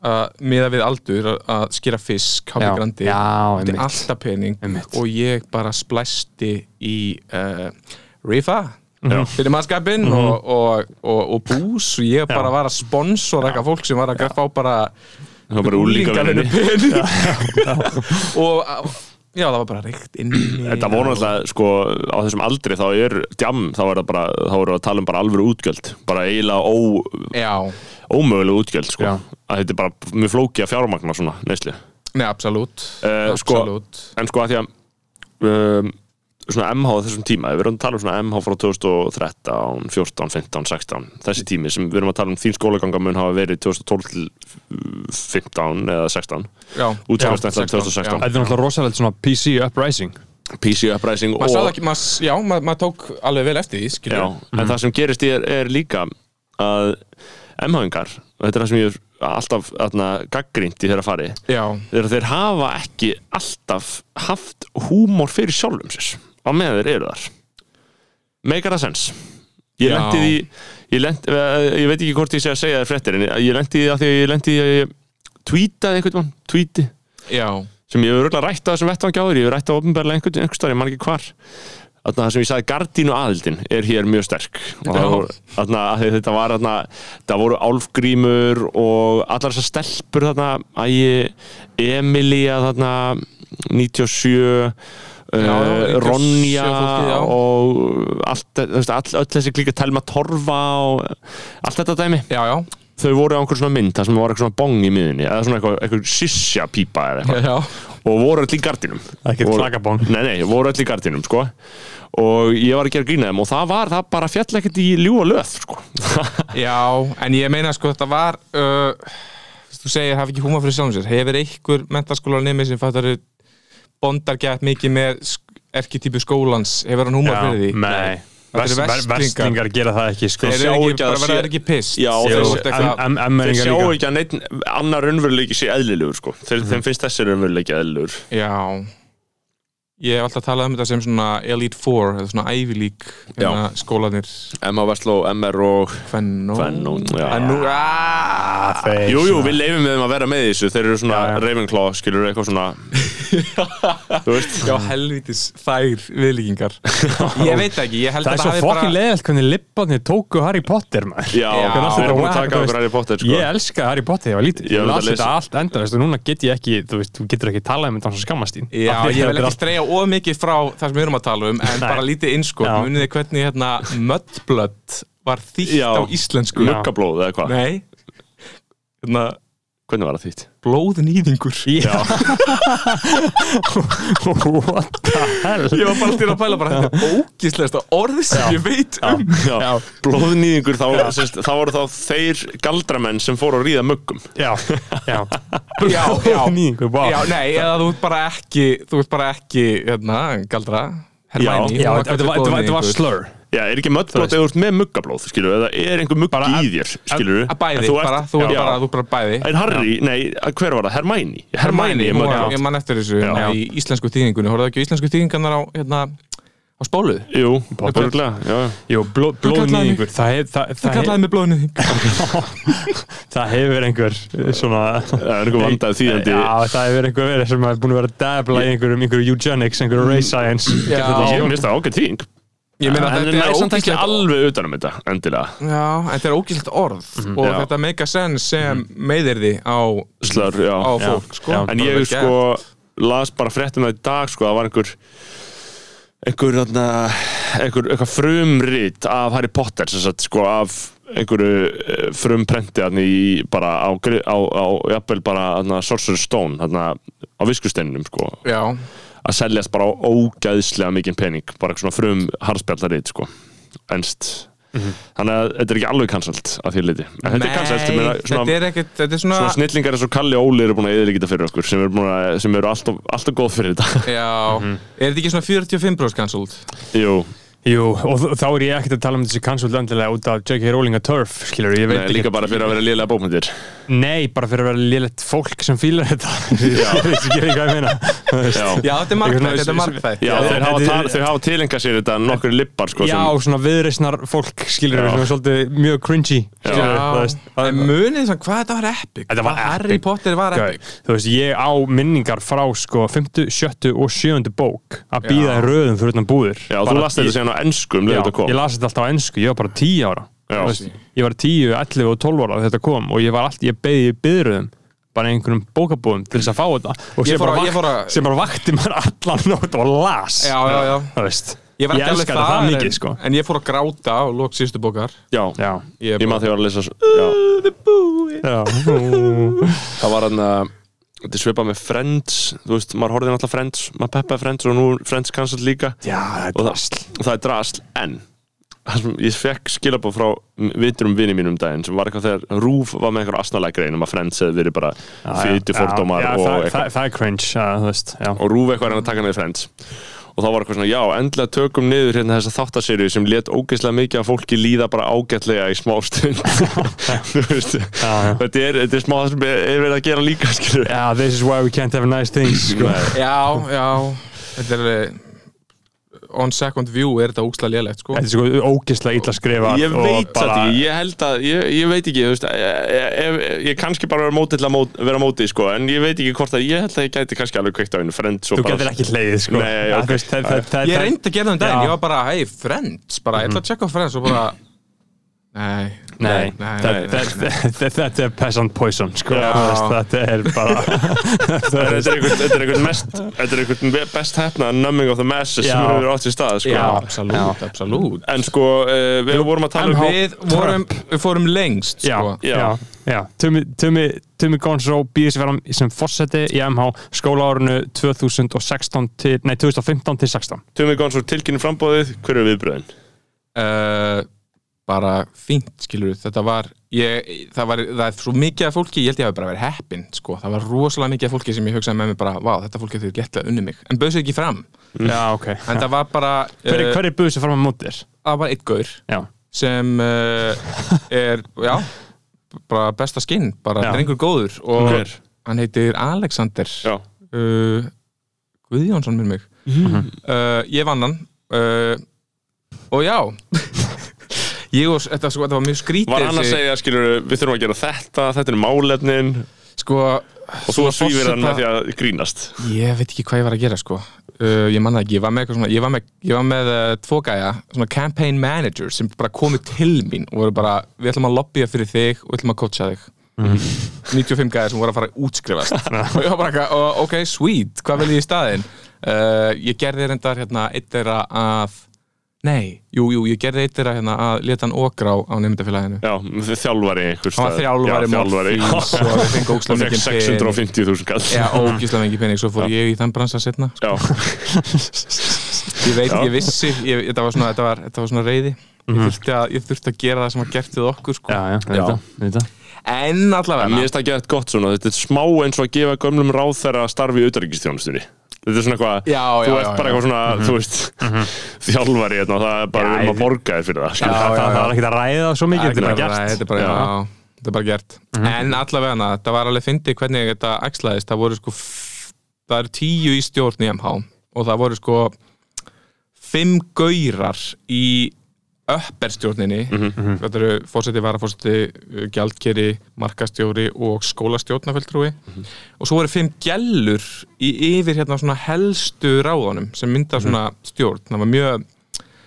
S4: að miða við aldur að- að skera fisk, hápi
S3: Já.
S4: grandi
S3: Já,
S4: Þetta er
S3: einmitt.
S4: alltaf pening
S3: Einmitt.
S4: og ég bara splæsti í uh, Rifa
S3: Mhm.
S2: Já.
S4: fyrir mannskapin og, og, og, og bús og ég bara var að sponsora eitthvað fólk sem var að fá bara
S2: það var bara úlíka
S4: Úlingavinnu
S2: verðinni
S4: pening og já, það var bara reykt inn
S2: Þetta voru náttúrulega, sko, á þessum aldri þá er djam, þá er það bara, þá voru að tala um bara alvöru útgjöld, bara eiginlega ó,
S4: Já,
S2: ómöguleg útgjöld, sko
S3: Já.
S2: að þetta er bara mjög flókið að fjármagna svona, neysli
S4: nei, absolutt
S2: Eh, sko-
S4: Absolutt
S2: En sko, að því að um, svona MH á þessum tíma, við erum að tala um svona MH frá 2013, 14, 15, 16 þessi tími sem við erum að tala um þín skólaganga mun hafa verið 2012 til uh, 15 eða 16
S4: Já,
S2: útskjálfstænsla
S4: 16,
S2: 2016
S3: Þetta er náttúrulega rosalegt svona PC uprising
S2: PC Uprising
S4: maður sagði
S2: og
S4: ekki, maður, já, maður, maður tók alveg vel eftir því, skilur
S2: Já, en það sem gerist er, er líka að MH-ingar og þetta er það sem ég hef alltaf atna, gaggrínt í þeirra fari
S4: já,
S2: þegar þeir hafa ekki alltaf haft húmór fyrir sjálfum sér á meðan þeir eru þar Make a sense Ég
S4: Já.
S2: lendi því ég, lent, eh, ég veit ekki hvort ég sé að segja þér fréttir en ég- ég lendi því að því að ég lendi því að ég tweetaði einhvern mann, tweeti
S4: já,
S2: sem ég hefur örugglega rætt á þessum vettvangi áður, ég hefur rætt á ofnbærlega einhvern einhvern staðar, ég man ekki hvar Þarna það sem ég sagði gardínu aðildin er hér mjög sterk og það
S4: Já.
S2: voru, þarna, af því þetta var þarna, það voru álfgrímur og allar þessar stelpur þarna, ægi, Emilia þarna, 97
S4: já,
S2: Uh,
S4: 97
S2: Ronja
S4: fólkið, já.
S2: og allt, þú veist, all, öll þessi klíka Telma Torfa og allt þetta dæmi
S4: já, já,
S2: þau voru á einhver svona mynd þar sem var eitthvað svona bong í miðinni eða svona eitthvað, eitthvað sissja pípa eða eitthvað
S4: já.
S2: og voru öll í gardinum
S3: Ekkert
S2: Voru-
S3: klakabong.
S2: Nei, nei, voru öll í gardinum, sko og ég var að gera grína þeim og það var, það bara fjall ekkert í ljúa löð, sko
S4: já En ég meina, sko, þetta var uh, Þú segir, hafa ekki húma fyrir sjálfum sér Hefur einhver mentaskóla nemi sem fattar Bondar gett mikið með sk- Erkitypu skólans, hefur hann húma fyrir því
S3: nei Vest-
S4: Þetta eru
S3: ver-
S4: verslingar.
S3: Vestlingar gera það ekki sko.
S4: Þeir
S2: sjá
S4: eru ekki,
S2: ekki að
S4: bara
S2: það
S4: verða
S2: sé-
S4: ekki pissed
S2: Já,
S4: Þeir
S2: þeir-
S4: eru eitthvað-
S3: Em-
S2: þeir
S3: Emmeringar
S2: sjáu
S3: líka Mhm.
S2: ekki að neitt annar raunveruleiki sé eðlilegur, sko þeir, þeim finnst þessi raunveruleiki eðlilegur
S4: Já Ég hef alltaf talað um þetta sem svona Elite Four eða svona Ivy League hérna, skólanir
S2: MA Vestló, MR og
S4: Fennó
S2: Fennó, já.
S4: En nú aaaah
S3: Þeir
S2: Jú, jú,
S3: svona-
S2: við leifum við þeim að vera með í þessu þeir eru svona
S3: Já, já.
S2: Ravenclaw, skilur eitthvað svona þú veist
S4: Já, helvitis þær viðlíkingar Ég veit það ekki, ég
S3: Það er
S4: held að
S3: svo
S4: hafi
S3: fokkin leiðalt hvernig lipparnir tóku Harry Potter maður
S2: Já,
S4: Já,
S2: við
S4: þetta
S2: erum búin að
S3: var-
S2: taka
S3: þú
S2: okkur
S3: veist,
S2: Harry Potter, sko
S3: Ég elska Harry Potter, ég var lítið
S2: Ég
S3: Ég
S2: var
S3: las
S2: að lesa-
S3: þetta allt enda, veist, núna get ég ekki Þú veist, þú getur ekki talað um þetta án svo skammast þín
S4: Já,
S3: Af því að
S4: ég
S3: þetta
S4: vil
S3: er
S4: ekki
S3: allt-
S4: streyja of mikið frá það sem við erum að tala um en
S3: Nei.
S4: bara lítið innskot,
S3: Já.
S4: munið þið hvernig hérna Mudblood var þýtt
S2: Já.
S4: á íslensku
S2: Muggablóð eða hvað?
S4: Nei Þannig að
S2: Hvernig var það þýtt?
S4: blóðnýðingur
S2: Já,
S3: What the hell
S4: Ég var bara til að pæla bara þetta ógislegasta orð sem ég veit um
S2: já. Blóðnýðingur, þá, sérst, þá voru þá þeir galdramenn sem fóru að ríða muggum
S3: Já, já
S4: Já, já,
S3: Nýðingur, vá
S4: já, nei, eða þú ert bara ekki þú ert bara ekki, hérna, galdra Hermæni
S3: Já, þetta var- þetta var- þetta var slur
S2: Já, er ekki möddblóð eða þú ert með muggablóð, skilur Eða er einhver muggi
S3: Bara að-
S2: í þér, skilur
S4: Að bæði, bara, þú er bara, þú er bara bæði
S2: En Harry, nei, hver var það? Hermæni? Hermæni,
S4: Hermæni,
S2: ég
S4: hún
S2: mögla
S4: var- ég man eftir þessu hérna,
S2: Já.
S4: í íslensku þýðingunni, horfðu ekki á íslensku þýðingarnar á, hérna, á spólu
S2: Jú, bara já.
S3: Jú, bló,
S4: kallaði mig-
S3: blóðnýðingur Það hef- það-
S4: Það
S3: það hef-
S4: kallaði mig blóðnýðing
S3: það hefur einhver eh, svona
S2: Það er einhver vandað þýðandi
S3: Já, það hefur einhver verið sem er búin að vera að dabla í einhverjum, einhverjum eugenics, einhverjum
S2: Mm.
S3: race science
S4: Já.
S2: Ég minnst það ágætt þýðing
S4: Ég meina
S2: En
S4: þetta
S2: það
S4: er
S2: er samt ekki
S4: ógíslegt
S2: alveg utanum þetta, endilega
S4: Já, en þetta er ógíslegt orð og
S2: Mhm. já.
S4: þetta make a sense sem meðir því á,
S2: Slör, já
S4: á fólk sko.
S3: já.
S2: En ég sko las bara fréttum það í dag sko, það var einhver einhver, þarna, einhver, einhver frumrit af Harry Potter sem sagt, sko, af einhverju eh, frumprenti hann í bara á, gri- á, á jafnvel bara hann, Sorcerer's Stone hann, á viskusteininum sko,
S4: Já,
S2: að seljast bara á ógæðslega mikinn pening bara eitthvað svona frum harspjallarið sko. enst
S4: Mhm.
S2: þannig að þetta er ekki alveg cancelled að því leiti en þetta er cancelled ég meina, svona,
S4: þetta er ekkert, þetta er svona,
S2: svona snillingar eins og Kalli og Óli eru búin að eðlíkita fyrir okkur sem eru, búin að, sem eru alltaf, alltaf góð fyrir þetta
S4: Já,
S3: Mhm.
S4: er þetta ekki svona 45 bros cancelled?
S2: Jú,
S3: Jú, og þ- þá er ég ekkert að tala um þessi cancelled endilega út af J.K. Rowling að turf, skilur, ég veit
S2: Nei, líka bara fyrir að vera lélega bókmyndir
S3: Nei, bara fyrir að vera lélegt fólk sem fílar þetta
S2: Já.
S3: Ég veit ekki hvað ég meina Þú veist.
S2: Já, já,
S4: Já, þetta er
S3: Ég
S4: margþætt,
S3: meina,
S4: þetta
S3: s-
S4: er
S3: s-
S4: margþætt
S2: já
S3: Já,
S2: þeir, hafa
S3: þetta er-
S2: tal, þau hafa tilenga sér þetta nokkur lippar sko,
S3: Já,
S2: sem,
S3: svona viðreisnar fólk, skilur,
S2: Já.
S3: sem er svolítið mjög cringy
S2: Já.
S3: skilurðu, þú veist. Það er
S4: En munið þess að hvað þetta var epic
S3: Þetta var
S4: Hvað Harry
S3: epic.
S4: Potter var
S3: Gau,
S4: epic
S3: þú veist, ég á minningar frá sko 5., 7. og 7. bók að býða
S4: Já.
S3: í röðum fyrir utan búðir
S2: já þú
S3: Bara
S2: last þetta
S3: ég-
S2: síðan á ensku um leið
S3: Já,
S2: þetta
S3: ég
S2: kom
S3: las þetta alltaf á ennsku, ég var bara 10 ára
S2: Já.
S3: Þú veist, ég var 10, 11 og 12 ára þegar þetta kom og ég var allt, ég beði í byðröðum bara í einhverjum bókabúðum til þess að fá þetta og
S4: Ég
S3: sem
S4: fór
S3: bara,
S4: að- ég fór
S3: vakt,
S4: að-
S3: sem bara vakti maður allan nót og las
S4: Já, já, já
S3: Þú veist,
S4: Ég var ekki alveg
S3: elskaði það
S4: þar,
S3: mikið
S4: en-
S3: sko
S4: En ég fór að gráta á lók síðustu bókar
S2: Já,
S3: já,
S2: ég maður þegar að lesa já.
S3: já,
S2: það var hann að þetta svipað með Friends þú veist, maður horfði náttúrulega Friends maður peppaði Friends og nú er Friends cancelled líka
S3: já
S2: og
S3: þetta
S2: það, og það er drasl en það sem ég fekk skilabóð frá vitrum vini mínum um daginn sem var eitthvað þegar Rúf var með eitthvað asnalega grein um að Friends hefði verið bara fytu fordómar
S3: já,
S2: og
S3: það,
S2: eitthvað
S3: það, það er cringe, já, þú veist já.
S2: og Rúf eitthvað er hann að taka niður Friends og þá var eitthvað svona, já, endilega tökum niður hérna þessa þáttaseríu sem let ógeðslega mikið af fólki líða bara ágætlega í smá stund þú veist
S3: já.
S2: þetta er, þetta er smá það sem er er verið að gera líka skilur
S3: Já, this is why we can't have nice things sko.
S4: Já, já Þetta er eh, On second view er þetta úkslega lélegt sko
S3: Þetta er sko ógeðslega illa skrifað
S2: Ég
S3: og
S2: veit þetta
S3: bara-
S2: ekki, ég held að, ég, ég veit ekki, þú veist, ég, ég, ég, ég kannski bara vera mótið til að mót, vera mótið, sko, en ég veit ekki hvort að, ég held að ég gæti kannski alveg kveikt á einu frend svo
S3: Þú getur ekki hleið sko.
S2: Nei,
S3: Já,
S2: ok.
S3: þú veist, það- það- það-
S4: Ég
S3: það-
S4: reyndi að gera það um daginn,
S3: Já. Mhm.
S4: ég var bara, hei, Friends bara, ég ætla að checka á Friends og bara Nei,
S3: Nei,
S4: nei,
S3: það-
S4: nei,
S3: það- það- þetta er peasant poison sko.
S2: Já.
S3: Þú veist, þetta er bara
S2: Þetta er einhvern- þetta er einhvern mest, þetta er einhvern best hefna numbing of the masses
S3: Já.
S2: sem hefur átt í stað, sko.
S4: Já,
S3: Já.
S4: absolutt, absolutt
S2: En sko, uh, við vorum að tala um
S3: MH.
S4: Við vorum, við fórum lengst
S3: já,
S4: sko.
S2: Já.
S3: já, já. Tumi, Tumi, Tumi Gonzo býðis verðan sem fórseti í MH skólaárunu 2016 til, nei 2015 til 16
S2: Tumi Gonsu tilkynni frambóðið, um hver er viðbröðin?
S4: uh, bara fínt, skilur við þetta var, ég, það var það er svo mikið af fólki, ég held ég hafi bara verið heppin sko. það var rosalega mikið af fólki sem ég hugsaði með mér bara, vá, þetta fólki þau léttlega unni mig en bauð sér ekki fram,
S3: Já, ok
S4: en það var bara
S3: Hver,
S4: eh,
S3: hver er buðis að fara með mótir?
S4: það var einn gaur
S3: Já,
S4: sem uh, er, já bara besta skinn, bara
S3: Já.
S4: drengur góður og
S2: Hver?
S4: hann heitir Alexander
S2: Já.
S4: uh, Guðjónsson minn mig
S2: Mhm.
S4: uh, ég vann hann uh, og já ég og þetta, sko, þetta var mjög skrítið
S2: Var hann að
S4: þessi-
S2: segja, skilur, við þurfum að gera þetta, þetta er málefnin
S4: sko,
S2: og þú svífir hann með því að grínast.
S4: ég veit ekki hvað ég var að gera sko. uh, ég manna ekki, ég var með, eitthvað svona, ég var með, ég var með uh, tvo gæja, svona campaign manager sem bara komu til mín og voru bara, við ætlum að lobbya fyrir þig og við ætlum að coacha þig
S2: Mhm.
S4: 95 gæðir sem voru að fara að útskrifast og ég var bara eitthvað, "Oh, ok, sweet hvað vil ég í staðinn uh, ég gerði reyndar hérna eitt er að Nei, jú, jú, ég gerði eitt þeirra hérna að leta hann okra á, á nefndafélaginu
S2: Já, þjálfari einhver
S4: Hann var
S2: staðar.
S4: þjálfari
S2: Já, þjálfari.
S4: Morfíns og við fengum
S2: og
S4: ógislega
S2: fekk
S4: mikið pening
S2: 650.000 kall
S4: Já, ógislega mikið pening, svo fór ég í þann bransa setna
S2: Já,
S4: Ég veit,
S2: Já. Mhm.
S4: ég vissi, ég, þetta, var svona, þetta, var, þetta var svona reyði Ég þurfti, að, ég þurfti að gera það sem var gert við okkur sko.
S3: já, já, þetta, þetta
S4: En allavega
S2: en mér finnst það gett gott svona þetta er smá eins og að gefa gömlum ráð þeirra starfi í auðarrikistjónustunni þetta er svona eitthvað,
S4: Já, já,
S2: þú
S4: já,
S2: ert bara
S4: já. Mhm.
S2: eitthvað svona þú veist, þjálfari hérna og það er bara við
S3: Já,
S2: erum
S3: ég-
S2: að borga þér fyrir það skilur.
S3: það,
S4: já,
S3: það,
S4: já.
S3: það var ekkert að ræða svo mikið, þetta er bara
S4: Ræ,
S3: gert Mhm.
S4: þetta er bara,
S2: Já.
S4: já, þetta er bara gert en allavega hana, þetta var alveg fyndið hvernig þetta axlaðist, það voru sko f- það eru tíu í stjórn í MH og það voru sko fimm gaurar í öpperstjórninni
S3: Mhm.
S4: þetta eru fórseti, varafórseti, gjaldkeri markastjóri og skólastjórnafeltrúi
S3: Mhm.
S4: og svo voru fimm gellur í yfir hérna svona helstu ráðunum sem
S3: Mhm.
S4: mynda svona stjórn það var mjög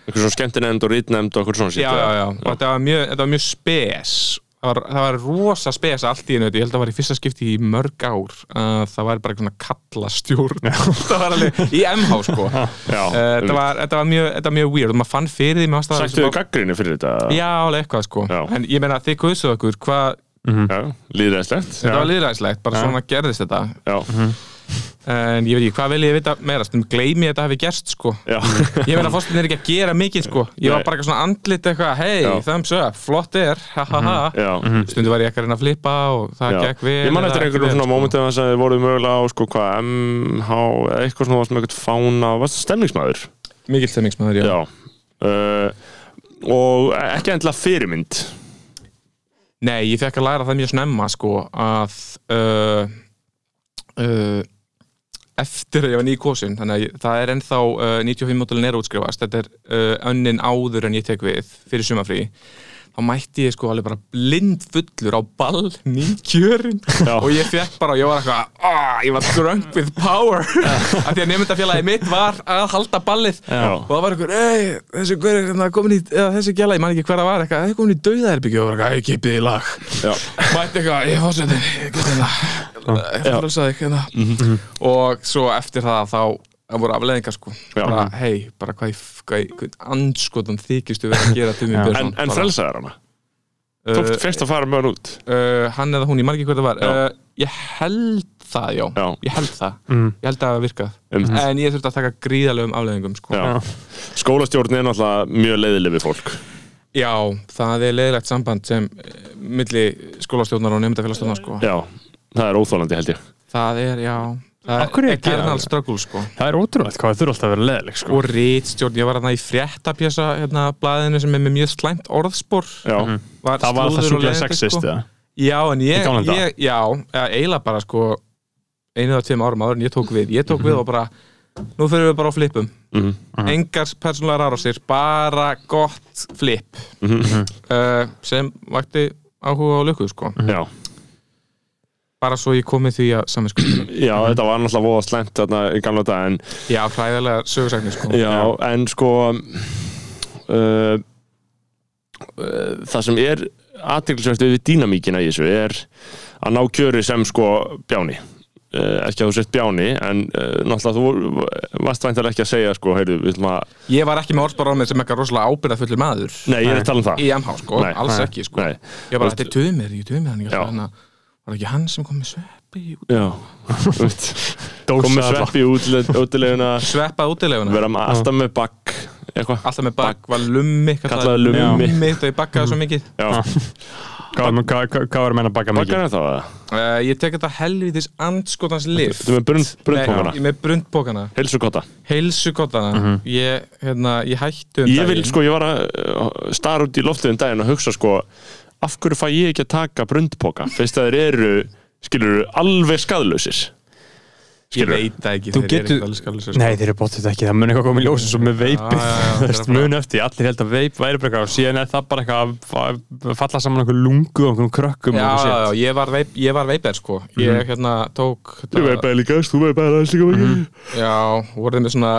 S2: einhver svona skemmtinemnd og rítnemnd og eitthvað svona shit,
S4: já,
S2: eða?
S4: já, já, og þetta var mjög, þetta var mjög spes það var, það var rosa spes allt í einu ég held að það var í fyrsta skipti í mörg ár uh, það var bara svona kallastjórn það var alveg í MH sko uh,
S2: Já,
S4: þetta, var, þetta, var mjög, þetta var mjög weird og maður fann fyrir því mér fannst það
S2: Sættu þið gaggrinni fyrir þetta?
S4: já, alveg eitthvað sko
S2: Já.
S4: en ég meina þið kusuðu okkur hvað
S2: Já, líðræðislegt
S4: þetta var Mhm. liðræðislegt, bara svona gerðist þetta
S2: Já,
S4: en ég veit ekki, hvað vil ég vita meira stundum gleymi ég þetta hafi gerst sko
S2: já,
S4: Ég meina fórstin er ekki að gera mikið sko Ég var
S2: Nei.
S4: bara eitthvað svona andlit eitthvað Hey,
S2: Já. Mhm.
S4: thumbs up, flott er ha, ha, ha.
S2: já,
S4: Stundu var ég ekki að reyna að flippa og Mhm. það
S2: já.
S4: gekk vel
S2: Ég man
S4: eða
S2: eftir
S4: ekki
S2: einhverjum
S4: vel,
S2: svona
S4: sko.
S2: mómentum þess að þið voruð mögulega á sko hvað MH eða eitthvað svona varst með eitthvað fána varst það stemningsmæður?
S4: Mikill stemmingsmaður, já.
S2: Já uh, Og ekki endilega fyrirmynd
S4: Nei, ég fekk að læra það mjög snemma sko að uh, uh, eftir að ég var nýkosin þannig að ég, það er ennþá uh, 95 mótulinn er að útskrifast þetta er uh, önnin áður en ég tek við fyrir sumafrí þá mætti ég sko alveg bara blind fullur á ball nýkjörin
S2: Já.
S4: og ég fekk bara, ég var eitthvað ah, ég var drunk with power af því að nefndafélagi mitt var að halda ballið
S2: Já.
S4: og það var einhver, ei, þessi hver er hérna komin í, eða þessi gæla, ég man ekki hver það var eitthvað, það er komin í dauðaherbyggju og það var eitthvað, ég kipið í lag
S2: Já.
S4: mætti eitthvað, ég fórsetin ég get hérna, ég frálsaði
S2: Mhm.
S4: hérna og svo eftir það þá það voru afleðingar sko
S2: Já.
S4: bara, hei, bara hvað, ég- hvað, ég- hvað anskotan þykistu verið að gera Tumi Björnsson
S2: En, en
S4: Bara,
S2: frelsaðar hana?
S4: uh,
S2: Tókst fyrst að fara með hann út?
S4: uh, hann eða hún, ég margir hvað það var
S2: Já.
S4: uh, ég held það, já,
S2: Já.
S4: ég held það
S3: Mm.
S4: ég held að það hafi virkað
S2: Einmitt.
S4: en ég þurfti að taka gríðalegum afleðingum sko.
S2: Mm. Já Skólastjórn er náttúrulega mjög leiðileg við fólk
S4: já, það er leiðilegt samband sem eh, milli skólastjórnar og nefndafélagstjórnar sko.
S2: Já, það er óþólandi held ég
S4: það er, já
S3: Af
S4: það
S3: hverju
S4: er
S3: ekki
S4: eternal
S3: alveg?
S4: struggle sko.
S3: það er ótrúlega hvað það þurfa alltaf að vera leðileg sko.
S4: og rítstjórn, ég var þarna í fréttapjasa hérna, blaðinu sem er með mjög slæmt orðspor
S2: Já,
S4: var
S3: það var
S4: slúður
S3: það
S4: og
S3: sjúklega
S4: leiðindi,
S3: sexist
S4: sko.
S3: eða?
S4: já, en
S3: Í
S4: ég,
S3: gamla daga.
S4: ég já, eða eiginlega bara sko einu eða tveim árum áður en ég tók við ég tók við og bara, nú fyrir við bara á flipum
S3: Mhm,
S4: engar persónulegar árásir bara gott flip
S3: Mhm,
S4: uh, sem vakti áhuga og lukku sko
S2: já
S4: bara svo ég komið því að saminsku
S2: Já, þetta var náttúrulega voða slæmt þarna í gamla dag en,
S4: já, hræðilega sögursækni sko
S2: já, en sko uh, uh, það sem er aðtilsvæmt við dýnamíkina í þessu er að ná kjöri sem sko bjáni uh, ekki að þú sett bjáni en uh, náttúrulega þú voru- varst væntalega ekki að segja sko, heyrðu, við ætlum að
S4: ég var ekki með orðspar á mig sem eitthvað rosalega ábyrðafullu maður
S2: nei, ég er að tala um það
S4: í MH sko,
S2: Nei,
S4: alls
S2: nei,
S4: ekki sko
S2: nei.
S4: ég bara, þetta er tömir, ég tömir hann ég
S2: Já.
S4: ætla hérna, var ekki hann sem kom með sveppi í út-
S2: já, þú veist,
S3: Dósa
S2: komið
S3: alla.
S2: svepp í útile- útileguna
S4: sveppað útileguna,
S2: vera með- alltaf með bakk eitthvað,
S4: alltaf með bakk, var lummi
S2: Kallaði Lummi. Mhm.
S4: lummi þegar ég bakkaði svo mikið
S2: já,
S3: hvað var- hvað- hvað- hvað var að menna að baka mikið
S2: bakkar er það
S4: uh, ég tek þetta helvitis andskotans lif
S2: þú með brundpókana,
S4: Nei, ég- með brundpókana,
S2: heilsukotta
S4: heilsukottana ég, hérna, ég hættu um
S2: ég vil
S4: daginn.
S2: sko, ég var að uh, stara út í loftið um daginn og hugsa sko af hverju fæ ég ekki að taka brundpoka fyrst að þeir eru, skilur alveg skadlausir
S4: ég
S2: skilurðu.
S4: veit það ekki,
S3: Þú
S4: þeir
S3: getur-
S4: eru ekki alveg sko.
S3: Nei, þeir eru bóttið ekki, það mun eitthvað komið ljósa svo með veipið,
S4: Já, já, já,
S3: þú veist,
S4: þeir eru
S3: mun eftir, allir held að veip væri bara eitthvað og síðan er það bara eitthvað að fa- falla saman okkur lungu og okkur krökkum
S4: Já,
S3: og
S4: já, já,
S3: okkur
S4: ég var, veip, ég var veiper sko Ég hérna tók
S2: Mhm. þú
S4: þetta,
S2: veið bara líka, þú veið bara aðeins líka mm.
S4: Já, voruð með svona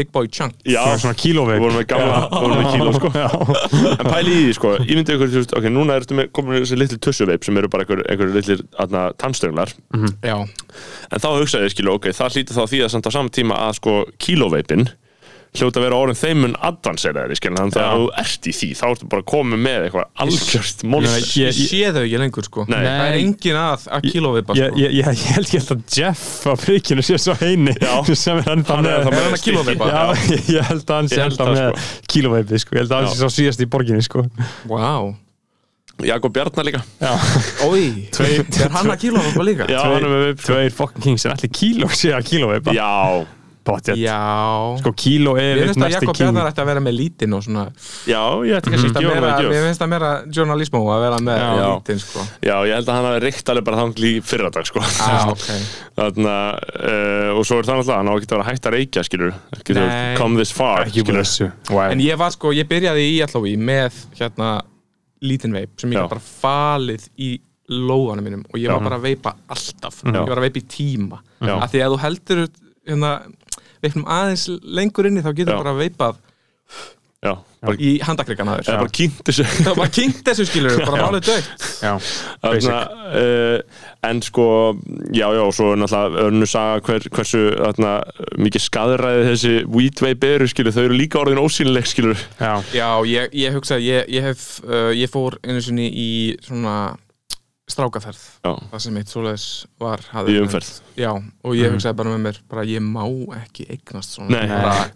S4: Big Boy Chunk
S2: já,
S3: sétt. Mhm. Svona kílóveip.
S2: við vorum með gamla við vorum með kíló sko en pæli í því sko, ég myndi ykkur, þú veist, ok, núna ertu með komin þessi litli tussuveip sem eru bara einhver, einhver litlir atna, tannstönglar
S4: Já,
S2: en þá hugsaði ég skilu, ok, það hlýtur þá því að samt á saman tíma að sko kílóveipin hljóta að vera orðin þeim mun advanseraðir, skilur, þannig að
S3: Já.
S2: ef þú ert í því, þá ertu bara komið með eitthvað algjört monster.
S3: Ég-
S4: Ég sé þau ekki lengur sko
S2: Nei.
S4: Það er
S3: Nei.
S4: engin að að kílóvipa
S3: Ég,
S4: sko
S3: ég, ég, ég held ekki að Jeff á prikinu sé svo heini
S2: Já.
S3: sem er ennþá
S2: Hann er ennþá
S3: með
S2: með
S4: hann að
S2: stikki.
S4: kílóveipa?
S3: Já, ég, ég held að hann sé
S2: Ég held
S3: ennþá
S2: það,
S3: með kílóveipið sko, ég held að hann
S2: Já.
S3: sé svo síðast í borginni sko
S4: Vá
S2: Jakob Bjarnar líka.
S3: Já,
S4: Ói Er hann að kílóvipa líka?
S2: Já, hann er með sko.
S3: tveir, tveir fucking kings en allir kíló sé að kílóveipa
S2: Já,
S3: Pottet.
S4: Já
S3: Sko kíló er
S4: Mér
S3: eitt
S4: finnst að
S3: næsti
S4: Jakob
S3: king
S4: Bjarnar ætti að vera með lítinn og svona
S2: já, ég ætti kannski ekki orðið
S4: meira,
S2: að
S4: Mér
S2: gjöf.
S4: finnst það meira journalismo að vera með
S2: Já.
S4: lítinn sko
S2: Já, ég held að hann hafi reykt alveg bara þangt líf fyrradag, sko.
S4: Já, Ah, ok
S2: Þannig uh, og svo er það náttúrulega, hann á ekki að vera hægt að reykja, skilur. Ekki þú
S4: Nei.
S2: come this far,
S3: Ekki búin
S2: skilur.
S3: þessu wow.
S4: En ég var sko, ég byrjaði í allavega með hérna lítinn veip sem ég
S2: Já.
S4: gæti bara falið í lóðanum mínum og ég var bara að veipa alltaf ég var að veipa í tíma
S2: Já.
S4: af því að þú heldur hérna, veipnum aðeins lengur inni þá
S2: Já.
S4: getur bara veipað
S2: Já, bara,
S4: í handakrikan aður
S2: eða bara kynnt þessu.
S4: þá bara kynnt þessu skilur við, bara málið dögt
S3: Já, basic
S2: Þarna, uh, en sko, já, já, og svo er náttúrulega önnu saga hver, hversu þarna, mikið skaðræði þessi weedveip eru, skilur, þau eru líka orðin ósýnileg, skilur.
S3: Já,
S4: Já, ég, ég hugsa ég, ég, hef, uh, ég fór einu sinni í svona strákaferð
S2: Já,
S4: það sem eitt svoleiðis var
S2: í
S4: hafði,
S2: umferð. Mhm.
S4: Já, og ég hugsaði bara með mér bara ég má ekki eignast svona
S2: Nei.
S4: Bara,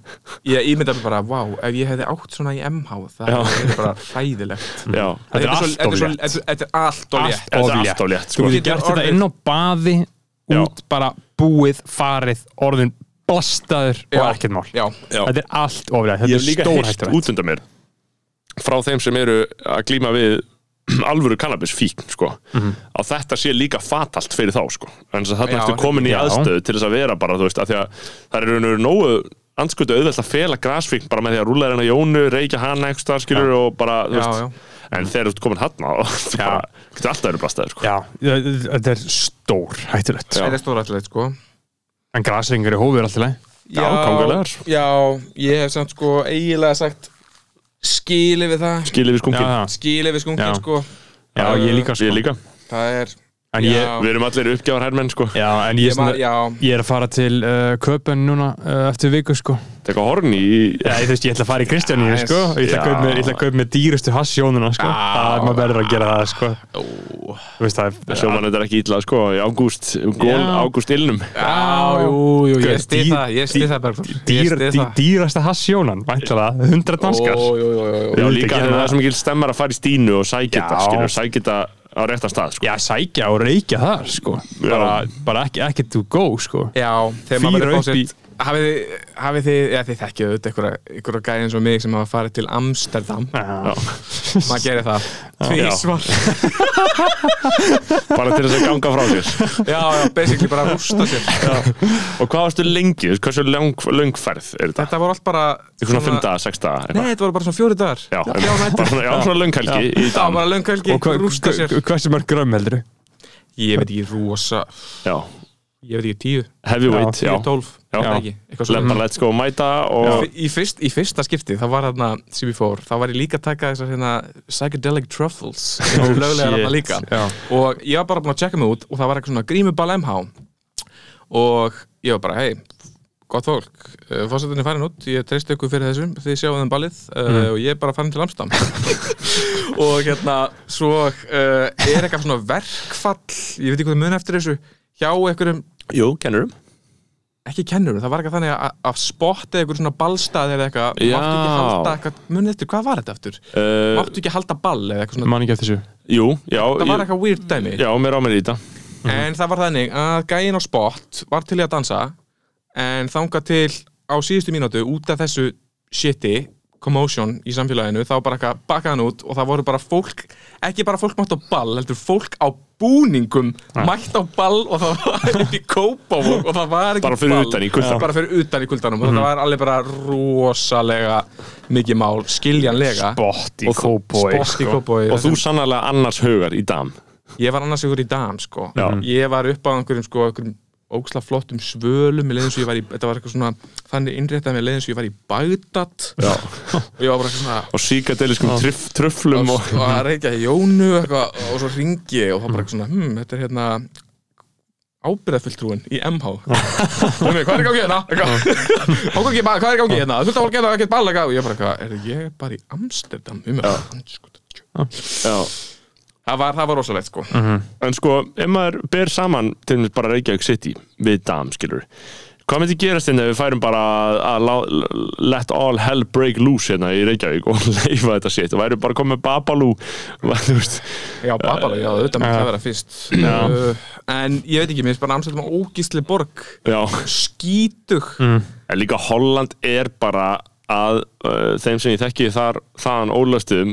S4: ég ímyndaði mér bara, vá, ef ég hefði átt svona í MH það
S2: Já.
S4: er bara hræðilegt
S2: Já,
S3: Þetta er
S4: svo-
S3: allt
S4: þetta er
S3: of
S4: svo-
S3: létt.
S4: þetta- Þetta er allt og létt
S2: þetta
S3: of
S2: er
S3: létt.
S2: allt á létt,
S3: Þú
S2: sko.
S4: Þú
S3: getur
S4: getur
S3: gert þetta
S4: orðið-
S3: inn á baði
S2: Já.
S3: út bara búið, farið, orðin blastaður og
S4: Já.
S3: ekkert mál
S4: Já,
S2: Já.
S3: Þetta er allt ofrið,
S2: Ég
S3: þetta
S2: hef
S3: er
S2: líka heilt
S3: stórhættur
S2: út undan mér frá þeim sem eru að glíma við alvöru kannabisfíkn sko. að þetta sé líka fatalt fyrir þá sko. en þess að þarna
S4: Já,
S2: ertu komin í
S3: Mhm. já.
S2: aðstöðu til þess að vera bara, þú veist, að því að það eru nú nógu anskutu auðvelt að fela grasfíkn bara með því að rúla hennar Jónu, reykja hana einhvers staðar, skilur og bara, þú
S4: Já,
S2: veist
S4: já.
S2: en þegar þú ert komin hann á
S3: Já.
S2: getur alltaf verið blastaður sko.
S3: Já, þetta er stór hættulegt
S4: þetta er stórættilegt sko
S3: En grasringur í hófið er alltaf leið
S2: Já, kóngulegar.
S4: Já, ég hef samt sko eiginlega sagt skili við það
S2: skilur við skungin
S3: Já,
S4: skili við
S3: Já.
S4: skunkinn sko
S3: já,
S4: Já,
S3: ég líka sko
S2: Ég líka.
S4: það er
S3: En
S4: já,
S3: ég,
S2: við erum allir uppgjafar herrmenn sko.
S3: já, en ég,
S4: ég, man,
S3: ég,
S4: já,
S3: ég er að fara til uh, Köpen núna uh, eftir viku sko
S2: teka horn í
S3: Já, ég, þú veist, ég ætla að fara í Kristjáníu,
S4: Aðeins.
S3: sko og Ég
S2: Já.
S3: ætla að kaupa mér- ég ætla að kaupa með dýrustu hassjónuna, sko
S4: Ah.
S3: Það er maður verður að gera það, sko Þú veist, það er
S2: sjómann þetta er ekki illa sko, í ágúst gól
S3: Já.
S2: ágúst illnum
S4: já, jú, jú,
S3: Guð,
S4: ég stið
S3: dýr-
S4: það, ég stið það Bergþór. Ég
S3: dýr,
S4: styð
S3: dý,
S4: það.
S3: Dýrasta hassjónan, væntalega 100 danskar
S4: Ó, jú, jú, jú, jú.
S2: Já,
S3: Auðvitað
S2: líka
S3: gerir
S2: hérna það
S3: það.
S2: sem ekki stemmar að fara í stínu og sækja
S3: Já.
S2: þetta, skilur, sækja þetta á réttan stað, sko.
S3: Já, sækja og reykja þar, sko Bara, bara ekki, ekki to go, sko
S4: Já, þegar
S3: Fýra
S4: maður verður
S3: upp í-
S4: fósitt Hafið þið, hafið þið, já þið þekkið auðvitað einhverja, einhverja gæði eins og mig sem hafa farið til Amsterdam
S3: Já,
S4: maður gerir það tvísvar já.
S2: Bara til þess að ganga frá sér.
S4: já, já, basically bara að rústa sér
S2: og hvað varstu lengi, þú veist, hversu löng, löng ferð er þetta?
S4: Þetta voru allt bara
S2: Eitthvað svona 5 daga, 6 daga,
S4: Nei,
S2: eitthvað?
S4: þetta voru bara svona fjóri dagar
S2: Já,
S4: já, já,
S2: bara svona, já, svona löng helgi í
S4: Það var
S2: dag.
S4: bara lönghelgi,
S3: Og hva,
S4: rústa sér
S3: hva, hversu mörg grömm heldur
S4: Ég veit ekki, rosa
S2: Já,
S4: Ég veit ekki, tíu,
S2: heavyweight, já.
S4: tíu, tólf
S2: Já.
S4: Ég veit ekki, eitthvað
S2: Lef
S4: svona
S2: bara let's go og mæta og...
S4: Í, fyrst, í fyrsta skipti, þá var þarna sem ég fór, þá var ég líka að taka þessar hérna psychedelic truffles sem eru löglegar þarna líka
S3: Já,
S4: og ég var bara búinn að checka mig út og það var eitthvað svona grímuball MH og ég var bara, hei gott fólk, uh, fórsetin er farin út ég treysti ykkur fyrir þessum, þið sjáum þeim ballið uh, og ég er bara farin til Amstam og hérna, svo uh, er eitthvað svona verkfall ég veit ekki hvað það mun eftir þessu hjá einhverjum,
S2: Jú, kennurum.
S4: ekki kennurum, það var eitthvað þannig að, að spotta einhver svona ballstað eða eitthvað, máttu ekki
S2: Já.
S4: halda eitthvað, mun eftir, hvað var þetta eftir?
S2: Uh,
S4: máttu ekki halda ball eða eitthvað svona
S3: man ekki eftir þessu
S2: jú, já,
S4: það var
S2: ég,
S4: eitthvað weird dæmi
S2: já, mér á mér í þetta. Mhm.
S4: En það var þannig að gæin á spott var til í að dansa en þangað til á síðustu mínútu út af þessu shiti commotion í samfélaginu þá bara eitthvað bakkaði hann út og það voru bara fólk ekki bara fólk mátt á ball, heldur fólk á búningum mætt á ball og það var upp í kópavók og það var ekki
S2: Bara fyrir
S4: ball.
S2: utan í kuldanum. Mhm.
S4: Já. bara fyrir utan í kuldanum og þetta var alveg bara rosalega mikið mál, skiljanlega
S3: Bótt í
S2: Og þú-
S3: kóboi
S4: Spott í kópavói
S2: sko. Og þú sannarlega annars hugar í dam.
S4: Ég var annars ykkur í dam sko
S2: Já.
S4: Ég var upp á einhverjum sko einhverjum ógsla flottum svölum Mér leið eins og ég var í, þetta var eitthvað svona Þannig innréttað mér leið eins og ég var í Bagdad Já. Og ég var bara eitthvað svona
S2: Og síkadeliskum trif, truflum og...
S4: Um Og að reykja í Jónu eitthvað Og svo ringi ég og þá bara eitthvað svona hmm, Þetta er hérna ábyrðafulltrúin í MH Rúmi, hvað er í gangi hérna? Hákvæm ekki bara, hvað er í gangi hérna? Þú ert að fólk hérna, ekkert balla eitthvað. Og ég bara, hvað, er ég er bara í Amsterdam um
S2: Já.
S4: Það var, það var rosalegt sko
S2: En sko, ef maður ber saman til dæmis bara Reykjavík City við Dam, skilur Hvað myndi gerast hérna ef við færum bara að, að lá- let all hell break loose hérna í Reykjavík og leifa þetta shit og væri bara komið með Babalú þú veist,
S4: Já, Babala,
S2: Eh,
S4: já, auðvitað maður það vera fyrst uh, En ég veit ekki, mér finnst bara Amsterdam ógísli borg
S2: já
S4: Skítug
S2: En líka Holland er bara að uh, þeim sem ég þekki þar þaðan ólöstuðum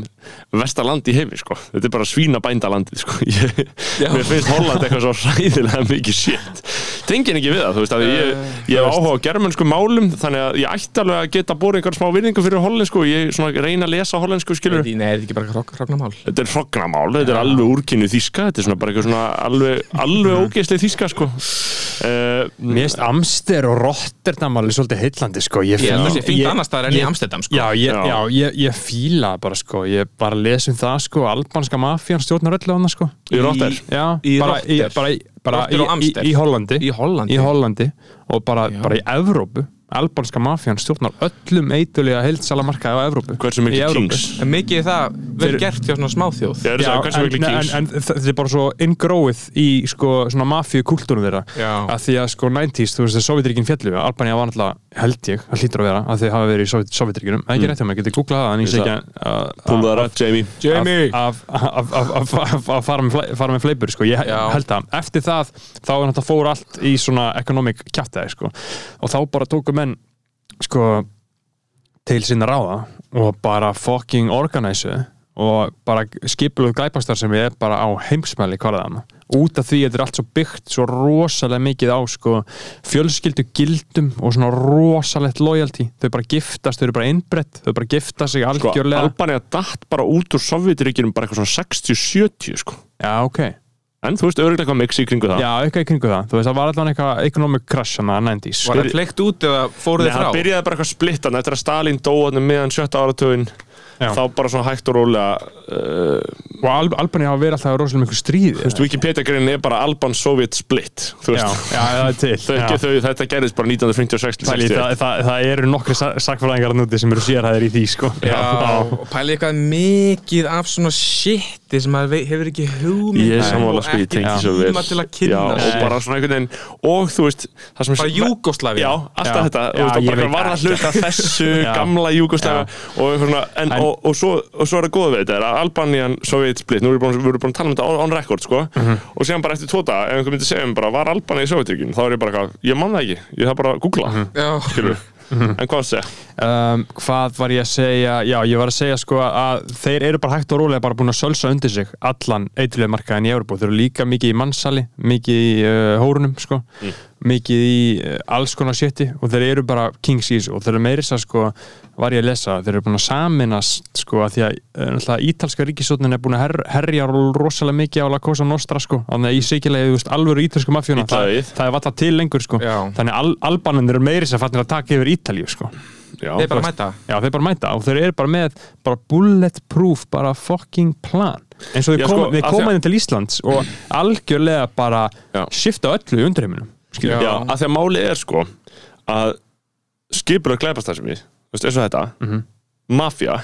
S2: versta land í heimi sko. þetta er bara svína bænda landið sko. ég,
S4: Já.
S2: mér finnst Holland eitthvað svo sæðilega mikið shit tengin ekki við það, þú veist að
S3: Eh,
S2: ég, ég hef áhuga á germansku málum þannig að ég ætti alveg að geta búið einhver smá virðingu fyrir hollensku og ég svona reyna að lesa hollensku skilur
S4: Nei, er þetta ekki bara hrogg- hrognamál
S2: þetta er hrognamál, þetta er alveg úrkynnu þíska þetta er svona bara eitthvað svona alveg, alveg ógeðslega þíska sko. uh,
S3: Mm. Mér finnst Amster og Rotterdam alveg svolítið heillandi sko Ég
S4: Ég
S3: fíla-
S4: held að það sé fínt
S3: ég-
S4: annars staðar en í
S3: ég-
S4: Amsterdam sko
S3: Já, ég,
S2: Já.
S3: já. ég, ég fíla það bara sko Ég bara les um það sko Albanska mafían stjórnar öllu annars sko
S2: í Rotter
S3: Já,
S4: Í
S3: bara, í,
S4: Rotter.
S3: bara, í, bara
S4: Rotter og
S3: í,
S4: Amster.
S3: í, í Hollandi
S4: Í Hollandi.
S3: Í Hollandi Og bara, bara í Evrópu Albanska mafían stjórnar öllum eitulega heildsalamarkaði á Evrópu
S2: hversu
S3: Í
S2: mikið
S3: Evrópu.
S2: kings
S4: En mikið er það vel
S3: Þeir-
S4: gert hjá svona smáþjóð
S2: Já, er
S3: Já,
S2: það, hversu
S3: en,
S2: miklu
S3: nei,
S2: kings?
S3: en, en þa- þetta er bara svo ingróið í sko, svona mafíu kultúrum þeirra
S4: Já.
S3: að því að sko 90s, þú veist að Sovjetríkin fjallu Albania var náttúrulega, held ég, það hlýtur að vera að þið hafa verið í Sovjet, Sovjetríkinum, það er ekki rétt hjá mig, getið googlað það en ég sé ekki að- að-
S2: Púlaðar að Jamie
S4: Jamie
S3: að- að- að- að- að- að fara með fle- fara með fleipur sko, ég
S4: Já.
S3: held það eftir það, þá er þetta fór allt í svona economic kjáttæði sko og þá bara tóku menn sko til sinna ráða og bara fucking organisu og bara skipuluð glæpastar sem ég er bara á heimsmæli hvarðan út af því að þetta er allt svo byggt svo rosalega mikið á sko, fjölskyldu gildum og svona rosalegt loyalty, þau bara giftast þau eru bara innbrett, þau bara gifta sig
S2: sko,
S3: algjörlega
S2: Albania datt bara út úr Sovjetiríkjunum bara eitthvað svona 60-70 sko.
S3: Já, ok
S2: en þú veist örgulega hvað mix í kringu það
S3: Já, eitthvað í kringu það, þú veist, það var allan eitthvað economic crash hann að 90s
S4: Var það fleikt út eða fóruð
S2: Nei,
S4: þið
S2: það
S4: frá?
S2: byrjaði bara eitthvað splittan eftir að Stalin dóðanum meðan um sjötta áratögin
S3: Já.
S2: þá bara svona hægt og rólega uh,
S3: og Al Albani hafa verið alltaf í rosalega miklu stríði
S2: þú veist, Wikipedia-greinin er bara Alban-Soviet split þú
S3: Já,
S2: veist,
S3: já, það er til
S2: þau,
S3: Já.
S2: þau, þetta gerðist bara 1956 til
S3: Pæli, það,
S2: 61.
S3: það, það eru nokkri sakfræðingar núti sem eru sérhæðir í því sko.
S4: Já, og pæli eitthvað mikið af svona shiti sem maður vei- hefur ekki hugmynd
S2: Ég er
S4: um
S2: sammála
S4: og
S2: sko, ég
S4: ekki
S2: tengi svo vel
S4: tíma til að kynna
S2: Já, og
S4: sér.
S2: bara svona einhvern veginn Og þú veist, það sem
S4: Bara Júgóslavía.
S2: Já, alltaf
S3: Já.
S2: þetta,
S3: Já,
S2: þú veist, og
S3: ég
S2: bara
S3: veit
S2: var það
S3: ekki.
S2: hluta af þessu
S3: Já.
S2: gamla Júgoslavia og, eitthvað svona, en,
S3: En-
S2: og, og, svo, og svo er það góð við þetta er að Albanian Soviet split, nú erum við búin, við erum búin að tala um þetta on, on record sko,
S3: Mhm.
S2: og síðan bara eftir tvo daga, ef einhver myndi segja mér bara, var Albania í Sovjetríkjum, þá er ég bara eitthvað, ég man það ekki, ég þarf bara að googla
S3: Mhm.
S4: Já,
S2: skilur, en hvað það segja
S3: um, Hvað var ég að segja Já, ég var að segja sko að þeir eru bara hægt og rólega bara búin að sölsa undir sig allan eitthvað markaðin í Európa þeir eru líka mikið í mannsali, mikið í uh, hórunum sko, mikið í uh, alls konar sétti og þeir eru bara kings í þessu og þeir eru meiri sér sko var ég að lesa, þeir eru búin að saminast sko að því að eh, náttúrulega ítalska ríkisótnin er búin að her, herja rosalega mikið á La Cosa Nostra sko, þannig að í sikilegi, þú veist, alvöru ítalsku mafjóna, það,
S2: Ítalið.
S3: það er valla til lengur sko,
S4: Já.
S3: þannig að al, albanandir eru meiri sér fannir að taka yfir Ítalíu sko
S2: Já,
S4: þeir bara mæta
S3: Já, þeir bara mæta og þeir eru bara með bara bulletproof, bara fucking plan eins og
S2: Já,
S3: þeir koma,
S2: sko, af
S3: þeir
S2: því Mm.
S3: koma inn til Íslands og algjörlega bara
S2: Já.
S3: shifta öllu í undreiminum
S4: Já.
S2: Já, að því að máli er sko að skipur að glæpa starfsemi þú veist, eins og þetta,
S3: Mhm.
S2: mafja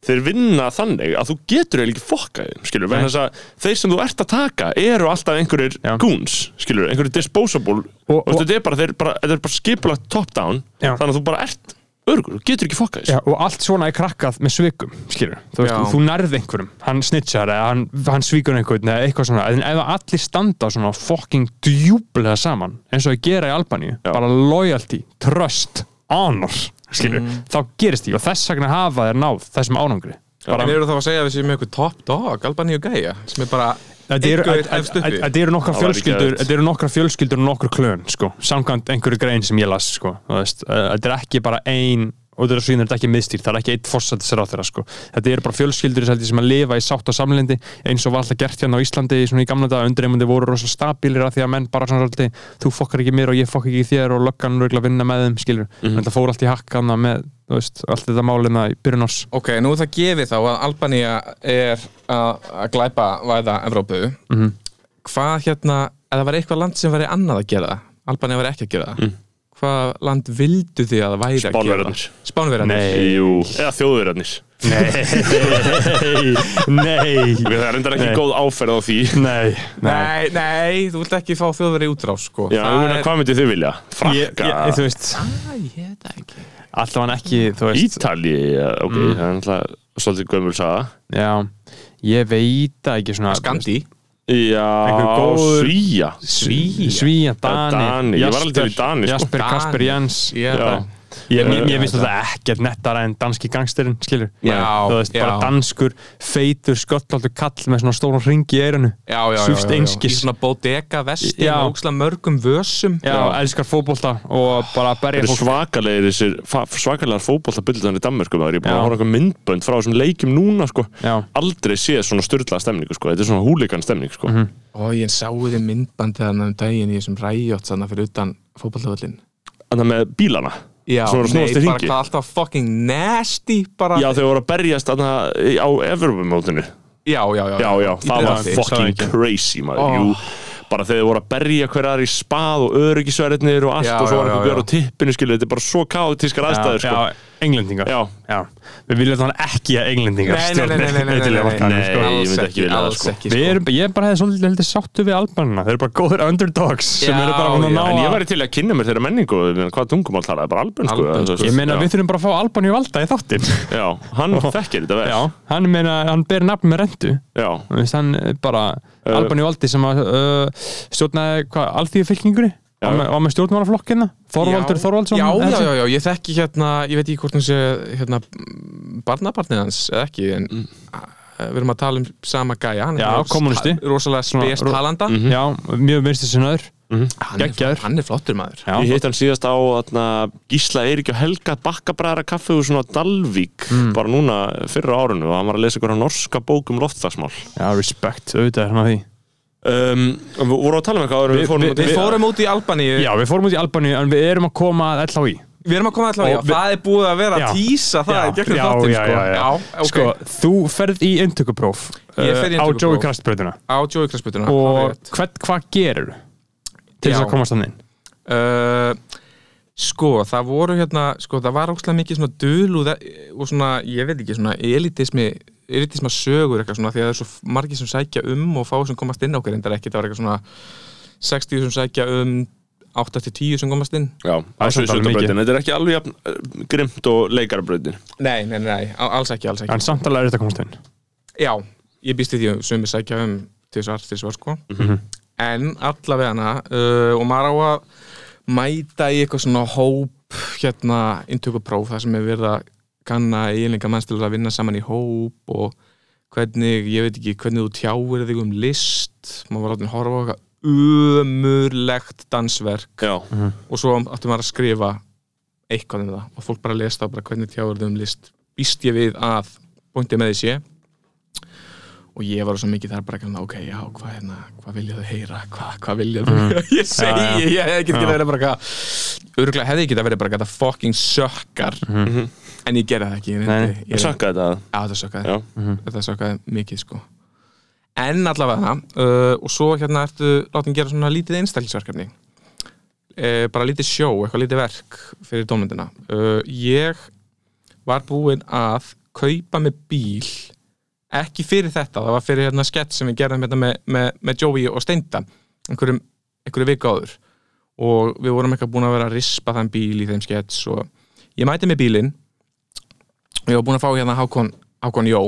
S2: þeir vinna þannig að þú getur eiginlega ekki fokkað þeim, skilur, vegna
S3: Nei.
S2: þess að þeir sem þú ert að taka eru alltaf einhverjir
S3: Já.
S2: goons, skilur, einhverjir disposable og,
S3: Og- og-
S2: þetta er bara, þeir bara, þetta er bara skipulagt top down,
S3: Já.
S2: þannig að þú bara ert örgur, þú getur ekki fokkað
S3: Já,
S2: þessu
S3: og allt svona er krakkað með svikum skilur, þú veist,
S4: Já.
S3: þú nærð einhverjum hann snitchar eða hann, hann svíkur einhvern eða eitthvað svona, en ef allir standa svona fucking djúblega saman eins og ég gera í Albaníu, bara loyalty trust, honor skilur,
S2: Mm.
S3: þá gerist því og þess vegna hafa þeir náð þessum ánangri bara,
S4: En eru þá að segja að við séum með eitthvað top dog Albaníu gæja sem er bara
S3: Þetta eru-
S4: einhver
S3: þetta-
S4: efst
S3: þetta-
S4: uppi
S3: þetta eru nokkra
S2: Það væri
S3: fjölskyldur
S2: geðveikt.
S3: þetta eru nokkra fjölskyldur og nokkra klön sko, samkvæmt einhverju grein sem ég las sko, þú veist, eh, þetta er ekki bara ein og þetta er svíðin, þetta er ekki miðstýr, það er ekki eitt fórsættisir á þeirra sko, þetta eru bara fjölskyldur held ég, sem að lifa í sátt og samlendi eins og var alltaf gert hérna á Íslandi svona í gamla dag undireimandi voru rosalega stabílir að því að menn bara svona svolítið, þú fokkar ekki mér og ég fokk ekki þér og löggan röglega vinna með þeim skilur, en það fór allt í hakkan með, þú veist, allt þetta málina í byrjun árs
S4: Ok, nú er það gefið þá að
S3: Mhm.
S4: Albanía er að að glæpa væða Evrópu Hvað hérna það var eitthvað land sem væri annað að gera það Albania var ekki að gera það
S3: Mm.
S4: hvað land vildu þið að það væri að gera
S2: Spánverjarnir.
S4: það? Spánverjarnir
S2: Jú, eða þjóðverðarnir
S3: Nei, nei,
S2: Það er reyndar ekki
S3: Nei.
S2: góð áferð á því
S3: nei, nei.
S4: Nei, nei, þú vilt ekki fá þjóðverði útrás sko.
S2: Já,
S4: Það
S2: ég meina,
S4: er-
S2: hvað myndið þið vilja?
S3: Ég,
S2: Frakka,
S3: ég, þú veist,
S4: Æ, ég veit það ekki
S3: alltaf hann ekki, þú veist Mm.
S2: Ítali eh, Ok, það er náttúrulega svolítið gömul saga
S3: Já, ég veit það ekki svona
S4: Skandi,
S2: Já,
S3: góður-
S2: Svíja
S3: Svíja, Svíja Dani,
S2: Dani. Ég var alveg til í Dani, sko.
S3: Jasper
S4: Dani.
S3: Kasper Jens
S4: Já.
S3: Ég, ég, ég vissi þetta ekkert nettara en danski gangsterinn, skilur
S4: Já,
S3: Þú veist, bara
S4: já.
S3: danskur, feitur, sköllhaldur kall með svona stóran ring í eirinu
S4: já, já, já,
S3: Súst
S4: já, já. Í
S3: einskis
S4: svona bodega vesti
S3: Já.
S4: með ókslega mörgum vösum
S3: Já, elskar fótbolta og bara
S2: Þeir
S3: berja
S2: eru
S3: fólk
S2: svakalegir þessir, fa- svakalegar fótboltabildunir í Danmörku maður, ég er búin
S3: Já.
S2: að horfa okkur myndbönd frá þessum leikjum núna sko,
S3: Já.
S2: aldrei séð svona styrlaða stemningu sko, þetta er svona húlikan stemning sko
S3: Mhm.
S4: Ó, ég sáu þið myndbandi þarna um daginn í þessum ræjótt þarna fyrir utan fótballöfullin
S2: Þannig með bílana
S4: Já,
S2: Svona snúast í
S4: nei, bara
S2: hringi.
S4: hvað alltaf fucking nasty bara,
S2: Já, þau voru að berjast þarna á Evropamótinu
S4: já, já, já,
S2: Já, já, það
S4: Í
S2: var
S4: Bretlandi.
S3: sá
S2: fucking
S3: ekki.
S2: crazy maður,
S4: Oh.
S2: jú bara þegar þau voru að berja hverjar í spað og öryggisverðinir og allt
S4: Já,
S2: og svo var
S4: já,
S2: einhver
S4: já,
S2: gaur á tippinu skilur, þetta er bara svo kaotískar aðstæður sko.
S3: Já, englendingar
S2: Já.
S3: Við viljum þannig ekki að englendingar
S4: Nei, nei, nei, nei, nei,
S3: stjórni
S4: nei, nei,
S3: Ítalíu-
S4: nei,
S2: sko. Nei, ég
S4: alls
S2: myndi ekki vilja það,
S4: alls
S2: sko.
S4: ekki,
S3: Við erum, ég bara hefði svolítið heldur sáttu við albanina Þeir eru bara góðir underdogs sem
S4: Já,
S3: eru bara búin að
S4: já.
S3: ná
S2: En ég
S3: að-
S2: væri til að kynna mér þeirra menningu ég meina, hvað tungumál talaði, bara albönsku
S4: Albönsku.
S3: Ég meina
S2: Já.
S3: við þurfum bara að fá Albaníu valda í þáttin
S2: Já, hann þekkir þetta vel
S3: Já, hann meina, hann ber nafn með rentu
S2: Já.
S3: Þú veist, Hann eh, bara, Albaníu valdi sem að uh, stjórnaði, hvað, alþýðu fylkingunni
S2: Já.
S3: Var með, var með stjórnmálaflokkina Þorvaldur
S4: Já.
S3: Þorvaldsson
S4: Já,
S3: eða
S4: já,
S3: þessi?
S4: já, já, ég þekki hérna, ég veit ekki hvort hún sé hérna mm, barnabarnið hans eða ekki, en
S2: Mm.
S4: a- við erum að tala um sama gæja, hann
S3: Já,
S4: er svona
S3: kommúnisti.
S4: sta- rosalega
S3: Svona
S4: spes
S3: ro-
S4: talanda
S2: Mm.
S3: já, mjög vinstu sinnaður
S4: hann, er,
S3: geggjaður.
S4: hann er flottur maður
S3: Já.
S2: Ég hitt hann síðast á atna, Gísla Eirík og Helga bakkabræðara kaffi og svona Dalvík bara núna fyrra árinu og hann var að lesa einhverja norska bók um loftfarsmál
S3: Já, respect, auðvitað er hann að því
S2: um, Við vorum að tala um eitthvað áður en
S3: Við-
S2: við fórum
S3: við-
S2: út í-
S4: Við fórum út í Albaníu,
S3: Já, við fórum út í Albaníu en við erum að koma að LHÍ
S4: við erum að koma allavega, já,
S3: Og við-
S4: það er búið að vera
S3: Já.
S4: að týsa það í gegnum
S3: já,
S4: þáttinn,
S3: já,
S4: sko
S3: já, já.
S4: ok,
S3: Sko, þú ferð í inntökupróf
S4: Ég fer í
S3: uh, á
S4: inntökupróf.
S3: Joey Krastbröðuna
S4: á Jói Krasputuna
S3: og hvern, hvað gerir til þess
S4: Já.
S3: að komast hann inn
S4: Uh, sko, það voru hérna sko, það var ókslega mikið svona dul og, það, og svona, ég veit ekki, svona elitismi elitisma sögur eitthvað svona því að það er svo margir sem sækja um og fá sem komast inn okkur endar ekki, það var eitthvað svona 60 sem sækja um 8-10 sem komast inn
S2: Já, á
S3: er samt alveg
S2: Suðurskjöldabrautinni. Þetta er ekki alveg jafn, eh, grimt og leikarbröðin
S4: Nei, nei, nei, á- alls ekki, alls ekki
S3: en samt alveg er þetta að komast inn
S4: Já, ég býst í því að sumir sækja um til svar, til svar sko en allavega hana uh, og maður á að mæta í eitthvað svona hóp hérna inntökupróf þar sem er verið að kanna eiginlega manns til að vinna saman í hóp og hvernig, ég veit ekki, hvernig þú tjáir þig um list maður var látið að horfa á eitthvað umurlegt dansverk
S2: Já,
S4: og svo áttum maður að skrifa eitthvað um það og fólk bara lesta á bara hvernig tjáir þig um list býst ég við að pointið með því sé og ég var svo mikið þar bara kannan, ok, já, hvað hérna, hvað vilja þau heyra, hvað, hvað vilja þau ég segi,
S3: Mm. Já, já.
S4: ég hefði ekki
S3: Já.
S4: getað verið bara hvað örgulega hefði ekki getað verið bara hvað það fucking sökkar en ég gerði það ekki, ég
S3: Mhm. Nei,
S4: reyndi ég
S2: ég
S4: reyndi-
S2: sakka þetta að-
S4: Já, þetta sökkaði, Mhm.
S2: Já,
S4: þetta sökkaði mikið sko en allavega uh, og svo hérna ertu látin gera svona lítið einstaklingsverkefni uh, bara lítið sjó, eitthvað lítið verk fyrir dómyndina uh, ég var búinn að kaupa með bíl ekki fyrir þetta, það var fyrir hérna skett sem við gerðum hérna með, með, með Joey og Steinda einhverjum, einhverju viku áður og við vorum eitthvað búin að vera að rispa þann bíl í þeim skett og ég mæti með bílinn og ég var búin að fá hérna Hákon, Hákon Jó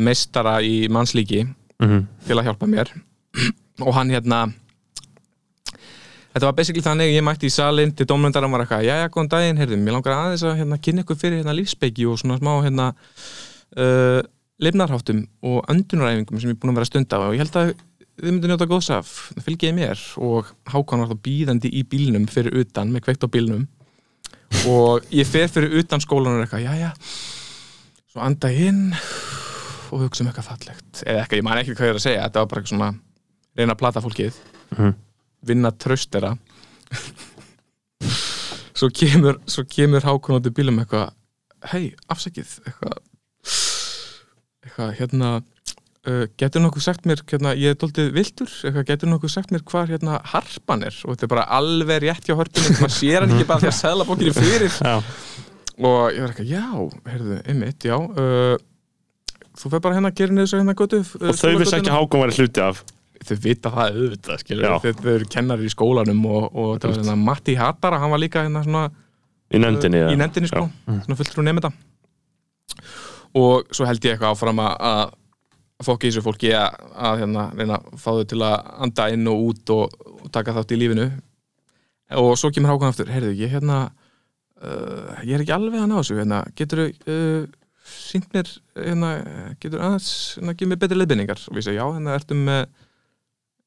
S4: meistara í mannslíki til að hjálpa mér og hann hérna þetta var basically þannig ég mætti í salin til dómlendar hann var eitthvað, jæja, góðan daginn, heyrðu, mér langar aðeins að hérna, kynna ykkur fyrir hérna lífspeiki og svona smá hérna uh, lifnarháttum og öndunaræfingum sem ég er búin að vera að stunda á og ég held að þið myndu njóta góðs af, fylgið mér og Hákon var þá býðandi í bílnum fyrir utan, með kveikt á bílnum og ég fer fyrir utan skólanur eitthvað, jæja svo anda ég inn og hugsa um eitthvað fallegt eða eitthvað, ég man ekki hvað ég er að segja þetta var bara eitthvað svona, reyna að plata fólkið
S2: Mhm.
S4: vinna tröst þeirra svo kemur svo kemur Hákon út í bílum eitthvað hei, afsakið eitthvað, eitthvað hérna uh, getur nokkuð sagt mér hérna, ég er doldið viltur, eitthvað, getur nokkuð sagt mér hvar hérna harpan er og þetta er bara alveg rétt hjá hörpunum, maður sér hann ekki bara því að sæðla bókinni fyrir
S3: Já.
S4: og ég var eitthvað, já, heyrðu, einmitt, já uh, þú fer bara hérna að gera niður svo hérna götu uh,
S2: og þau vissi ekki að
S4: skólagötuna.
S2: Hákon væri hluti af
S4: þau vita það auðvitað, skilur
S2: Já.
S4: þau þau eru kennar í skólanum og, og þetta var hérna Matti Hattara, hann var líka hérna svona
S2: í nefndinni
S4: í
S2: eða?
S4: nefndinni sko, svona fulltrú nefnda og svo held ég eitthvað áfram að- að fokki þessu fólki að, að hérna, reyna að fá þau til að anda inn og út og, og taka þátt í lífinu og svo kemur hákvæðan aftur heyrðu, ég hérna uh, ég er ekki alveg að ná þessu hérna, getur þau uh, sínt mér hérna, getur aðeins, hérna, getur mér betri leiðbendingar og ég segi, já, hérna, ertu með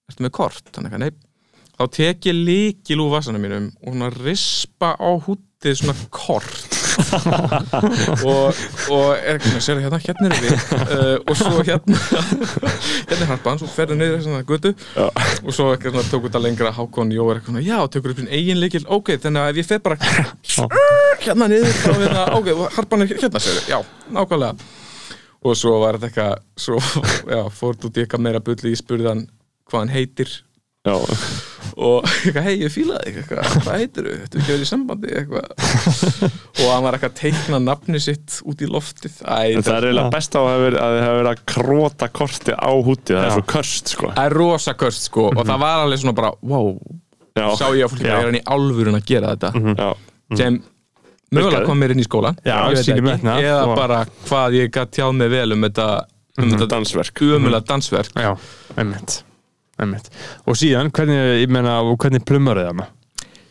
S4: ertu með kort, hann eitthvað, nei þá tek ég líkil úr vasanum mínum og svona rispa á húttið svona kort og, og er ekki svona, sér hérna, hérna erum við uh, og svo hérna hérna er harpan, svo ferðu niður svona götu
S2: Já.
S4: og svo ekki svona tók út að lengra Hákon Jó er eitthvað svona, já, tekur upp sinn eigin líkil ok, þannig að ef ég fer bara hérna niður, þá hérna, ok, og harpan er hérna, sér, já, nákvæmlega og svo var þetta eitthvað svo, já, fór þú dika meira bulli í spurðan hvað hann heitir
S2: Já.
S4: og eitthvað, hei, ég fílaði þig, eitthvað, hvað heitir þau, þetta er ekki verið í sambandi eitthvað og hann var eitthvað að teikna nafni sitt út í loftið Æ,
S2: en það er eiginlega best á að hafa verið- að þið hafa verið að króta korti á hútið það er
S3: Já.
S2: svo köst sko
S4: það er rosa köst sko og það var alveg svona bara, wow
S2: Já.
S4: sá ég að
S2: Mhm. Já.
S4: fólki bara er hann í alvörun að gera þetta
S2: Já.
S4: sem
S2: Virkaði.
S4: mögulega kom mér inn í skólan
S3: Já,
S4: ég veit
S3: sýnum
S4: ekki,
S3: metnað
S4: eða
S3: og-
S4: bara hvað ég gæti tjáð mig vel um þetta
S2: Mhm.
S4: um þetta
S2: dansverk
S4: umöðulega dansverk
S3: Já, einmitt, einmitt. Og síðan, hvernig, ég meina, og hvernig plumar þið hana?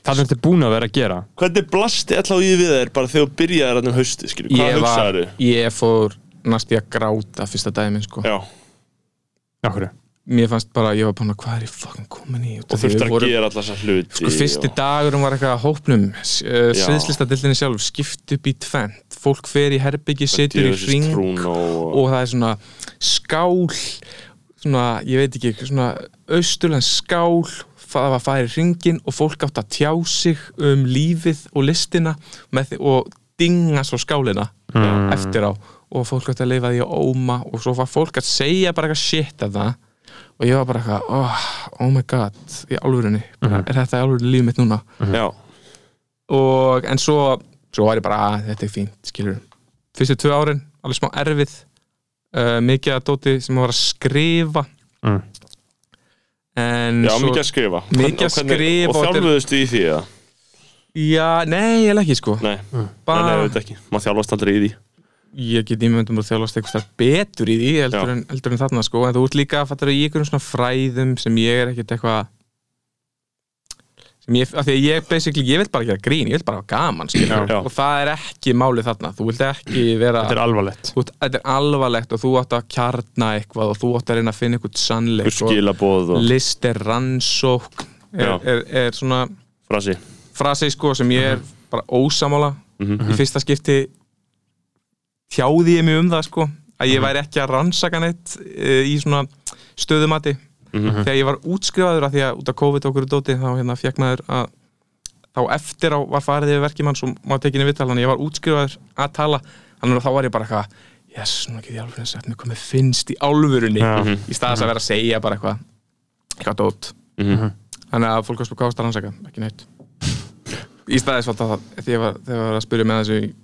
S3: Það er þetta búin að vera að gera
S2: hvernig blasti alltaf í við þeir bara þegar þú byrjaði þarna um hausti skilur, hvað
S4: ég, var,
S2: hugsaðu?
S4: ég fór næst ég að gráta fyrsta dæmi sko
S2: Já,
S3: Akkur,
S4: mér fannst bara, ég var bara, hvað er ég fucking komin í
S2: og þurfti að gera alltaf þessar hluti
S4: Sko, fyrsti
S2: og...
S4: dagurum var eitthvað að hópnum eh, sviðslistadildinni sjálf skipt upp í tvent fólk fer í herbyggi, setur í
S2: Djöfisins
S4: hring
S2: trún og...
S4: og það er svona skál svona, ég veit ekki, svona austurlands skál það var að fara í hringin og fólk átt að tjá sig um lífið og listina með, því- og dinga svo skálina eftir á og fólk átt að leifa því að óma og svo var fólk að segja bara eitthvað shit að það og ég var bara eitthvað, oh, oh my god í alvörunni, bara, er þetta í alvörunni lífið mitt núna
S2: Já,
S4: og en svo, svo var ég bara að þetta er fínt, skilur fyrstu tvö árin, alveg smá erfið uh, mikið að dóti sem var að skrifa
S3: Mm.
S4: en
S2: já
S4: svo
S2: mikið að skrifa
S4: Mikið að
S2: Og hvernig-
S4: skrifa
S2: Og
S4: og þetta er-
S2: þjálfuðustu í því, eða?
S4: já, nei, ég ekki sko
S2: Nei, nei,
S4: bara,
S2: nei, þetta ekki Maður þjálfast aldrei í því
S4: ég get ímyndum að þjálfast eitthvað starf betur í því
S2: Já.
S4: heldur en, heldur en þarna sko en þú ert líka að fatta í einhverjum svona fræðum sem ég er ekkert eitthvað sem ég, af því að ég basically, ég vil bara gera grín, ég vil bara hafa gaman skilur,
S2: Já.
S4: og það er ekki málið þarna þú vilt ekki vera
S3: þetta er alvarlegt
S4: Þú ert- þetta er alvarlegt og þú átt að kjarna eitthvað og þú átt að reyna að finna eitthvað sannleik og
S2: Skilabóð og
S4: list er rannsók er,
S2: Já.
S4: er, er svona
S2: frasi
S4: frasi sko sem ég er bara ósamála í fyrsta skipti tjáði ég mig um það sko að ég væri ekki að rannsaka neitt eh, í svona stöðumati þegar ég var útskrifaður að því að út af COVID og okkur dóti þá hérna fekk maður að þá eftir á var farið yfir verkið mann sem maður tekinni viðtal þannig að ég var útskrifaður að tala þannig að þá var ég bara eitthvað jess, nú get ég alveg að segja mér hvað mér finnst í alvörunni í staðis að vera að segja bara eitthvað eitthvað dót
S2: Mhm.
S4: Þannig að fólk var sko kást að rannsaka, ekki neitt Í staðis var það þegar ég var, þegar ég var að spyrja með þessu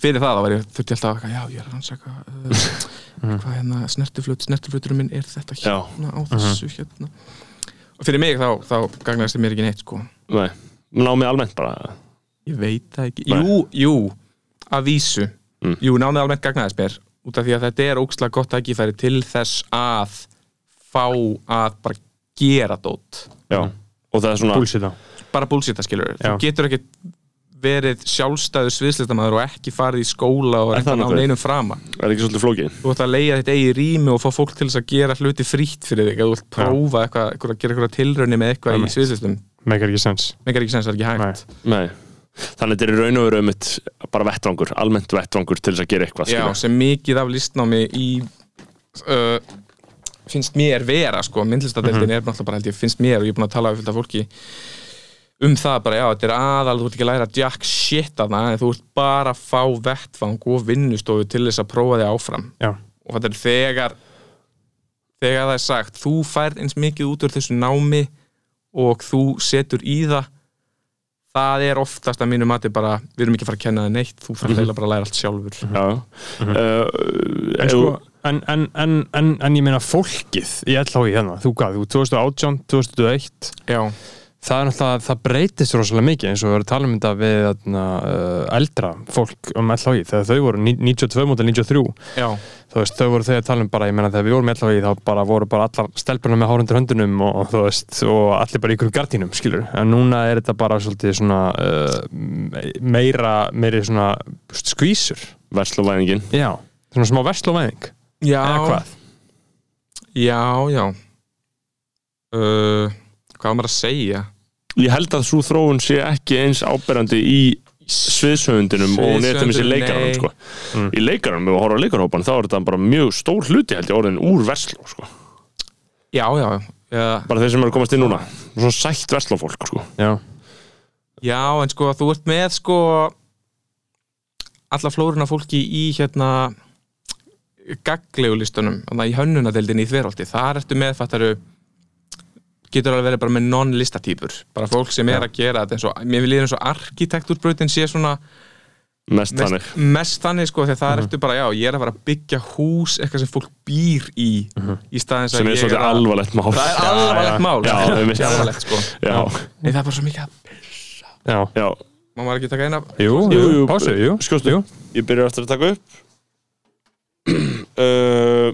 S4: fyrir það, þá var ég þurfti alltaf að eitthvað, já, ég er að rannsaka uh, hvað hérna, snertiflut, snertifluturum minn er þetta
S2: Já.
S4: hérna á þessu hérna og fyrir mig þá, þá gagnast þið mér ekki neitt sko
S2: Nei, námið almennt bara
S4: Ég veit það ekki,
S2: Nei.
S4: jú, jú að vísu,
S2: Mm.
S4: jú, námið almennt gagnaðis mér út af því að þetta er ókslega gott tækifæri til þess að fá að bara gera dót
S2: Já Og það er svona
S3: Búlsið á
S4: bara bullshit að skilur þú
S3: Já.
S4: getur ekki verið sjálfstæður sviðslistamaður og ekki farið í skóla og
S2: Er
S4: reynt
S2: það
S4: að ná
S2: nokkuð?
S4: neinum frama
S2: Er ekki svolítið flókið?
S4: þú ætti að leiða þitt eigi rými og fá fólk til þess að gera hluti frítt fyrir þig að þú ætti prófa eitthvað, eitthvað, gera eitthvað tilraunni með eitthvað í
S3: Einmitt.
S4: sviðslistum
S3: Megar ekki sens
S4: megar ekki sens, það er ekki hægt
S2: Nei Þannig þetta er í raun og veru um bara vettvangur, almennt vettvangur til þess að gera eitthvað
S4: Já,
S2: skilur.
S4: sem mikið af listnámi í uh, finnst mér vera sko, myndlistadeldin er náttúrulega bara held ég finnst mér og ég er búin að tala við fylgta fólki um það bara, já, þetta er aðal þú ert ekki að læra jack shit að það en þú ert bara að fá vettvang og vinnustofu til þess að prófa þig áfram
S3: Já,
S4: og þetta er þegar þegar það er sagt þú færð eins mikið út úr þessu námi og þú setur í það það er oftast að mínu mati bara, við erum ekki að fara að kenna það neitt þú færð heila bara að læra allt sjálfur
S2: Já
S4: Mhm.
S2: uh,
S3: En,
S2: ef
S3: sko,
S2: þú-
S3: en, en, en, en, en ég meina fólkið í LHI hérna, þú gaf, þú 2018, 2001
S4: já,
S3: það er náttúrulega, það breytist rosalega mikið eins og við erum að tala um þetta við atna, uh, eldra fólk um LHI þegar þau voru ní- 92 mútið 93
S4: já,
S3: þú veist, þau voru þau að tala um bara, ég meina þegar við vorum í LHI þá bara voru bara allar stelpunar með hárundur höndunum og, og þú veist, og allir bara ykkur gardínum, skilur, en núna er þetta bara svolítið svona uh, meira, meiri svona skvísur,
S2: Versluvæðingin
S3: já svona smá versluvæðing,
S4: já
S3: eða hvað
S4: já, já uh, hvað á maður að segja
S2: Ég held að svo þróun sé ekki eins áberandi í sviðsöfundinum og hún er til þessi
S4: Sviðshöfundinum,
S2: leikaranum
S4: nei. Mm.
S2: sko. Í leikaranum, ef við horfum á leikarhópan þá er þetta bara mjög stór hluti held ég orðin úr versló sko.
S4: já, já, já,
S2: bara þeir sem eru að komast inn núna svona sætt verslófólk sko.
S3: já,
S4: já en sko þú ert með sko alla flóruna fólki í hérna gagglegulistunum, þannig að í hönnunadeildin í þverholti, þar ertu með fattaru getur alveg verið bara með non-listatýpur bara fólk sem er að gera þetta eins og, mér vil líður eins og arkitektúrbrautin sé svona
S2: mest þannig
S4: mest, mest þannig sko þegar
S2: Mhm.
S4: það ertu bara, já, ég er að fara að byggja hús eitthvað sem fólk býr í í staðins
S2: Mhm. sem
S4: að
S2: er
S4: ég
S2: svolítið
S4: að
S2: alvarlegt mál
S4: það er alvarlegt mál
S2: Já,
S4: það
S2: einmitt.
S4: er alvarlegt sko
S2: Já,
S4: en það er bara svo mikið að
S3: já
S2: já,
S4: Má maður ekki taka eina
S3: Jú,
S2: Jú,
S3: jú,
S2: jú,
S3: pásu, jú
S2: skjóstu.
S3: Jú.
S2: ég byrjar eftir að taka upp uh,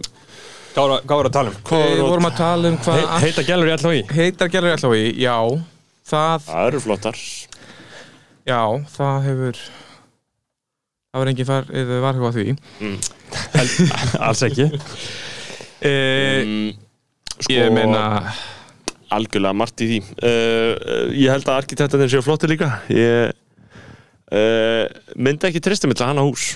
S3: Hvað voru- hvað voru að tala um?
S4: Við vorum að tala um hvað
S3: He- Heita gælur í LHI
S4: heitar gerður alltaf í Já, það,
S2: Það eru flottar
S4: já, það hefur Það var engin far, eða var eitthvað að því
S3: Alls ekki
S4: e,
S2: mm, sko,
S4: Ég meina,
S2: algjörlega margt í því uh, ég held að arkitektarnir séu flottir líka ég uh, myndi ekki treysta mig til að hanna hús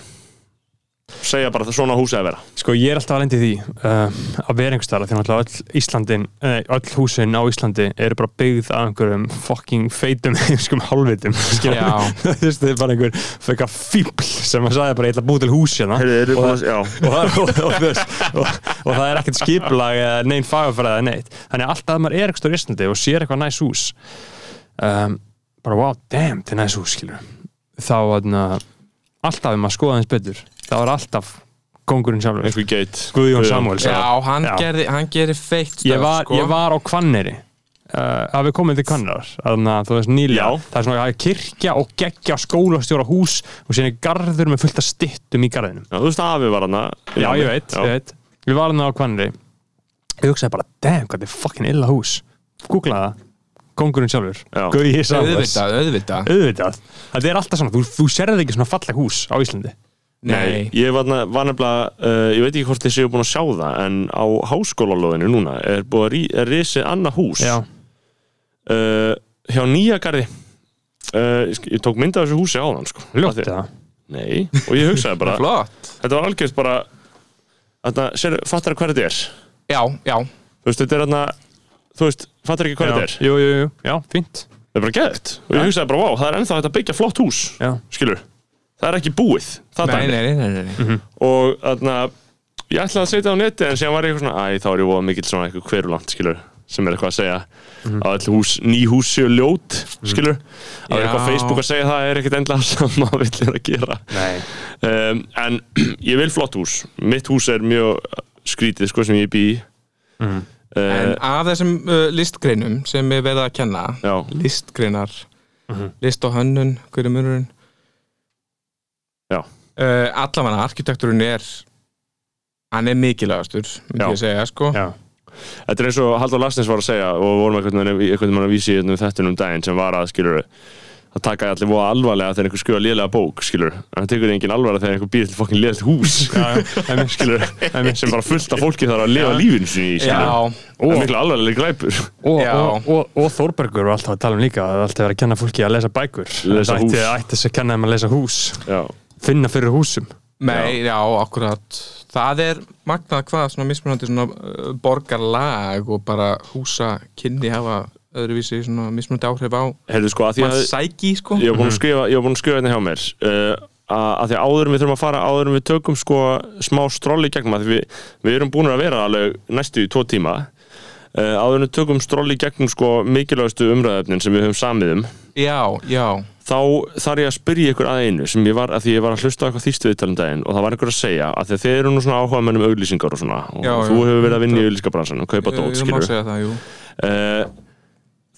S2: segja bara að svona hús eða vera
S3: Sko ég er alltaf að lendi því uh, að vera einhvers staðar því náttúrulega öll Íslandin nei, öll húsin á Íslandi eru bara byggð af einhverjum fucking feitum heimskum hálfitum skilur.
S4: Já.
S3: Þú veist þið er bara einhver feka fíbl sem að sagði bara ég ætla að búi til hús hérna
S2: Heyrðu, eru búin að- já.
S3: og, og, og, og, þú veist, og, og það er ekkert skiplag eða neinn fagafræði eða neitt þannig að alltaf að maður er einhvers staðar í Íslandi og sér eitthvað næs hús um, bara wow damn til næs hús skilur þá þarna, alltaf ef maður skoða eins betur þá er alltaf kongurinn sjálfur
S2: eins og ég geit
S3: Guðjón Samuels
S4: já, hann
S3: Já.
S4: gerði, hann gerði feitt stöf,
S3: ég var,
S4: sko.
S3: ég var á Kvanneri uh, að við komum til Kvannerar þannig að þú veist nýlega
S2: Já.
S3: það er svona að kirkja og geggja skólastjóra hús og síðan er garður með fullt af styttum í garðinum
S2: Já, þú veist að afi var hana
S3: já, ég veit, ég veit við varum á Kvanneri ég hugsaði bara, damn, hvað þetta er fucking illa hús googlaði það, kongurinn sjálfur
S2: Já.
S3: Guðjón Samuels
S4: Auðvitað, auðvitað
S3: auðvitað, þetta er alltaf svona þú, þú sérði ekki svona falleg hús á Íslandi
S2: Nei,
S4: Nei,
S2: ég var, na- var nefnilega, uh, ég veit ekki hvort þið séu búin að sjá það, en á háskólalóðinu núna er búið að rí, er risið annað hús
S3: já,
S2: uh, hjá Nýjagarði. Uh, ég, sk- ég tók mynd af þessu húsi áðan, sko.
S3: ljótti
S2: Af því-
S3: það
S2: Nei, og ég hugsaði bara,
S4: flott
S2: þetta var algjörst bara, þetta, sér, fattar hvað þetta er?
S4: Já, já,
S2: Þú veist, þetta er þarna, þú veist, fattar ekki hvað
S3: já,
S2: þetta er?
S3: jú, jú, jú, já, fínt
S2: Það er bara geðt. Og ég hugsaði bara, vá, það er ennþá hægt að byggja flott hús,
S3: já,
S2: skilur. Það er ekki búið, það
S4: nei,
S2: dæmi.
S4: nei, nei, nei, nei.
S2: og þarna ég ætlaði að setja á neti en síðan var ég eitthvað svona æ, þá er ég voða mikill svona eitthvað hverulant skilur sem er eitthvað að segja
S4: Mhm.
S2: að all hús, ný hús séu ljót skilur, að
S4: Já.
S2: eitthvað Facebook að segja það er ekkert endla sem maður vill er að gera
S3: nei
S2: um, en ég vil flott hús mitt hús er mjög skrítið sko sem ég bý í
S4: Mhm. En
S2: uh,
S4: af þessum uh, listgreinum sem er verið að kenna
S2: já,
S4: listgreinar
S2: Mhm.
S4: list og hönnun, hver er munurinn
S2: Já.
S4: uh, allavega arkitekturinn er hann er mikilvægastur myndi
S2: Já.
S4: ég segja sko
S3: já,
S2: þetta er eins og Halldór Larsnes var að segja og við vorum einhvern veginn einhvern veginn að vísi í þetta um daginn sem var að skilur það taka allir voða alvarlega þegar einhver skrifa lélega bók skilur, en það tekur þið engin alvarlega þegar einhver býr til fokkin lélega hús
S3: já, já,
S2: skilur, sem bara fullt af fólki þarf að lifa
S3: Já.
S2: lífinu sinni í skilur
S4: já,
S2: það er miklu alvarlega glæpur
S3: og,
S4: Já.
S3: og, og, og Þórbergur var alltaf að tala um líka að alltaf verið að kenna fólki að lesa bækur
S2: Lesa
S3: Það ætti,
S2: hús.
S3: ætti þess að kenna þeim að lesa hús
S2: já,
S3: finna fyrir húsum
S4: mei, já. akkurat það er magnað hvað svona mismunandi svona uh, borgarlag og bara húsa kynni hafa öðruvísi svona mismunandi áhrif á
S2: heyrðu sko að því
S4: mann
S2: að
S4: sæki sko
S2: ég var búin að skrifa ég var búin að skrifa hérna hjá mér uh, að, að því að áður en við þurfum að fara áður en við tökum sko smá strolli gegnum að því við, við erum búin að vera alveg næstu í tvo tíma uh, áður en við tökum strolli gegnum sko mikilvægustu umræðefnin sem við höfum samið um
S4: já, já,
S2: þá þarf ég að spyrja ykkur að einu sem ég var að því ég var að hlusta á eitthvað þýstu viðtalum daginn og það var einhver að segja að því að þið eru nú svona áhuga mennum auglýsingar og svona og
S4: Já,
S2: þú
S4: já.
S2: hefur verið að vinna í auglýsingabransan og kaupa dót
S4: ég, ég má
S2: skilur
S4: segja það, jú
S2: uh,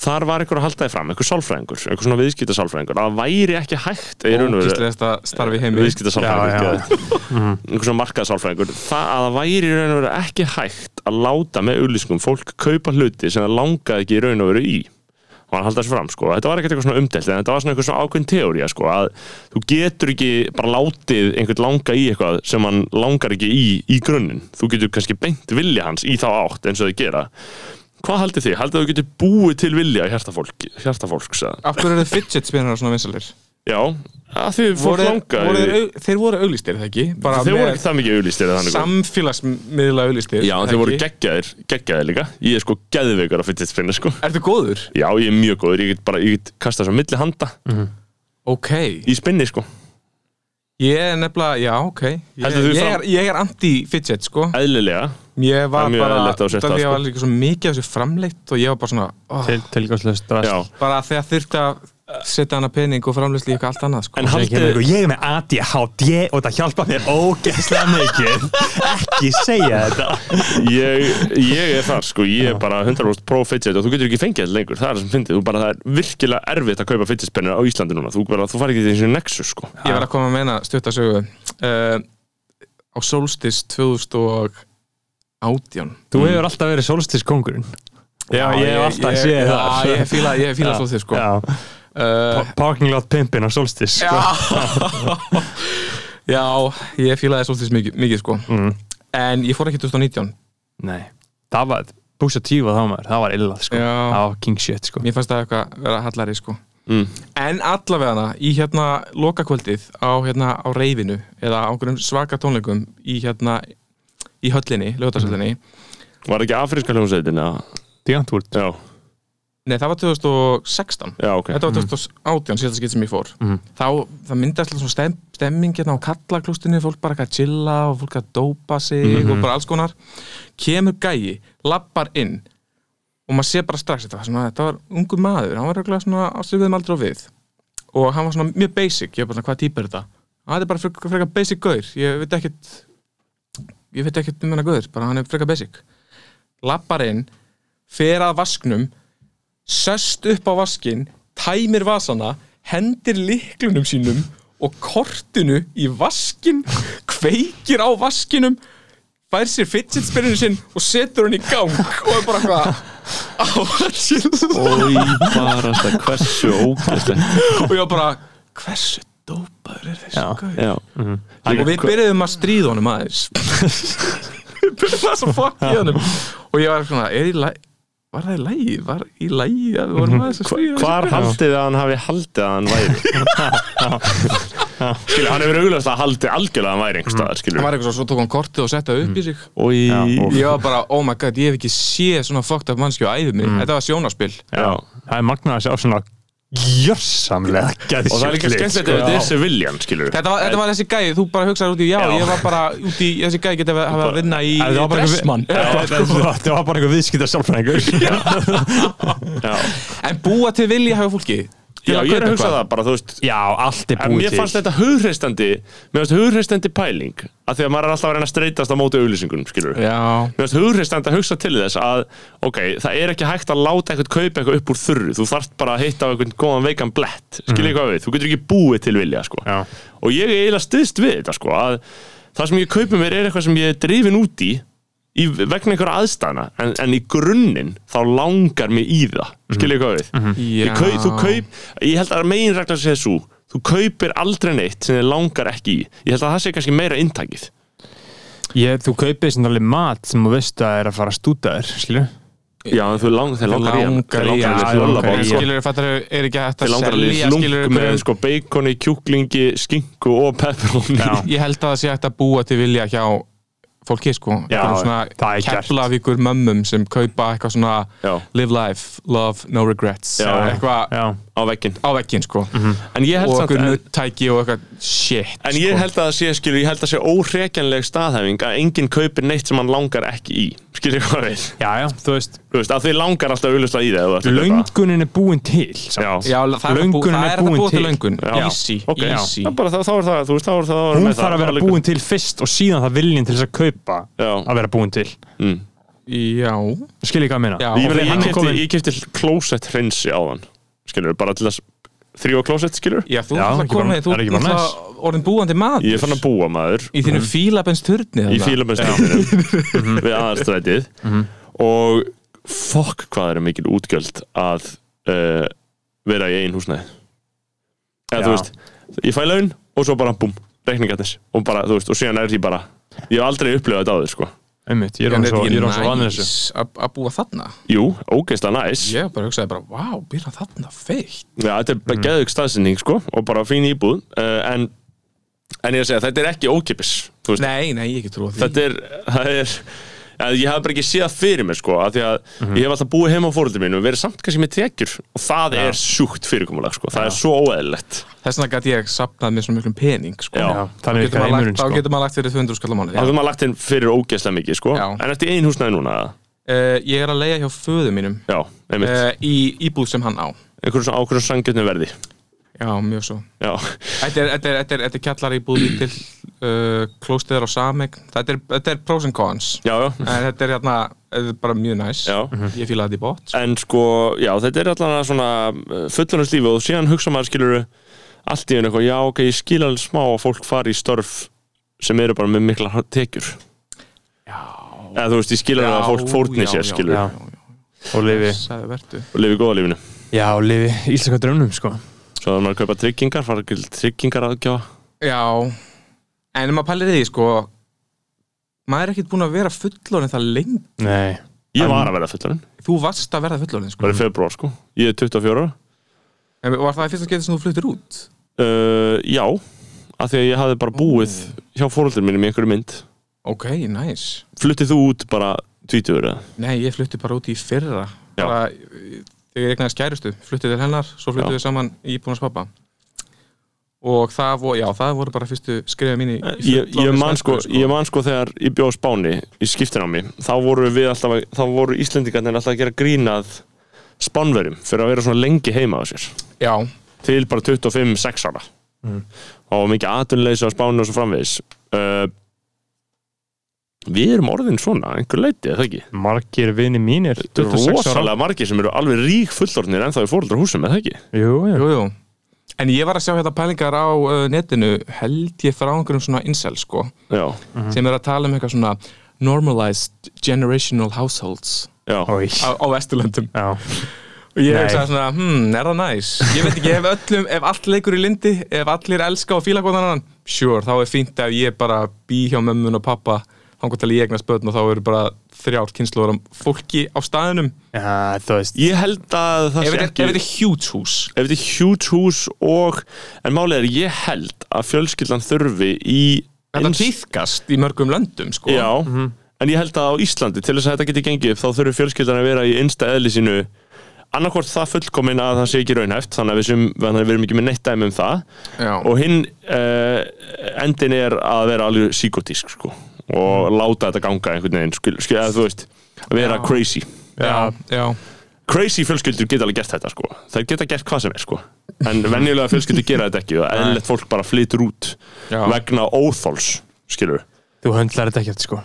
S2: þar var einhver að halda þið fram einhver sálfræðingur, einhver svona viðskita að það væri ekki hægt í raun og veru-
S4: ógistlegasta starfi í heimi
S2: viðskita sálfræðingur einhver svona markað sálfræðingur það að það væri í raun og veru ekki hægt að láta með auðlýsingum fólk kaupa hluti sem það langaði ekki í raun og veru í og hann haldast fram sko, þetta var ekkert eitthvað svona umdelt en þetta var svona eitthvað svona ákveðin teóri sko, að þú getur ekki bara látið einhvern langa í eitthvað sem hann langar ekki í í grunninn, þú getur kannski beint vilja hans í þá átt eins og þau gera hvað haldið þið? Haldið þið að þú getur búið til vilja hjartafólk, hjartafólks eða?
S4: af hverju eru fidget spinnar og svona vinsalir
S2: Já, að því fólk
S4: Voru þeir-
S2: langar
S4: voru þeir au- þeir voru auðlistir, það ekki? bara
S2: Þeir voru
S4: með
S2: ekki það mikið auðlýstir þannig sko.
S4: samfélagsmiðla auðlistir
S2: Já, en þeir voru geggjaðir, geggjaðir líka Ég er sko geðveikur að fidget spinner sko
S4: ertu góður?
S2: Já, ég er mjög góður, ég get bara, ég get kastað svo milli handa
S4: ok,
S2: í spinni sko
S4: ég er nefnilega, já, ok ég,
S2: Heldur þú
S4: ég,
S2: fram-
S4: er, ég er anti-fidget, sko
S2: Eðlilega,
S4: ég var
S2: Það er mjög
S4: bara,
S2: eðlilegt á sér
S4: út af
S2: stað,
S4: því að ég
S2: sko.
S4: var líka svo mikið af þessu framleitt og ég var bara svona, oh,
S3: til, tilgjóðslega
S2: já
S3: strast
S4: bara þegar þurfti að setja hana pening og framleiðsli í eitthvað allt annað, sko
S2: En
S5: Ég er,
S2: haldið,
S5: með, ég er með ADHD og það hjálpa mér ógeðslega mikið ekki segja þetta
S2: ég, ég er þar sko Ég er bara 100% pro fidget og þú getur ekki fengið þetta lengur Það er það sem fyndið, þú bara, það er virkilega erfitt að kaupa fidget spinner á Íslandi núna Þú bara, þú farið ekki til þessu nexus sko
S4: ég var að koma að meina stuttasögu uh, á Solstice 2018
S3: Þú hefur alltaf verið sólstískongurinn
S4: Já,
S3: ég hef alltaf
S4: ég-
S3: séð
S4: já,
S3: það.
S4: Ég hef fílað, ég hef fílað svo þig, sko
S3: Já,
S4: uh,
S3: parking lot pimpin á sko. sólstís
S4: Já
S3: sko.
S4: Já, ég fílaði svolítið mikið, mikið sko
S3: Mm.
S4: En ég fór ekki 2019
S3: Nei, það var Búsa tífa þá maður, það var illað sko
S4: Já.
S3: Það var king shit sko
S4: Mér fannst það eitthvað vera hallari sko
S3: Mm.
S4: En allavegana í hérna lokakvöldið á hérna á reyfinu eða á einhverjum svaka tónleikum í hérna í höllinni, lögutarsöllinni
S3: Mm.
S2: Var ekki afríska hljómsveitin að
S3: Díantúrt
S2: Já,
S4: Nei, það var 2016
S2: já, ok
S4: Þetta var 2018, síðasta skitt sem ég fór Þá, það myndast alltaf svona stem, stemming hérna á kallaklústinu, fólk bara eitthvað að chilla og fólk að dópa sig og bara alls konar Kemur gæi, lappar inn og maður sé bara strax þetta var, svona, þetta var ungu maður, hann var reglulega svona ástrifiðum aldrei og við og hann var svona mjög basic, ég var bara svona hvað típa er þetta hann er bara frekar, frekar basic gaur ég veit ekkert ég veit ekkert um hennar gaur, bara hann er frekar basic lappar inn fer að vasknum sest upp á vaskin, tæmir vasana, hendir liklunum sínum og kortinu í vaskin, kveikir á vaskinum, fær sér fidget spinninu sinn og setur hann í gang og er bara eitthvað á vaskinu
S2: Í barasta, hversu ógæslega
S4: og ég var bara, hversu dópaður er þessi gauð?
S2: Já
S4: Og við byrjuðum að stríða honum aðeins. við byrjuðum að svo fokk í honum. Og ég var svona, er í lægi? Var það í lægi? Var í lægi að við vorum aðeins að stríða? þessu
S2: Mhm. Hvar
S4: gauði?
S2: haldið þið að hann hafi haldið að hann væri? skilur, hann hefur auglast að haldið algjörlega að hann væri einhver staðar, skilur.
S4: Mm. hann var eitthvað svo, svo tók hann kortið og setta upp
S2: Mm.
S4: í sig
S2: Og í...
S3: Já,
S4: ég var bara, oh my god, ég hef ekki séð svona fucked up mannskju á æfið mig, þetta var sjónaspil
S2: Mm. Já.
S3: Það er magnað að sjá svona Gjörsamlega
S2: Og það er líka skemmtilegt ef þetta er Sevillian, skilur.
S4: þetta var, þetta var þessi gæði, þú bara hugsaði út í já,
S2: Já.
S4: ég var bara út í, þessi gæði geta hafa verið að vinna í dressmann
S3: Það Sko, var bara einhver viðskita sjálfræðingur
S2: Já,
S4: en búa til vilja hafa fólki til
S2: já
S4: að
S2: ég er
S4: kaupa
S2: að hugsa
S4: eitthvað.
S2: það bara, þú veist,
S3: Já, allt er
S2: En
S3: búið
S2: mér fannst þetta hugreistandi, mér fannst hugreistandi pæling að því að maður er alltaf að reyna að streytast á móti auðlýsingunum, skilur.
S4: já,
S2: Mér finnst hugreistandi að hugsa til þess að ok, það er ekki hægt að láta eitthvað kaupa eitthvað upp úr þurru, þú þarft bara að hitta á eitthvað góðan veikan blett, skilja mm. hvað við þú getur ekki búið til vilja, sko
S3: Já.
S2: og ég er eiginlega stiðst við þetta, sko að það sem ég kaupi mér er eitthvað sem ég er drifin út í, í vegna einhverja aðstæðna, en, en í grunninn þá langar mér í það, skilja hvað við
S4: já.
S2: Ég kaup, þú kaup, ég held að megin regla sé þessu, þú kaupir aldrei neitt sem þið langar ekki í, ég held að það sé kannski meira inntakið,
S3: Ég, þú kaupið sem alveg mat sem þú veist að er að fara að stúta þér, skilju
S2: já, en þú lang, þeir langar í hann. Þeir
S4: langar í
S2: langar í þessi
S4: já,
S2: lullabá,
S4: en
S2: sko.
S4: skilur fattar er ekki hægt
S2: Þeir
S4: að
S2: langar að
S4: selja
S2: liða
S4: skilurðu,
S2: slung með
S4: hverju-
S2: sko beikoni, kjúklingi, skinku og pepperoni
S3: Já.
S4: ég held að það sé hægt að búa til vilja hjá fólki sko
S3: Já,
S4: Einhverjum
S3: það er gert.
S4: Keflavíkur mömmum sem kaupa eitthvað svona
S2: Já.
S4: live life, love, no regrets
S2: Já.
S4: eitthvað
S3: Já.
S2: á veggin
S4: á veggin sko
S2: En Mhm. ég held
S4: og
S2: samt
S4: okkur
S2: en,
S4: nuttæki og eitthvað shit sko.
S2: en
S3: sko.
S2: ég held að það sé, skilur, ég held að það sé óhrekjanleg staðhæfing að enginn kaupir neitt sem hann langar ekki í Skilur ég hvað við?
S3: já, já, þú veist
S2: Þú veist, að þið langar alltaf auðvitað í það ef þú ert að kaupa.
S3: löngunin er búin til samt.
S2: Já,
S4: Já, það er
S3: Löngunin
S4: búin, það
S3: er
S4: er búin,
S3: búin
S4: búin til
S3: til.
S4: löngun
S2: Já.
S4: Easy,
S2: ok,
S4: easy
S2: já, bara þá, þá er það, þú veist, þá er það
S3: hún þarf að vera búin til fyrst og síðan það viljinn til þess að kaupa
S2: Já.
S3: að vera búin til
S4: Já,
S3: skil ég hvað að minna
S4: já
S2: Ég, meina, ég,
S3: hann er
S2: kefti,
S3: kominn-
S2: ég kefti klósett hreinsi á þann Skilur, bara til að þrjóa klósett, skilur
S4: Já, þú
S3: Já,
S4: ert
S3: ekki bara-
S4: komið, þú
S3: er ekki bara
S4: ert
S3: næs?
S4: náttúrulega orðin búandi maður
S2: Ég er fann að búa maður
S4: Í
S3: Mm.
S4: þínu fílabens turni
S2: í fílabennstættinum við aðarstrætið og fokk hvað er mikil útgjöld að uh, vera í einn húsnæði eða þú
S5: Já.
S2: veist ég fæ laun og svo bara búm, reikningarnir og bara, þú veist, og síðan er ég bara ég hef aldrei upplifað þetta á þér, sko
S3: Einmitt, ég er
S4: En
S3: hann
S4: er
S3: svo,
S4: þetta
S3: ég er orðinn svo
S4: ekki
S3: vanur
S4: næs
S3: þessu
S4: að að búa þarna?
S2: Jú, ógeðslega næs
S4: Ég bara hugsaði bara, vá, býr hann þarna feitt
S2: Já, þetta er bara geðug staðsynning, sko og bara fín íbúð uh, en, en ég er að segja, þetta er ekki ókipis þú veist,
S4: Nei, nei, ég ekki trúa því
S2: þetta er, það er að ég hef bara ekki séð það fyrir mér sko að því að ég hef alltaf búið heima á fóröldur mínu og verið samt kannski með tekjur og það er sjúkt fyrirkomulega sko, það er svo óeðlilegt
S4: Þess vegna gæti ég sapnað mér svona miklum pening sko.
S2: Já.
S3: Já, þannig
S4: Getur
S3: virkar
S4: maður lagt-
S3: heimurinn
S4: Þá
S3: sko.
S4: getur maður lagt fyrir 200 skall á mánuði
S2: það er maður lagt inn fyrir ógeðslega mikið sko
S4: Já.
S2: en eftir einn húsnæði núna eða?
S4: Eh, Ég er að leiða hjá föðu mínum
S2: já, einmitt,
S4: eh, í íbúð sem hann á
S2: einhverjum svona ákveðum sangjötnum verði
S4: Já, mjög svo
S2: já,
S4: Þetta er, þetta er, þetta er, þetta er kjallar íbúð til uh, klóstiðar á sameg þetta er, þetta er pros and cons
S2: já, já
S4: en þetta er, hérna, þetta er bara mjög næs
S2: Mm. Já.
S4: Ég fíla þetta í bótt
S2: en sko, já, þetta er allan svona fullanast lífi og síðan hugsa maður skilur allt í einu eitthvað, já, ok, ég skil alveg smá að fólk fari í störf sem eru bara með mikla tekjur já eða þú veist, ég skil alveg að fólk fórni sér skilur
S3: já. og lifi
S4: Sæðu vertu
S2: og lifi góða lífinu
S3: já, og lifi íslenska drömnum sko.
S2: svo þarf maður að kaupa tryggingar, fara til tryggingar aðgjáða
S4: Já, en ef maður pælir í því sko maður er ekkert búin að vera fullorinn það lengi
S3: nei,
S2: ég var að verða fullarinn,
S4: þú varst að verða fullorinn sko
S3: Mhm.
S2: bara í februar sko ég er 24 ára,
S4: en var það í fyrsta skeitt sem þú fluttir út
S2: uh, já af því að ég hafði bara búið
S3: Mm.
S2: hjá fóröldur mínum í einhverju mynd
S4: ok, næs
S2: fluttið þú út bara 20 ára
S4: nei, ég flutti bara út í fyrra
S2: Já.
S4: bara, eh, þegar ég egnaði skærustu fluttið til hennar, svo
S2: Já.
S4: fluttið við saman í búinars pappa og það voru, já, það voru bara fyrstu skrifið mín í í
S2: Eh, ég, ég,
S4: fullorðins
S2: man sko,
S4: mennsku,
S2: ég man sko þegar ég bjóð Spáni í skiptinámi þá voru við alltaf að- þá voru Íslendingarnir alltaf að gera grínað Spánverjum fyrir að vera svona lengi heima á sér
S4: já,
S2: til bara 25-6 ára og mikið atunleysi á Spáni og svo framvegis uh, við erum orðin svona einhver leiti, eða ekki
S3: margir vini mínir
S2: Þetta eru
S3: 26 ára
S2: rosalega margir sem eru alveg rík fullorðnir ennþá í fóröldarhúsum, eða ekki
S3: jú, jú.
S4: jú, jú en ég var að sjá hérna pælingar á uh, netinu held ég frá einhverjum svona incel sko,
S2: Já,
S3: Mhm.
S4: sem er að tala um eitthvað svona normalized generational households
S2: já,
S3: Oj.
S4: á, á Vesturlöndum
S3: já,
S4: og ég
S3: Nei.
S4: hugsaði svona, hmm, er það næs ég veit ekki, ef öllum, ef allt leikur í lindi ef allir elska og fíla góðan annan sure, þá er fínt ef ég bara bý hjá mömmun og pappa, þangur til ég eignast börn og þá eru bara þrjár kynnslóður af fólki á staðinum ef
S3: já, þú veist
S2: Ég held að það
S4: þetta er- ef þetta er huge hús
S2: ef þetta er huge hús og en málið er ég held að fjölskyldan þurfi í
S4: þetta
S2: eins-
S4: týðkast í mörgum löndum sko.
S2: já, en ég held að á Íslandi til þess að þetta geti gengið upp þá þurfi fjölskyldan að vera í einsta eðli sínu annarkvort það fullkomin að það sé ekki raunhæft þannig að við, sem, þannig að við erum ekki með neitt dæmi um það
S4: Já.
S2: og hinn uh, endin er að vera alveg psíkotísk sko, og láta þetta ganga einhvern veginn, skil, skil, eða þú veist að vera crazy
S4: já, já.
S2: crazy fjölskyldur geta alveg gert þetta sko þær geta gert hvað sem er sko en venjulega fjölskyldur gera þetta ekki og eðlilegt fólk bara flytur út
S4: Já.
S2: vegna óþóls skilur
S3: þú höndlar þetta ekkert sko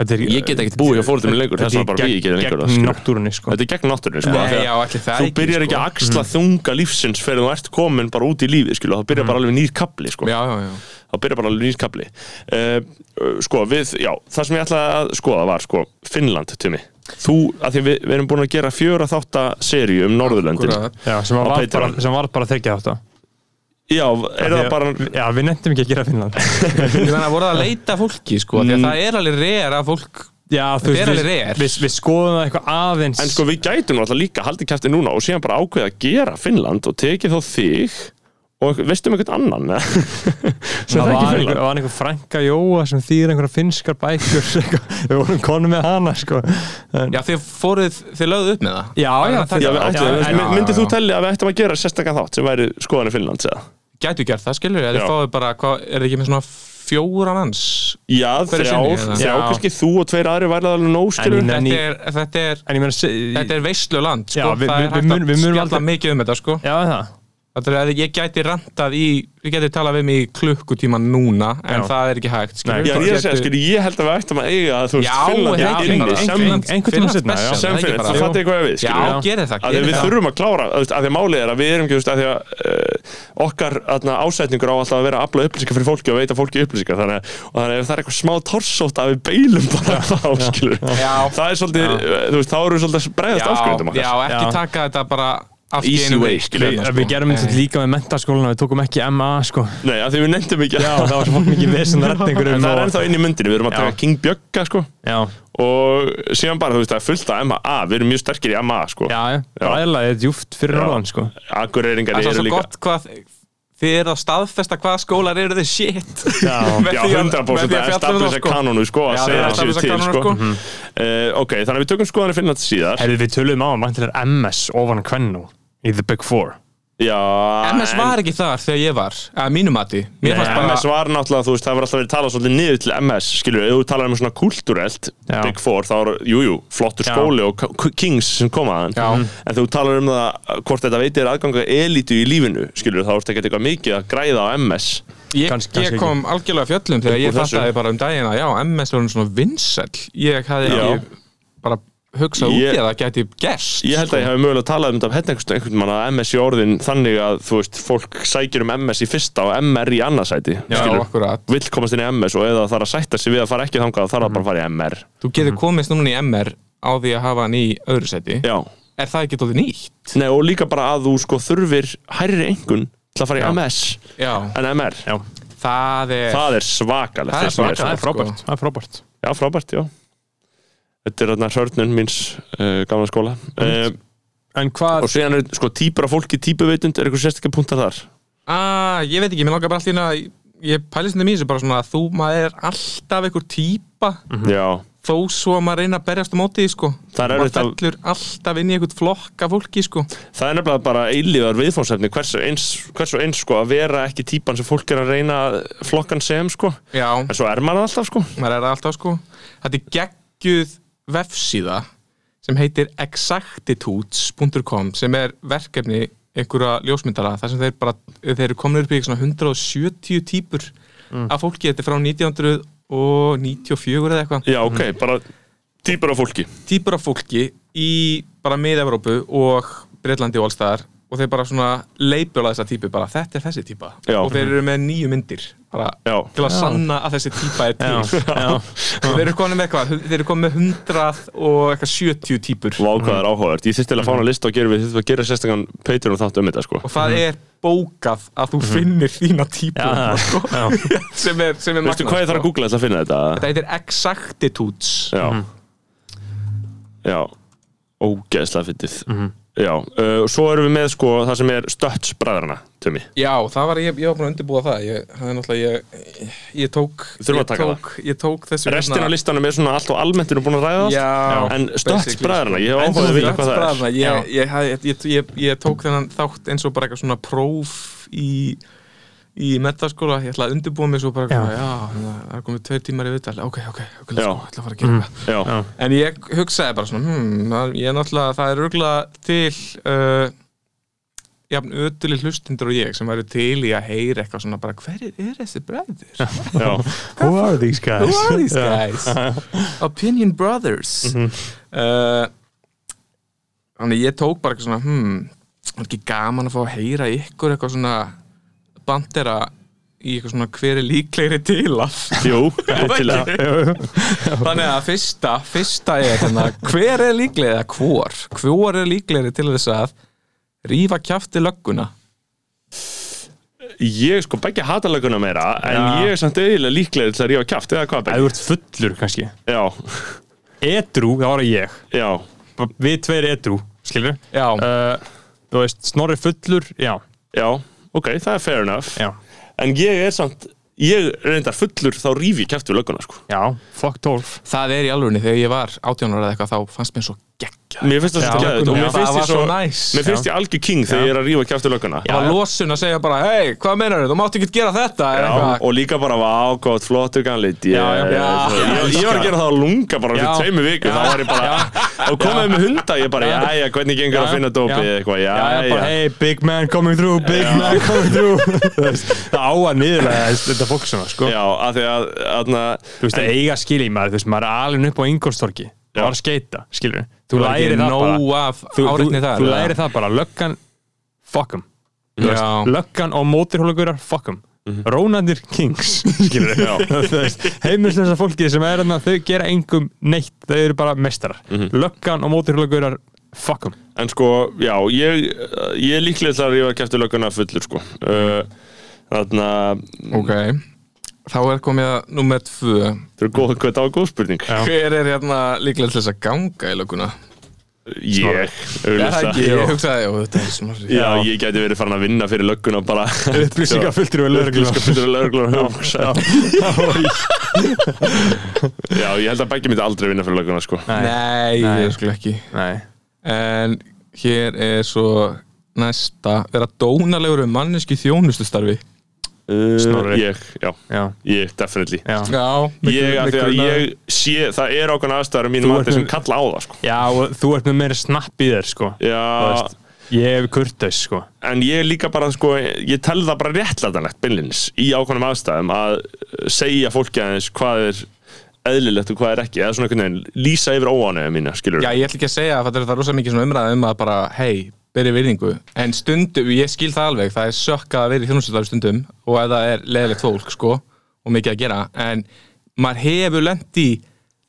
S3: Þetta er,
S2: Ég get ekkert búið hjá foreldrum minn lengur, þess vegna bara bý ég ekki lengur, það
S3: gegn
S2: skilur.
S3: náttúrunni sko.
S2: þetta er gegn náttúrunni sko
S4: Nei,
S2: af því að
S4: já, ætli það
S2: þú
S4: ekki,
S2: byrjar
S4: sko.
S2: ekki að axla þunga lífsins fyrir þú ert komin bara út í lífið skilur þá byrjar bara alveg nýr kapli sko
S4: Mm. já, já, já.
S2: þá byrjar bara alveg nýr kapli uh, sko við, já, það sem ég ætlaði að skoða var sko Finnland til mig þú, að því að við, við erum búin að gera fjöra þátta serju um Norðurlöndin
S4: Akkurat.
S3: já, sem,
S2: Á
S3: var bara,
S2: Patreon.
S3: sem var bara þekja þetta
S2: já, er það bara
S3: já, við nefndum ekki að gera Finnland
S4: Ég meina, voru það að leita að fólki sko,
S2: Mm.
S4: því að það er alveg reyðar að fólk
S3: já, þú veist,
S4: Þetta er
S3: við,
S4: alveg rare.
S3: við, við skoðum það eitthvað aðeins
S2: En sko við gætum náttúrulega líka haldið kæfti núna og síðan bara ákveða að gera Finnland og tekið þá þig og einhver- veistu um einhvern annan eða? sem
S3: Það
S2: það
S3: var
S2: ekki
S3: einhver,
S2: fyrir
S3: var einhver frænka Jóa sem þýðir einhverja finskar bækur eitthvað. við vorum konum með hana sko. en,
S4: Já, þið fóruð, þið lögðu upp með það
S3: Já,
S4: Það er
S3: já,
S4: að taka
S2: Já, við
S4: það.
S2: ættum,
S3: já,
S2: en
S3: já,
S2: myndir
S3: já.
S2: þú telli að við ættum að gera sérstakann þátt sem væri skoðanir Finnlands eða?
S4: Gætu gert það, skilur ég,
S2: Já.
S4: þið fáið bara, hvað, er þið ekki með svona fjóra manns?
S2: Já,
S4: Hverju sinni,
S2: þrjár,
S4: eða?
S2: þrjá,
S3: Já.
S2: kannski þú og tveir aðri værið alveg nóg skilur
S3: En í-
S2: við.
S3: Nenni-
S4: Þetta er, þetta er,
S3: en ég meina se-
S4: þetta er veislu land, sko,
S3: Já, við-
S4: það
S3: við-
S4: er
S3: við mun-
S4: hægt
S3: við
S4: að
S3: munum
S4: spjalla
S3: aldrei-
S4: mikið um þetta, sko.
S3: já, það
S4: Þetta er að ég gæti rantað í, ég gæti talað við mig í klukkutíma núna, en
S3: Já.
S4: það er ekki hægt, skilur
S2: Já, en ég er að segja, skilur, ég held að við ættum að eiga þú veist,
S4: Já,
S2: Finnland
S4: já,
S2: inni
S4: Finnland,
S2: sem-
S4: Finnland.
S3: einhvern tíma setna já.
S4: Finnland
S2: sem
S4: Það er ekki
S2: Finnland,
S4: bara-
S2: það fattu eitthvað við
S4: Já,
S2: skilur við.
S4: gerið það,
S2: að
S4: gerið
S2: við
S4: það.
S2: þurfum að klára þú veist, að því að málið er að við erum ekki þú veist, að því að uh, okkar atna, ásetningur á alltaf að vera að afla upplýsingar fyrir fólki og veita fólki upplýsingar þannig, að- og þannig að ef það er eitthvað smá torsótt að við beilum bara þá skilur við.
S4: Já.
S2: það er svolítið, uh, þú veist, þá eru við svolítið að bregðast áskrifundum
S4: já, ekki
S3: Já.
S4: taka þetta bara allt í
S2: um Easy
S4: einu
S2: way,
S4: við,
S2: skilur
S4: hérna,
S3: Við- við
S4: sko.
S3: gerum þetta
S4: Nei.
S3: líka með mentaskólan við tókum ekki MA sko.
S2: nei, af því við nefndum ekki
S3: já, það var svo fólk mikið vesen að redda
S2: en
S4: um
S3: einhverjum
S2: það er
S3: og-
S2: ennþá inn í myndinu, við erum að
S3: Já.
S2: taka King Bjögga sko,
S3: já,
S2: og síðan bara, þú veist, það er fullt af MA, við erum mjög sterkir í MA sko.
S3: já, já. bræðilega þetta er djúft fyrir
S2: Já.
S3: norðan sko.
S2: akureyringar
S4: Það er
S2: eru
S4: svo
S2: líka
S4: gott hvað þið eru að staðfesta hvaða skólar eru þið shit
S3: já,
S4: Með
S2: Já,
S4: því að-
S2: 100%
S4: með því
S2: að
S4: að fjalla um það,
S2: establisa
S4: sko.
S2: kanonu sko, að
S4: Já,
S2: segja
S4: það
S2: það séu
S4: establisa
S2: til
S4: kanónu,
S2: sko.
S4: sko.
S2: uh, Ok, þannig að við tökum skoðanir Finnlands síðar
S3: Herri, við töluðum á um að vantilega MS ofan kvennu í The Big Four
S2: Já,
S4: MS var ekki þar þegar ég var að mínu mati
S2: Nei,
S4: Mér fannst bara
S2: MS var náttúrulega, þú veist, það var alltaf verið talað svolítið niður til MS, skilur, ef þú talar um svona kulturelt,
S3: Já.
S2: Big Four, þá er, jú, jú, flottur
S3: Já.
S2: skóli og k- kings sem koma að
S4: Já.
S2: hann, en þú talar um það hvort þetta veitir aðganga elitu í lífinu, skilur, þá ertu ekkert eitthvað mikið að græða á MS,
S4: ég,
S3: Kannski- kannski
S4: ég kom algjörlega af fjöllum þegar ég
S2: Upp úr þessu.
S4: fattaði bara um daginn að já, MS var svona vinsæll Ég hafði
S2: Já.
S4: ekki bara hugsað út í
S2: Ég-
S4: að það gæti gerst sko.
S2: Ég held að ég hafi mögulega talað um þetta af hérna einhvern einhvern mann að MS í orðin þannig að, þú veist, fólk sækir um MS í fyrsta og MR í annarsæti,
S4: Já,
S2: skilur,
S4: akkurat
S2: vill komast inn í MS og eða þarf að sætta sig við að fara ekki þangað þarf að
S4: Mhm.
S2: bara að fara í MR
S4: Þú
S2: Mhm.
S4: getur komist núna í MR á því að hafa hann í öðru seti
S2: Já.
S4: Er það ekki tóttið nýtt?
S2: Nei, og líka bara að þú sko þurfir hærri engun til að fara í MS
S4: Já,
S2: en MR
S3: já,
S4: það er
S2: það er svakalegt
S4: Það er
S2: finnst mér.
S4: svakalegt.
S3: það er
S4: sko.
S3: frábært það er frábært
S2: já, frábært, já þetta er þarna hörnun míns uh, gamla skóla
S4: Mhm.
S2: uh,
S3: en hvað,
S2: og síðan er sko típur af fólki típuveitund er eitthvað sérstaklega punktar þar
S4: Ah, ég veit ekki, mér langar bara allt í hérna ég pælist þetta mísu bara svona að þú maður er alltaf einhver típa
S2: já,
S4: þó svo að maður reyna að berjast á móti því, sko
S2: Mm. Það er
S4: maður
S2: erfitt að-
S4: fellur alltaf inn í einhvern flokk af fólki sko
S2: það er nefnilega bara eilíðar viðfónsefni hversu eins, hversu eins sko að vera ekki típan sem fólk er að reyna að flokkan sem sko
S4: Já,
S2: en svo er maður það alltaf sko
S4: maður er það alltaf sko Þetta er geggjuð vefsíða sem heitir exactitudes.com sem er verkefni einhverja ljósmyndara þar sem þeir bara, þeir eru komin upp í svona 170 típur
S2: Mm.
S4: af fólki, þetta er frá 1994 eða eitthvað
S2: já, ok, bara típur af fólki
S4: típur af fólki í bara mið-Evrópu og Breitlandi og allstæðar og þeir bara svona leipjóla þessa típu bara þetta er þessi típa
S2: Já.
S4: og þeir eru með nýju myndir bara
S2: Já.
S4: til að sanna að þessi típa er til Og þeir eru komin með eitthvað, þeir eru komin með 100 og eitthvað 70 típur
S2: Vákvæðar áhugavert, ég þurfti til að fá hana list og gera við þurftum að gera sérstakann Patreon og þátt um þetta sko
S4: og það er bókað að
S2: Mhm.
S4: þú finnir þína típu
S3: Já,
S4: sko,
S3: já.
S4: sem er, sem er
S2: Veistu
S4: magnað,
S2: hvað ég þarf að
S4: sko.
S2: googla þess að finna þetta?
S4: Þetta Mhm. heitir exactitudes
S2: Já Já, ógeðslega fyndið
S4: Mhm.
S2: Já, uh, og svo erum við með sko það sem er stötts bræðrana til mig
S4: Já, það var, ég, ég var búin að undirbúa það ég, það er náttúrulega, ég, ég tók
S2: Þurfum
S4: ég
S2: að taka
S4: tók, Ég tók þessu hérna-
S2: Restin af listanum er svona allt og almennt erum búin að ræða
S4: Já,
S2: það. sko. En stötts
S4: basically, sko.
S2: bræðrana, ég hef
S4: En þú
S2: áhugað að vita hvað það er
S4: Bræðrana, ég, ég, ég, ég, ég, ég tók þennan þátt eins og bara eitthvað svona próf í, í metaskóla, ég ætla að undirbúa mig svo bara,
S3: Já.
S4: já, já það er komið tveir tímar í viðtal, ok, ok, ok,
S2: Já.
S4: let's go, ég ætla að fara að gera eitthvað
S2: Já,
S3: Já.
S4: En ég hugsaði bara svona, hmm, það- ég er náttúrulega, það er örgulega til uh, jafn ötuli hlustundur og ég sem væri til í að heyra eitthvað svona bara, hverjir er þessi bræður?
S2: já,
S3: sko, who are these guys
S4: Who are these guys? Opinion Brothers uh, Þannig ég tók bara eitthvað svona hmm, var ekki gaman að fá að heyra ykkur eitthvað svona bandera í eitthvað svona hver er líklegri til að
S2: jú, vittilega
S4: Þannig að fyrsta, fyrsta er hérna, hver er líklegri eða hvor hvor er líklegri til þess að rífa kjafti lögguna
S2: Ég sko begja hatalöguna meira En
S3: Já.
S2: ég er samt eiginlega líklega til að rífa kjaft Eða hvað
S3: Ef
S2: begja?
S3: þú ert fullur kannski
S2: Já,
S3: Edru, það var ég
S2: já,
S3: Bara Við tveir edru, skilur
S4: Já,
S3: uh, Þú veist, snorri fullur, já
S2: já ok, það er fair enough
S3: Já.
S2: en ég er samt, ég reyndar fullur þá rífi kæftu lögguna sko.
S3: Já, fuck 12
S4: það er í alvörunni þegar ég var 18 ára eða eitthvað þá fannst mér svo geggja
S2: mér finnst það svo
S3: Já,
S2: gæðið og
S4: já,
S2: mér finnst
S4: það
S2: ég
S4: var
S2: svo,
S4: svo næs.
S2: mér finnst ég algjör king þegar ég er að rífa kæftu lögguna
S4: Það var losun að segja bara, hei, hvað meinar þú, máttu ekki gera þetta
S2: Já,
S4: eða eitthvað.
S2: og líka bara var ágótt, flottur ganlit ég,
S4: já.
S2: ég, ég var að gera það að lunga bara
S4: Já.
S2: fyrir tveimu viku, þá var ég bara og komið með hunda, ég bara, jæja, hvernig gengur að
S3: Já,
S2: finna dópi
S3: já.
S2: eitthvað,
S3: Já, já, bara,
S2: jæja
S3: hey, big man coming through, big man coming through Þú veist, Það á að niðurlega þess- þetta fólk svona, sko
S2: Já, af því að, aðna
S3: Þú veist, að eiga skilja í maður, þú veist, maður er alveg upp á Ingolstorki og var að skeita, skilur Þú
S4: var ekki
S3: læri það
S4: nóg
S3: bara
S4: af
S3: Þú, þú,
S4: áreitni þar,
S3: þú
S4: eða?
S3: læri það bara, löggan fuck 'em Þú veist,
S4: Já.
S3: Löggan og mótirhólagurar, fuck 'em Rónandir kings, skilur
S2: Já.
S3: Þú veist, heimilislösa fólkið sem er þarna, þau gera engum neitt, þau eru bara mestarar Löggan og mótirhólagurar, fuck 'em
S2: En sko, já, ég, ég er líklega til að rífa kæftu lögguna fullur, sko uh, Þarna,
S4: Ok, þá er komið að nummer tvö.
S2: þú eru góð, hvað það var góð spurning
S4: Hver er hérna líklega til þess að ganga í löguna?
S2: Ég, auðvitað
S4: Ég hugsaði, ó, þetta er smarri.
S2: Já, ég gæti verið farin að vinna fyrir lögguna bara
S3: Upplýsingafulltrúi lögreglunnar.
S2: Upplýsingafulltrúi lögreglunar Já, ég held að bækja mitt aldrei vinna fyrir lögguna sko.
S4: Nei,
S3: Nei.
S4: ég skulle ekki.
S3: Nei
S4: En hér er svo næsta, vera dónalegur um manneski þjónustustarfi.
S2: uh,
S3: Eh, Snorri.
S2: Ég, já,
S3: Já,
S2: ég, definitely
S3: já hérna-
S4: Já,
S2: Ég, af því að ég sé, það er ákveðna aðstæður mín
S3: Þú
S2: mati
S3: ert
S2: sem
S3: með-
S2: kalla á það sko.
S3: Já, og þú ert með meira snapp í þér, sko Þú
S2: Já,
S3: veist, Ég hef kurteis, sko
S2: en ég er líka bara sko, ég tel það bara réttlætanlegt beinlinis í ákveðnum aðstæðum að segja fólki aðeins hvað er eðlilegt og hvað er ekki eða svona einhvern veginn lýsa yfir óánægum mína skilur
S4: Já, ég ætla ekki að segja að það er það rosa mikið svona umræða um að bara, hei, byrja virðingu en stundum, ég skil það alveg, það er sökka að vera í þjónustöldaru stundum og ef það er leðilegt fólk, sko, og mikið að gera en maður hefur lent í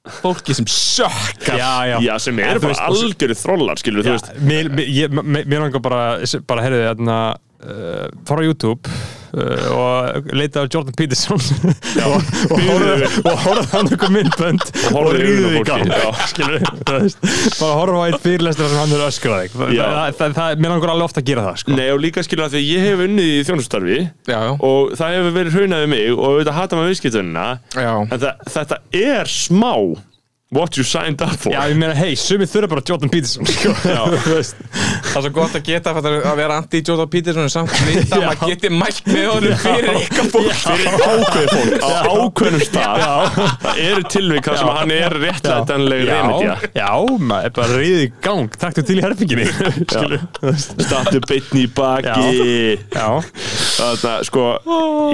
S4: fólki sem sökka
S3: Já, já
S2: Já, sem
S3: En
S2: er
S3: þú
S2: bara
S3: veist, og svo-
S2: algjöru þrollar, skilur, þú
S3: Já,
S2: veist
S3: Mér, mér, ég- mér, mér langar bara, bara herriði, þarna uh, fara á YouTube uh, og leita á Jordan Peterson og, og horfa og horfa á hann einhver myndbönd og,
S2: horfa
S3: og
S2: í augun á
S3: ríðu því
S2: fólki,
S3: gang
S2: já.
S3: skilur, þú veist, bara horfa á eitt fyrirlestur sem hann er öskrað þig það,
S2: Já. Mm.
S3: það, það, það, mér langar alveg ofta að gera það sko.
S2: Nei, og líka skilur að því að ég hef unnið í þjónustarfi
S4: Já, já.
S2: og það hefur verið hraunað við mig og auðvitað hata maður viðskiptunina
S4: Já.
S2: en það, þetta er smá what you signed up for
S3: Já, ég meina, hei, sumið þurfa bara Jordan Peterson sko. Þú veist.
S4: það er svo gott að geta fattar þú, að vera anti-Jóta Peterson en samt vita að maður geti mælt með honum fyrir eitthvað fólk
S2: fyrir ákveð fólk á ákveðnum stað það eru tilvík þar sem hann er réttlætanleg reymedja
S3: Já, já, maður, bara ríðu í gang Takktu til í herfinginni Skilur, þú veist.
S2: statu beitni í baki
S3: Já,
S2: þarna, sko,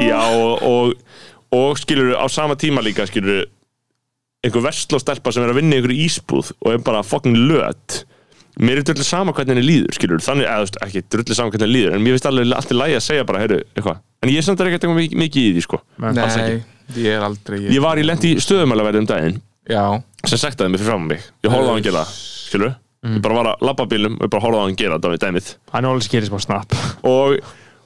S2: já og, og, og skilur á sama tíma líka skilur einhver vestlóstelpa sem er að vinna í einhverju ísbúð og er bara fucking löt mér er drullu sama hvernig henni líður skilur, þannig, eða þú veist, ekki drullu sama hvernig henni líður en mér finnst alveg allt í lægi að segja bara, heyrðu, eitthvað en ég samt er ekkert eitthvað mikið, mikið í því, sko Alls
S4: Nei,
S2: ekki.
S4: ég er aldrei
S2: ég var í lent í stöðumælaverði um daginn
S4: Já,
S2: sem sektaði mig fyrir fram mig ég horfði á hann gera það, skilur ég bara var að labba bílum og bara horfði á hann gera þetta dæmið
S3: hann er alveg skerið smá snapp
S2: og,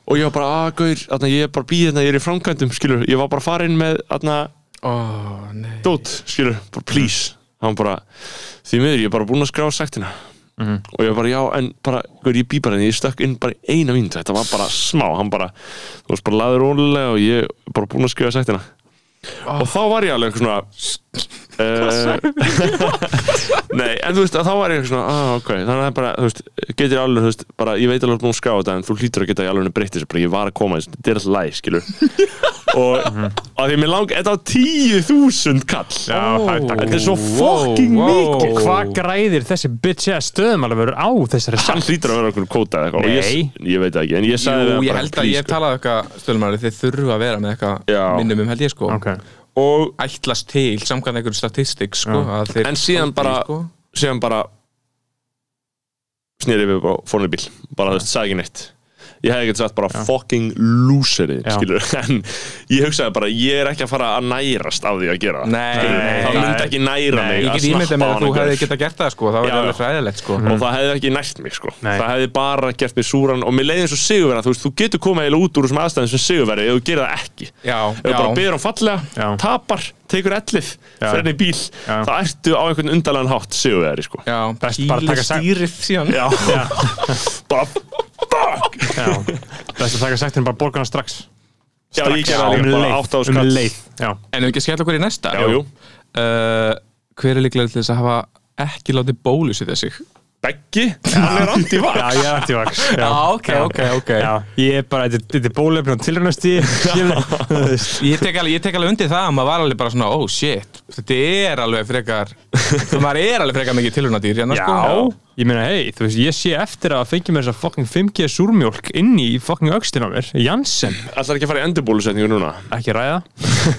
S2: og ég var bara aðgauður, þarna ég er bara býðið þarna, ég er í framkvæmdum, skilur, ég var bara farin með þarna,
S4: ó, nei
S2: dót, skilur, bara please hann bara, því miður, ég er bara búinn að skrá sektina og ég var bara, já, en bara, gaur, ég bý bara henni, ég stökk inn bara í eina mínútu, þetta var bara smá hann bara, þú veist, bara laður rólega og ég er bara búinn að skrifa sektina og þá var ég alveg eitthvað svona uh, Nei, en þú veist, að þá var ég svona, ah, ok, þannig að það er bara, þú veist, getur alveg, þú veist, bara, ég veit alveg að búin að skrá þetta, en þú hlýtur að geta í alveg breytt þessu, bara, ég var að koma þessu, þetta er alltaf læg, skilur. og að því að mér lang, þetta á 10.000 kall. Já, Þetta er svo fucking
S4: wow.
S2: mikið.
S3: Hvað græðir þessi bitch eða stöðum alveg verður á þessari
S2: Hann
S3: sann
S2: hlýtur að vera okkur kóta eða eitthvað. og Ég, ég veit það ekki, en ég sagði við
S4: Jú,
S2: hann
S4: ég
S2: bara,
S4: held að
S2: please, sko."
S4: ég talaði eitthvað stölumæri, þið þurfa að vera með
S2: Já.
S4: eitthvað minnum um held ég sko
S3: Ok.
S4: og ætlast til samkvæmt einhverju statistik sko, að þeir
S2: En síðan
S4: haldi,
S2: bara-
S4: sko.
S2: síðan bara snýri við og fórum í bíl bara þú veist, sagði ekki neitt ég hefði ekkert sagt bara fucking loserinn
S3: Já.
S2: skilur, en ég hugsaði bara ég er ekki að fara að nærast af því að gera það
S4: Nei,
S2: Skilurðu,
S4: nei,
S2: það
S4: nei.
S2: myndi ekki næra mig
S4: ég
S2: að
S4: get ímyndað
S2: snappa á
S4: mér að
S2: hann
S4: þú hefði
S2: einhvers.
S4: geta gert það sko, það var
S2: Já, Mhm. já.
S4: alveg fræðilegt sko
S2: og það hefði ekki nært mig sko.
S3: Nei.
S2: það hefði bara gert mig súran og mér leiði eins og sigurverða þú, veist, þú getur komið eiginlega út úr þessum aðstæðum sem sigurverði ef þú gerir það ekki
S4: Já,
S2: ef þú
S4: já.
S2: bara byrður um fallega,
S3: Já.
S2: tapar tekur ellið, fyrir henni í bíl
S3: Já.
S2: þá ertu á einhvern undanlegan hátt sigurverði sko.
S4: Já,
S3: Best bara
S4: píla
S3: taka seg-
S4: stýrið síðan
S2: Já, bara
S5: Það er að taka sektin bara borgarna strax
S2: Já, ég gerði það
S5: um
S2: líka bara átt á
S5: leið, um
S2: skall
S5: leið Já,
S4: En ef ekki að skella okkur í næsta
S2: Já, jú,
S4: Uh, Hver er líklega til þess að hafa ekki látið bólusetja sig?
S2: Beggi, hann er anti
S5: já ég er antivaks Já,
S4: Ah, ok, ok, ok
S5: Já, ég er bara, þetta þetta er bólefni og tilrænasti
S4: Ég tek, alveg, ég tek alveg undir það að maður var alveg bara svona, oh shit, þetta er alveg frekar, þú maður er alveg frekar mikið tilhörnadýr hérna,
S5: Já,
S4: sko.
S5: ég meina, hei, þú veist, ég sé eftir að fengi mér þessa fucking 5G súrmjólk inn í fucking öxtin á mér, Janssen
S2: Ætlar ekki að fara í endurbólusetningu núna
S5: ekki ræða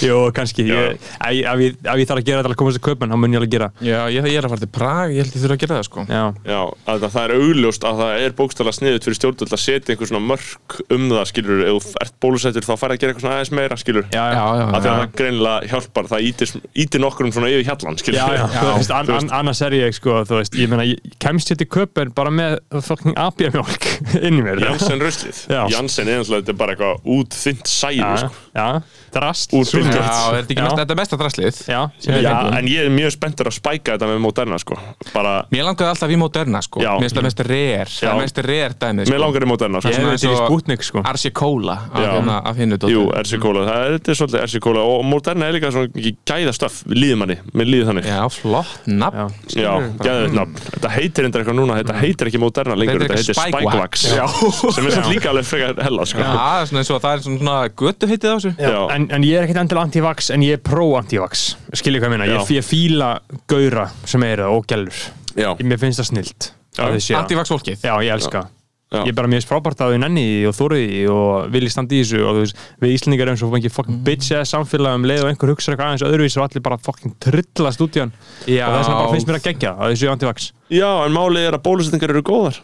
S5: Jú, kannski, ég, ef, ég- ef, ég, ef ég þarf að gera þetta til að komast að kaupan, þá mun ég alveg gera
S4: Já, ég, ég er að fara til Prag, ég held ég þurfa að gera það, sko.
S5: Já,
S2: Já, að það er augljóst að það er bókstala sniðut fyrir stjórnvöld að setja einhver svona mörk um það skilur, ef þú ert bólusettur þá færði að gera eitthvað svona aðeins meira skilur
S5: já, já
S4: já,
S2: að því að það greinilega hjálpar, það ítir, ítir nokkrum svona yfir hjallan skilur
S5: Já, já, þú veist, an, an, annars er ég, sko, þú veist, ég meina, ég kemst hér til köpen bara með fucking abjamjólk inn í mér.
S2: Janssen ruslið
S5: Já. sko.
S2: Janssen er einslega, þetta er bara eitthvað útþynt sæði
S5: já,
S2: sko.
S5: já, drast,
S2: Úr
S5: súrmjólk.
S2: Bill Gates.
S4: Já, er þetta ekki
S5: Já.
S4: mest, þetta er mesta draslið?
S5: Já,
S4: Sem við
S2: Já,
S4: fengum.
S2: en ég er mjög spenntur að spæka þetta með Moderna sko. bara,
S4: Mér langaði alltaf í Moderna, sko.
S2: Já.
S4: Mér finnst það mest rare, það
S2: Já.
S4: er mest rare dæmið,
S2: mér langar í Moderna sko.
S4: Ég-
S5: Ég
S4: svona
S5: veit
S4: eins
S5: í
S4: og-
S5: spútnik, sko.
S4: Arsi Kóla, af
S2: Já.
S4: hérna, af hinnu dóttur.
S2: Jú, RC-kóla, það er, þetta er svolítið RC-kóla og Moderna er líka svona mikið gæðastöf líðmanni, mér líði þannig
S4: Já, flott nafn.
S5: Já.
S2: Já, gæðið nafn. Þetta heitir endur eitthvað núna, þetta heitir ekki Moderna lengur,
S4: Þetta
S2: þetta
S4: Mm.
S2: heitir
S4: heitir eitthvað
S2: Spikewax. Já, sem er samt líka alveg frekar hella, sko.
S4: Já, það er svona eins og það er svona, svona götu heitið á þessu.
S2: Já.
S5: En, en ég er ekkert endil anti-vax, en ég er pro-anti-vax. Skiljið hvað ég meina, ég,
S2: Já.
S5: ég fíla gauðra sem eru það og gælur.
S2: Já.
S5: Ég- Mér finnst það snilt.
S4: Antivax fólkið.
S5: Já, ég elska það.
S2: Já.
S5: Ég er bara mjög frábært að þau nenni því og þóri því og vilji standa í þessu og þú veist, við Íslendingar erum svo fengið fucking bitch eða samfélag um leið og einhver hugsa eitthvað aðeins öðruvísi og allir bara fucking trillast út í hann
S4: Já.
S5: og þess vegna bara finnst mér að gegja það, að þessu antivax
S2: Já, en málið er að bólusetningar eru góðar,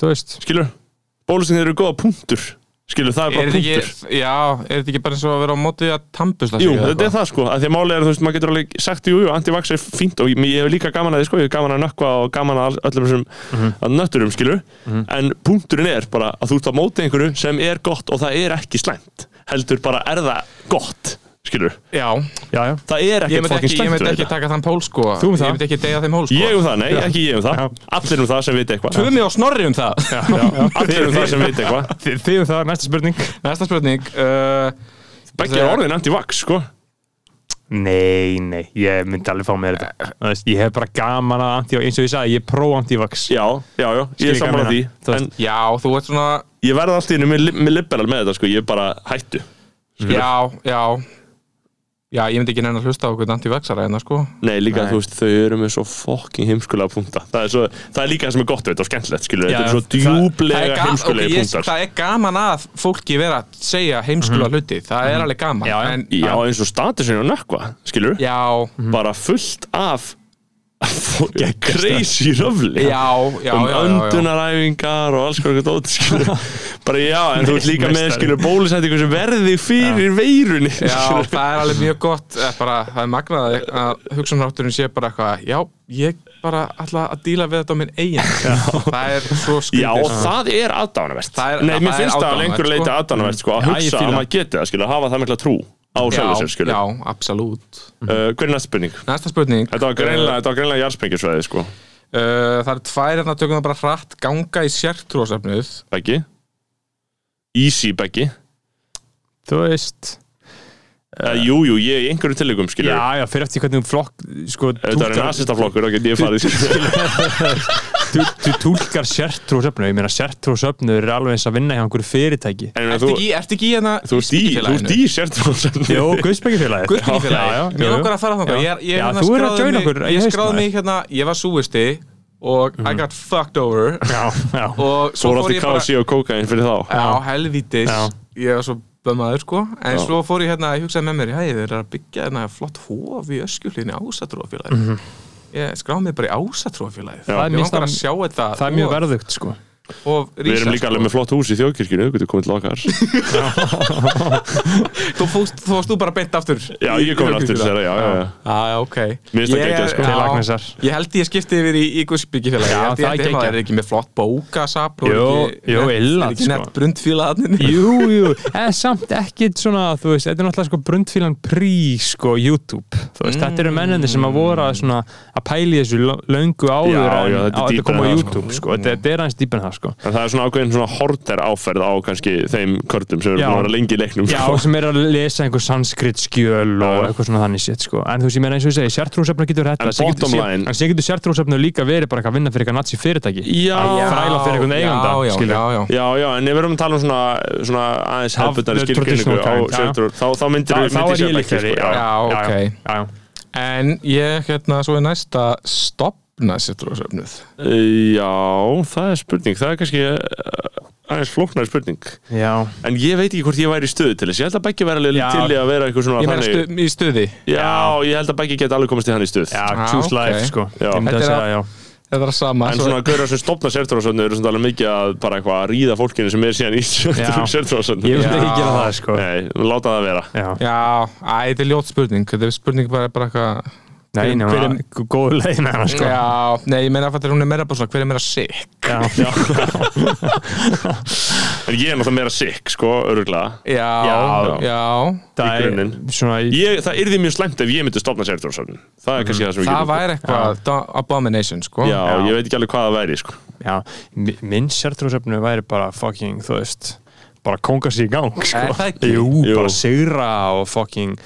S5: Þú veist,
S2: skilur? Bólusetningar eru góða punktur, skilur, það er
S4: Er
S2: bara
S4: þetta
S2: punktur.
S4: ekki, já, er þetta ekki bara eins og að vera á móti að tampusla sig
S2: Jú,
S4: eða
S2: þetta er
S4: eitthvað?
S2: það sko, að því að málið er, þú veist, maður getur alveg sagt, jú, jú, anti-vax er fínt og ég, ég hef líka gaman að því, sko, ég hef gaman að nökkva og gaman að öllum þessum
S4: Mhm.
S2: að nötturum, skilur, en punkturinn er bara að þú ert að móti einhverju sem er gott og það er ekki slæmt, heldur bara er það gott, skilur.
S4: Já,
S5: já, já
S2: Það er
S4: ég
S2: ekkert
S4: myndi
S2: fokkin
S4: ekki, ég
S2: slæmt
S4: myndi
S2: við
S4: ekki
S2: þetta.
S4: taka þann pól sko
S5: Þú um það.
S4: Ég myndi ekki deyja þeim hól sko
S2: Ég um það, nei, ekki ég um það
S5: Já.
S2: Allir um það sem veit eitthvað
S4: Tvömi og snorri um það
S2: Allir um það sem veit eitthvað
S5: Þi- Þið um það, næsta spurning
S4: Næsta spurning uh,
S2: Beggi er orðin anti-vax, sko
S5: Nei, nei, ég myndi alveg fá með þetta Þú veist, Ég hef bara gaman að anti-vax, eins og ég sagði, ég er pro-antivax
S2: Já, já, já, ég
S5: Skil
S2: er
S5: ég
S2: saman á
S5: hvað
S2: því
S5: ég meina. Þú
S2: En
S5: veist-
S4: Já, þú ert svona
S2: ég verði allt í henni með liberal með þetta, sko Ég er bara hættu
S4: Já, já Já, ég myndi ekki neina að hlusta á okkur anti-vexara hérna sko
S2: Nei, líka, þú veist, þau eru með svo fokking heimskulega punkta Það er, svo, það er líka það sem er gott, veit, og skemmtilegt, skilur
S5: Já,
S2: Þetta er svo
S5: það- það er
S4: Það er,
S2: djúblega
S4: ga- ok,
S2: heimskulega
S4: ég,
S2: punktar
S4: það er gaman að fólki vera að segja heimskulega hluti Það er alveg gaman
S5: Já, já.
S4: en,
S2: Já, eins og statusinu og nökkva, skilur
S4: já,
S2: Bara fullt af Crazy röfli
S4: já, já,
S2: um
S4: já, já, já.
S2: öndunaræfingar og alls konar eitthvað dót skilur. bara já, en þú ert líka með
S5: meistari.
S2: skilur bólusættingu sem verði fyrir veirunni
S4: Já,
S2: skilur.
S4: það er alveg mjög gott eh, bara, það er magnað að- að hugsunrátturinn sé bara eitthvað, já, ég bara ætla að díla við þetta á minn eigin það er svo
S2: Já, og
S4: skrítið
S2: það er aðdánavert
S4: Það er-
S2: Nei, mér
S4: það er
S2: finnst það að
S4: aðdáunarvert,
S2: lengur leita
S4: sko.
S2: aðdánavert sko, að
S5: Já, ég
S2: hugsa
S5: fíla
S2: að
S5: það.
S2: maður geti það, skilur, hafa það mikla trú á sjálfu sér,
S4: já,
S2: skilur uh,
S4: absolút
S2: Eh, Hver er næst spurning?
S4: Næsta spurning
S2: Þetta var
S4: Eh.
S2: greinlega, þetta var greinlega jarðsprengjusvæði, sko
S4: uh, Það er tvær hérna, tökum það bara hratt ganga í sértrúasöfnuð
S2: Beggi Easy Beggi
S4: Eh.
S5: Þú veist,
S2: uh, Jú, jú, ég í einhverjum tillegum, skilur
S5: já, já, fyrir eftir hvernig þú flokk, sko,
S2: Ef Þetta er nasistaflokkur, þá get ég farið skilur.
S5: þú, þú túlkar sértrúsöfnu, ég meina sértrúsöfnu er alveg eins að vinna hjá einhverju fyrirtæki
S2: En ég meina, þú-
S4: Ertu ekki, ertu ekki í hérna
S2: Þú ert í- þú ert í sértrúasöfnu
S5: Jó, Guðsbyggifélagið
S4: Guðbyggingfélagi, ég
S5: jú, jú.
S4: okkur að fara þangað
S5: Já.
S4: Ég, er- ég
S5: Já,
S4: hérna
S5: þú er að
S4: skráði
S5: joina
S4: mig-
S5: okkur
S4: Ég skráði mig hérna, ég var súisti og I got fucked over
S5: Já, já
S4: og
S2: Þú voru
S4: svo fór
S2: alltaf
S4: ég bara
S2: kási og kókain fyrir þá
S4: Já, helvítis
S5: Já.
S4: Ég var svo bömmaður sko En
S2: Já.
S4: svo fór ég hérna, ég hugsaði með mér Hei, þeir eru að byggja hérna flott hóf í öskjulinni Ásatróafélagi
S2: Mhm.
S4: Ég skráði mig bara í Ásatróafélagi
S2: Það er
S4: Ég
S5: minnst
S4: langar að
S5: að-
S4: sjá þetta
S5: Það er mjög verðugt, sko
S4: verð
S2: Við erum líka alveg með flott hús í þjóðkirkjunni, þú getur komið til okkar
S4: Þú fórst þú fórst þú bara beint aftur
S2: Já, ég komið aftur til þeirra, já, já, já
S4: Já, já, ok
S2: Mér finnst það
S4: Ég-
S2: geggjað, sko.
S4: já,
S5: Til Agnesar.
S4: Ég held ég skipti yfir í, í Guðsbyggifélagi Ég
S5: Já,
S4: held
S5: það er
S4: ég
S5: geggjað.
S4: Það er ekki með flott bókasap og
S5: Jú,
S4: ekki-
S5: jú, illa,
S4: Er ekki
S5: sko.
S4: nett brundfélagaðninni
S5: Jú, jú, eða samt ekkit svona, þú veist, þetta er náttúrulega sko brundfílan prí, sko, YouTube Þú veist, þetta eru mennandi sem að voru að svona að pæli þessu lo- löngu áður
S2: Já, já,
S5: en
S2: þetta er
S5: á-
S2: dýpra en
S5: kom á
S2: það, sko.
S5: YouTube, sko, þetta, þetta er aðeins dýpen það, sko.
S2: En það er svona ákveðin svona horter áferð á kannski þeim körlum sem eru
S5: Já.
S2: búin að vera lengi í leiknum
S5: Já,
S2: sko.
S5: sem er að lesa einhver sanskritskjöl og
S2: Já.
S5: eitthvað svona þannig sétt sko. En þú veist, ég meina eins og ég segi, sértrúsefna getur þetta
S2: En bottom line-
S5: En sem getur sértrúsefna líka verið bara eitthvað að vinna fyrir eitthvað nazi fyrirtæki
S2: Já.
S5: Að Þræla fyrir eitthvað eiganda,
S4: já, já,
S5: skilur
S4: já, já.
S2: Já, já, en ef við erum að tala um svona, svona aðeins
S5: Af-
S2: hefðbundari skilgrinningu
S5: traditional
S2: á
S5: kind, já.
S2: sjöldrur þá, þá myndir
S5: Þá,
S2: við
S5: þá er ég
S2: sko.
S5: líkari
S4: já. Já, ok.
S5: já, já.
S4: En ég, hérna, svo er næsta stopna sértrúasöfnuð
S2: Já, það er spurning það er kannski eh, aðeins flóknar spurning
S5: Já.
S2: en ég veit ekki hvort ég væri í stöðu til þess ég held að Beggi væri alveg
S5: Já.
S2: til í að vera eitthvað svona
S4: Ég meina
S2: þannig-
S4: stu, í stuði
S2: Já, ég held að Beggi geti alveg komast í hann í stöð
S5: Já,
S4: Já,
S5: choose
S4: ok.
S5: life sko
S2: Já.
S5: Ég myndi
S4: Þetta
S5: að
S4: er
S5: segja,
S4: að-
S5: já.
S4: Þetta er að sama
S2: En
S4: svo-
S2: svona gaurar sem stopna sértrúarsöfnu eru svona alveg mikið að bara eitthvað að ríða fólkinu sem er síðan í sértrúarsöfnu
S5: Ég vil
S4: Já.
S5: ekki gera það sko
S2: Nei, láta það vera
S5: Já.
S4: Já, æ, þetta er ljót spurning Þetta er spurning bara, bara eitthvað
S5: Nei, nema,
S6: Hver
S5: hver
S6: er-
S5: er góð leiðin að hana sko
S4: Já, nei, ég meina að fattir hún er meira bara svona Hver er meira sick?
S5: Já.
S2: En ég er náttúrulega meira sick, sko, öruglega
S4: Já,
S2: Já.
S4: já.
S5: Það er
S2: grunninn.
S5: svona í-
S2: ég, Það yrði mjög slæmt ef ég myndi stopna sértrúarsöfnu Það er kannski það sem við
S4: Það
S2: getum
S4: væri eitthvað do- abomination, sko
S2: Já, ég veit ekki alveg hvað það væri, sko
S5: Já, mi- minn sértrúsefnu væri bara fucking, þú veist bara konga sig í gang sko.
S4: Er það ekki?
S5: Jú,
S2: Jú.
S5: bara sigra og fucking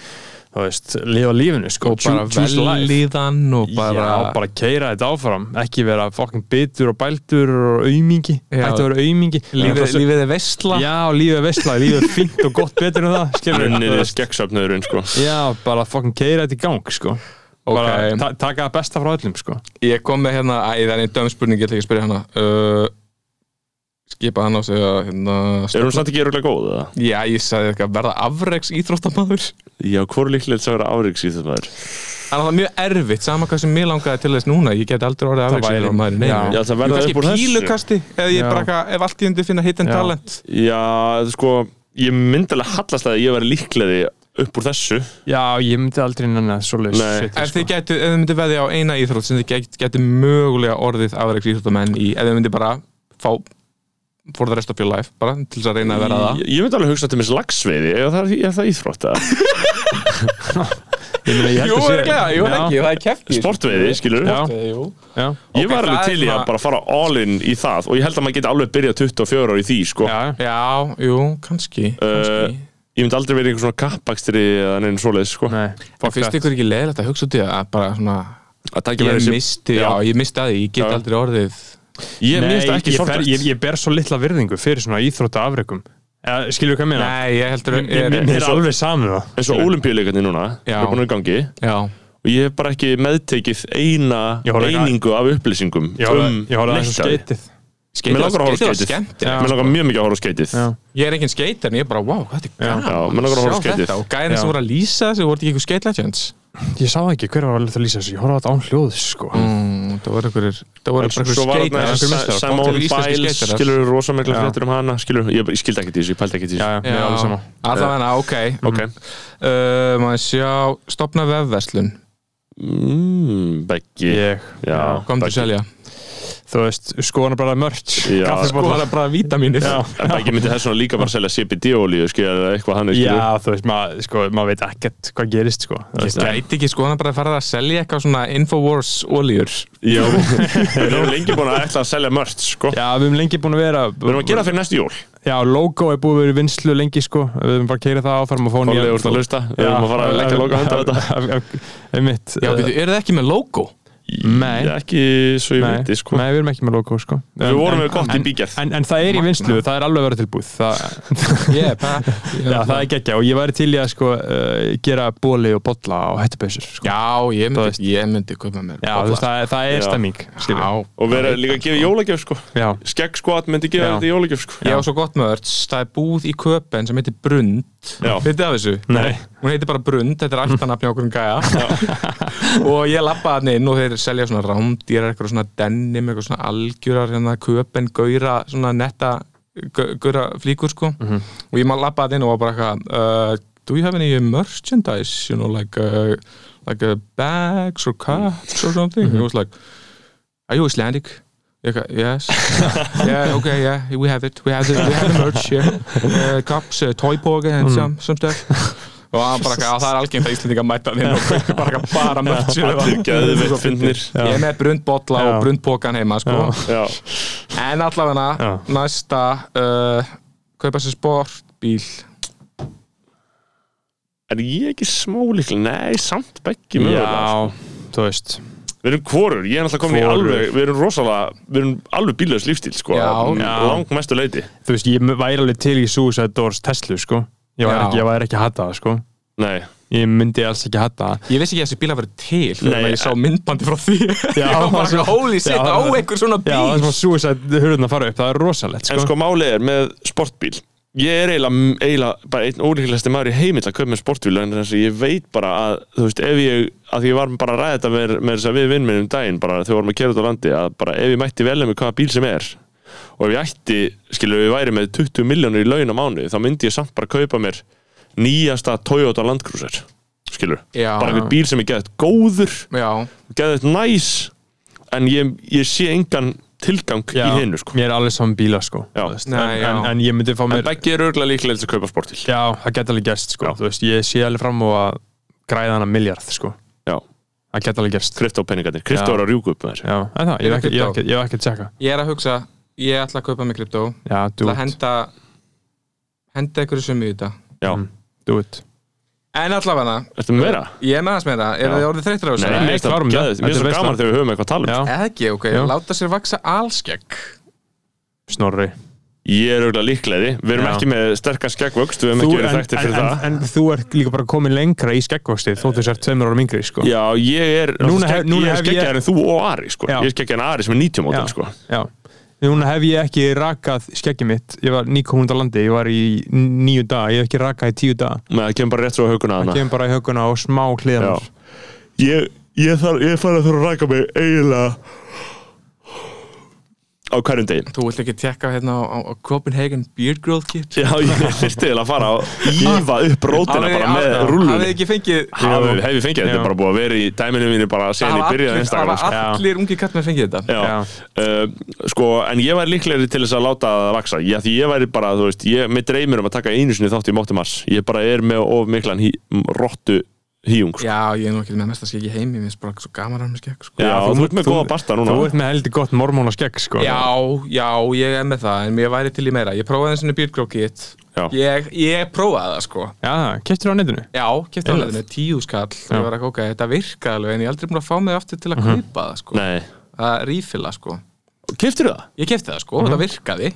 S5: þú veist, lifa lífinu sko.
S4: Og bara
S5: Choo- choose life.
S4: velliðan og bara
S5: Já, bara keira þetta áfram ekki vera fucking bitur og bæltur og aumingi,
S4: Já.
S5: hættu að vera aumingi
S4: Lífið, lífið er veistla
S5: Já, lífið er veistla, lífið er fínt og gott betur en það, skilur
S2: Runnið er skeggsöfnöðurinn, sko
S5: Já, bara fucking keira þetta í gang sko. bara
S4: Ok.
S5: ta taka það besta frá öllum sko.
S4: Ég kom með hérna, æ, það er einn döm spurning Ég ætla ekki að spyrja hana uh, Skipa hann á sig að hérna,
S2: Er hún samt ekki öruglega góð, eða?
S4: Já, ég sagði eitthvað verða afreks íþróttamaður
S2: Já, hvort líklega þess að vera áriks í þetta maður
S4: Það er alltaf mjög erfitt, sama hvað sem mér langaði til þess núna Ég get aldrei orðið
S5: Það
S4: afreks
S5: væri-
S4: íþróttamaður
S5: Já.
S2: Já, það verða upp úr þessu.
S4: pílukasti Eða ég
S5: Já.
S4: bara eitthvað, ef allt ég undir finna hidden
S5: Já.
S4: talent
S2: Já, þetta sko, ég myndi alveg hallast að ég veri líkleði upp úr þessu
S5: Já, ég myndi aldrei nanna svoleiðis
S2: Nei.
S5: shit,
S4: Ef
S5: sko.
S4: þið gætu, ef þið myndi veðja á eina íþrótt sem þið gætu, gætu mögulega orðið afreiks íþróttamenn í, ef þið myndi bara fá for the rest of your life, bara til þess að reyna að vera það
S2: Ég, ég myndi alveg hugsa til mér lagsveiði ef það, er- ef það er íþrótt eða
S5: Ég meina, ég held að sé- Já.
S4: það er kefki
S2: sportveiði, skilur
S5: Já. Já,
S2: Ég
S4: Ok,
S2: var alveg
S4: það er
S2: til í að
S4: svona-
S2: bara fara all in í það og ég held að maður geti alveg byrjað 24 ára í því, sko
S5: já,
S4: Já, jú, kannski,
S2: Uh,
S4: kannski.
S2: ég myndi aldrei verið einhver svona kappakstri eða neinn svoleiðis, sko
S5: nei
S4: En finnst ykkur ekki leiðilegt að hugsa út í það að bara svona,
S2: Að taka
S4: ég
S2: verið þessi-
S4: misti, já,
S2: Já.
S4: ég misti að því, ég get
S2: Já.
S4: aldrei orðið
S2: Ég
S5: Nei,
S2: minnst ekki
S5: ég, fer,
S2: sorglegt
S5: ég, ég ber svo litla virðingu fyrir svona íþrótta afrekum eh, Skilur hvað ég meina?
S4: Nei, ég heldur
S5: Mér- Mér mér er
S2: eins og-
S5: alveg samið það
S2: eins og ólimpíuleikarnir núna
S4: Já.
S2: er búin að gangi
S4: Já,
S2: og ég hef bara ekki meðtekið eina
S5: Ég horfði ekki að-
S2: einingu af upplýsingum
S5: Ég horfði-
S2: um
S5: ég horfði aðeins á
S2: neitt af því.
S5: skeitið
S2: Mér langar að horfa á
S4: Skeitið var
S2: skeitið.
S4: skemmtilegt.
S2: Mér langar mjög mikið að horfa á skeitið
S5: sko. Já.
S4: Ég er enginn skeitar en ég er bara, wow, þetta er
S5: Já.
S4: gaman
S2: Já, mér langar að horfa á
S4: Sjá
S2: skeitið.
S4: þetta, Og gæðin
S5: Já.
S4: sem voru að lýsa þessu, voru þetta ekki eitthvað skate legends
S5: Ég sá ekki hver var alveg að lýsa þessu Ég horfði á þetta án hljóðs sko
S4: mm, Það voru einhverjir Það voru bara
S2: Svo var
S4: einhverjir
S2: þarna
S4: skate
S2: Simone Biles skilur rosa mikla
S5: Já.
S2: fréttur um hana skilur, ég, ég skildi ekki til þessu, ég pældi ekki til þessu
S5: Já, já, mér er alveg sama
S4: Alltaf hana, ok
S2: Ok,
S4: uh, Maður sjá, stopna vefverslun
S2: mm, Beggi
S5: Mhm. Ég,
S2: Já,
S4: Komdu
S2: Beggi.
S4: selja
S5: þú veist, skoðan bara merch
S2: Já.
S5: Kaffibollar
S4: bara vítaminir
S5: Já.
S2: En Beggi myndi þess vegna líka bara selja CBD-olíu skilur, eitthvað hann skilur
S5: Já, þú veist, maður sko, maður veit ekkert hvað gerist sko Þú
S4: Ég
S5: veist, en-
S4: gæti ekki sko hann bara að fara að selja eitthvað svona Infowars oljur
S2: Já, við erum lengi búin að ætla að selja mörgt sko.
S5: Já, við erum lengi búin að vera
S2: Við erum að gera það fyrir næstu jól
S5: Já, logo er búið að vera í vinslu lengi sko Við erum bara að keira það áfram og fá
S2: Þorlega úr það að hlusta, við erum að fara að leggja loka hönda á þetta
S5: þetta Einmitt
S4: Já,
S5: eh,
S4: veitu, eru það ekki með logo?
S5: Nei.
S2: Ég ekki svo ég
S5: Nei,
S2: veit sko.
S5: nei, við erum ekki með logo sko.
S2: Við vorum með gott í
S5: en,
S2: bígerð.
S5: en, en það er í vinslu, það er alveg að vera tilbúið það,
S4: Yeah, pa-
S5: Já, það er geggja og ég væri til í að sko, uh, gera bóli og bolla og hættupeysur sko.
S4: Já, ég
S5: Þú
S4: myndi,
S5: veist.
S4: ég myndi koma með
S5: Já, þú veist, það, er- það
S2: Já.
S5: er stemming skilur við.
S4: Já,
S2: Og við erum líka að gefa jólagjöf sko.
S5: Já.
S2: Skegg skvat myndi gefa
S5: Já.
S2: þetta í jólagjöf sko.
S4: Ég á svo gott með örts, það er búð í köpen sem heitir Brund
S2: Já.
S4: Vitið af þessu?
S5: Nei.
S4: Hún heitir bara Brund, þetta er aftanafni okkur um gæja Og ég lappa hann inn og þeir selja svona rámdýrar, eitthvað svona denim, eitthvað svona algjörar, hérna köpen, gauðra, svona netta gauðra flíkur sko Og ég maður lappa hann inn og var bara eitthvað uh, Do you have any merchandise, you know, like, uh, like uh, bags or cups or something? And I was like, are you Icelandic? Ég eitthvað, yes yeah, okay, yeah, we have it, we have the, we have the merch, yeah, uh, cups, uh, toy poker and some, some stuff og hann bara, eitthvað, "Já, það er algengt að Íslandinga mæta þinn og kaupir bara, eitthvað bara merch
S2: Allir geðveitt fyndnir.
S4: ég er með brundbolla og brundpokan heima sko.
S2: Já.
S4: En allavega,
S3: Já.
S4: næsta uh, kaupa sér sportbíl
S2: Er ég ekki smá líklega? Nei, samt beggi mögulega. sko.
S3: Já, þú veist
S2: Við erum hvorur, ég er náttúrulega komin í
S3: Hvorugur.
S2: alveg, við erum rosalega, við erum alveg bílaus lífstíl, sko.
S4: Já.
S2: Lang mestu leiti.
S3: Þú veist, ég væri alveg til í Suicide Doors Tesla, sko Ég væri
S4: Já.
S3: ekki, ég væri ekki að hata það, sko
S2: Nei.
S3: Ég myndi alls ekki að hata það
S4: Ég vissi ekki að þessi bíla verið til
S2: Nei,
S4: Þegar ég sá myndbandi frá því
S3: Já,
S4: Ég var bara
S3: svo-
S4: svona holy shit
S3: já.
S4: á einhver svona bíl
S3: Já, það er svona Suicide hurðun að fara upp, það er rosalegt,
S2: En
S3: sko,
S2: sko málið er með sportbíl. Ég er eiginlega, eiginlega bara einn ólíkilegasti maður í heimill að köpa með sportbíl en þess að ég veit bara að, þú veist, ef ég, að því ég var bara að ræða þetta með, með þess að við vinnum um daginn bara þegar við vorum að kera út á landi að bara ef ég mætti velja með hvaða bíl sem er og ef ég ætti, skilur við væri með 20 miljónur í laun á mánu þá myndi ég samt bara kaupa mér nýjasta Toyota Land Cruiser, skilur
S4: Já.
S2: bara einhvern bíl sem ég geðið góður
S4: Já,
S2: geðið næs en ég, ég sé engan tilgang
S3: Já,
S2: í hinu, sko
S3: Mér er alveg saman bíla, sko
S2: Já.
S3: þú veist. en,
S4: Nei,
S3: en,
S4: já.
S3: en ég myndi fá
S2: En
S3: mér
S2: beggi eru örgulega líklega til að kaupa sportbíl
S3: Já, það geta alveg gerst, sko
S2: Já.
S3: Þú veist, ég sé alveg fram á að græða hana miljard, sko
S2: Já,
S3: Það geta alveg gerst
S2: kryptópeningarnir, kryptó
S3: Já.
S2: eru að rjúka upp með þér
S3: Já, en það, ég hef
S4: Fyrir
S3: ekki, ég hef
S4: kryptó.
S3: ekki, ég hef ekki að tjekka
S4: ég er að hugsa Ég ætla að kaupa mig kryptó
S3: Já, do
S4: Það
S3: it,
S4: henda Henda einhverju sumi í þetta
S2: Já,
S3: Mm. do it
S4: En allavega,
S2: ertu með meira?
S4: ég er með hans meira Er
S2: Já.
S4: þið orðið þreyttir á þessu?
S3: Nei,
S2: mér finnst það
S3: klárum það.
S2: geðveikt. Mér finnst
S3: Þetta
S2: það
S3: er veisla.
S2: gaman þegar við höfum eitthvað að tala um
S3: Já,
S4: Eða ekki, ok,
S3: Jú.
S4: láta sér vaksa alskegg
S3: snorri
S2: Ég er auðvitað líklegri, við erum
S3: Já.
S2: ekki með sterkan skeggvöxt, við hefum ekki verið þættir fyrir
S3: en,
S2: það
S3: en, en þú ert líka bara komin lengra í skeggvöxtið þóttu þessar tveimur árum yngri sko.
S2: Já, ég er,
S3: Núna
S2: skegg-
S3: hef- núna
S2: ég er
S3: hef ég-
S2: skeggjar en þú og Ari sko.
S3: Já.
S2: Ég er skeggjar en Ari sem er 90 mótin sko.
S3: já. Núna hef ég ekki rakað skeggið mitt ég var nýkomund á landi, ég var í nýju dag ég hef ekki rakað í tíu dag
S2: Með það kemur bara rétt svo á hauguna hana
S3: kemur bara í höguna og smá hliðanar
S2: Ah. Já. Ég, ég, þarf, ég fara að þurfa að ræka mig eiginlega á hverjum degin
S4: Þú vilt ekki tekka hérna á, á, á Copenhagen Beard Growth Kit
S2: Já, ég þyrfti eiginlega að fara að ífa upp rótina bara með
S4: Það hefði
S2: rullunni
S4: ekki fengið
S2: Hafið hef ég fengið, þetta
S3: Já.
S2: er bara búið að vera í dæminu mínu bara
S4: Það
S2: síðan ég
S4: hafa
S2: byrjaði á
S4: allir-
S2: Instagram
S4: það
S2: sko.
S4: hafa allir ungi katt með fengið þetta
S2: Já, Uh, sko, en ég væri líklegri til þess að láta það vaksa Já, því ég væri bara, þú veist, ég, mitt reymir um að taka einu sinni þátt í mótti mars Ég bara er með of miklan hí, rottu híung sko.
S4: Já, ég er nú ekki með mesta skegg í heimi Mér er bara svo gaman að mér skegg sko.
S2: Já, þú, ert með góða barta núna
S3: þú ert með heldur gott mormón á skegg sko.
S4: já, já, ég er með það En ég væri til í meira Ég prófaði eins og Beard Growth Kit
S2: Já.
S4: ég, ég prófaði það sko
S3: já keftur á netinu
S4: Já, kefti alveg með tíu skall Ég var ekki, ok, þetta virkaði alveg En ég er aldrei búin að fá mig aftur til að kaupa það sko
S2: Mhm. Nei,
S4: Að rífila sko
S2: keftir það?
S4: Ég kefti það
S2: Mhm.
S4: sko, þetta virkaði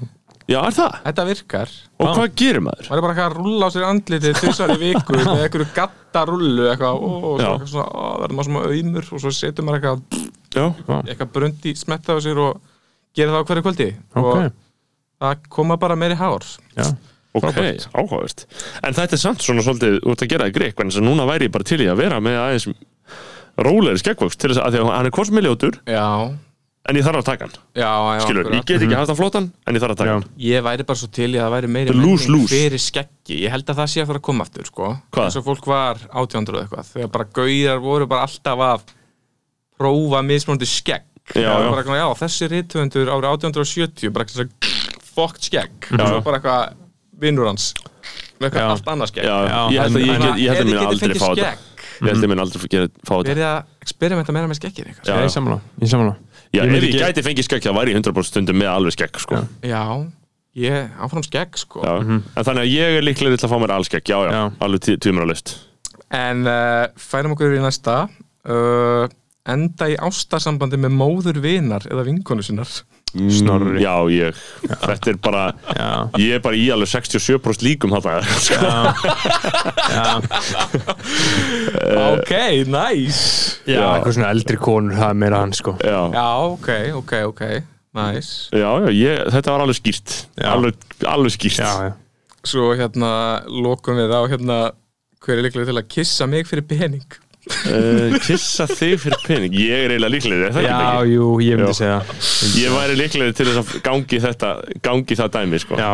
S2: Já, er það?
S4: Þetta virkar
S2: Og hvað gerir maður?
S4: maður er bara eitthvað að rulla á sér andlitið tvisar í viku með einhverju gattarullu eitthvað, ó, og
S2: Já.
S4: svo eitthvað svona, ó, verður maður svona auðmur og svo setur maður eitthvað,
S2: Já,
S4: eitthvað brundi smetta á sér og gerir það á hverju kvöldi
S3: ok,
S4: og það koma bara meiri hár
S3: já
S2: ok, áhugavert En þetta er samt svona svolítið, þú ert að gera það greik Hvernig að núna væri ég bara til í að vera með aðeins Rólegri skeggvöxt til þess að, að því að hann er hvort með ljótur
S4: já,
S2: En ég þarf að taka hann,
S4: já, já
S2: skilur,
S4: akkurat.
S2: ég get ekki haft hann flotan En ég þarf að taka
S3: Mhm. Já.
S2: hann
S4: ég væri bara svo til í að það væri meiri
S2: Lose,
S4: menning
S2: lose.
S4: fyrir skeggi ég held að það sé að fara að koma aftur sko.
S2: Hvað?
S4: eins og fólk var 1800 og eitthvað þegar bara gauðar voru bara alltaf að prófa mismunandi skegg
S2: Já,
S4: Það var
S2: já.
S4: Bara, eitthvað, já þessi rithöfundur árið 1870 bara eitthvað svona fokkt skegg og svo bara eitthvað vinnur hans með eitthvað
S3: Já.
S4: allt annað skegg
S2: Já,
S3: Já,
S2: ég held að
S3: en-
S2: ég,
S3: en-
S2: get, ég held að
S4: Ef
S2: minna
S4: þið getið
S2: aldrei
S4: fengið
S2: fá þetta
S4: skegg,
S2: Ég held að minna aldrei gera, fá þetta
S4: verið að experimenta meira með skeggir eitthvað
S2: Já,
S3: ég
S2: já.
S3: er samla, ég er samla
S2: Já,
S3: Ég
S2: ef
S3: myndi
S2: ég
S3: ekki-
S2: gæti fengið skegg þá væri ég 100% stundum með alveg skegg sko. já.
S4: já, ég áfram skegg sko
S2: En þannig að ég er líklega til að fá mér allskegg Já, já,
S3: Mhm. Já.
S2: alveg tí, tímur á list
S4: En uh, færum okkur í næsta uh, Enda í ástarsambandi með móður vinar eða vinkonu sinnar
S3: Snorri.
S2: Já, ég, þetta er bara
S3: já,
S2: Ég er bara í alveg 67% líkum þetta sko. Eh.
S4: Ok, nice
S3: já, eitthvað svona eldri konur það er meira hann sko
S2: já. Já.
S4: Já, ok, ok, ok Nice
S2: já, ég, þetta var alveg skýrt
S3: Já.
S2: Alveg, alveg skýrt
S3: já, já.
S4: Svo hérna, lokum við á hérna Hver er líklega til að kissa mig fyrir pening?
S2: Eh, Kissa þig fyrir pening Ég er eiginlega líklega, er það ekki
S3: já,
S2: ekki?
S3: jú, ég myndi
S2: Já.
S3: segja
S2: Ég væri líklega til þess að gangi þetta gangi það dæmi, sko
S3: já,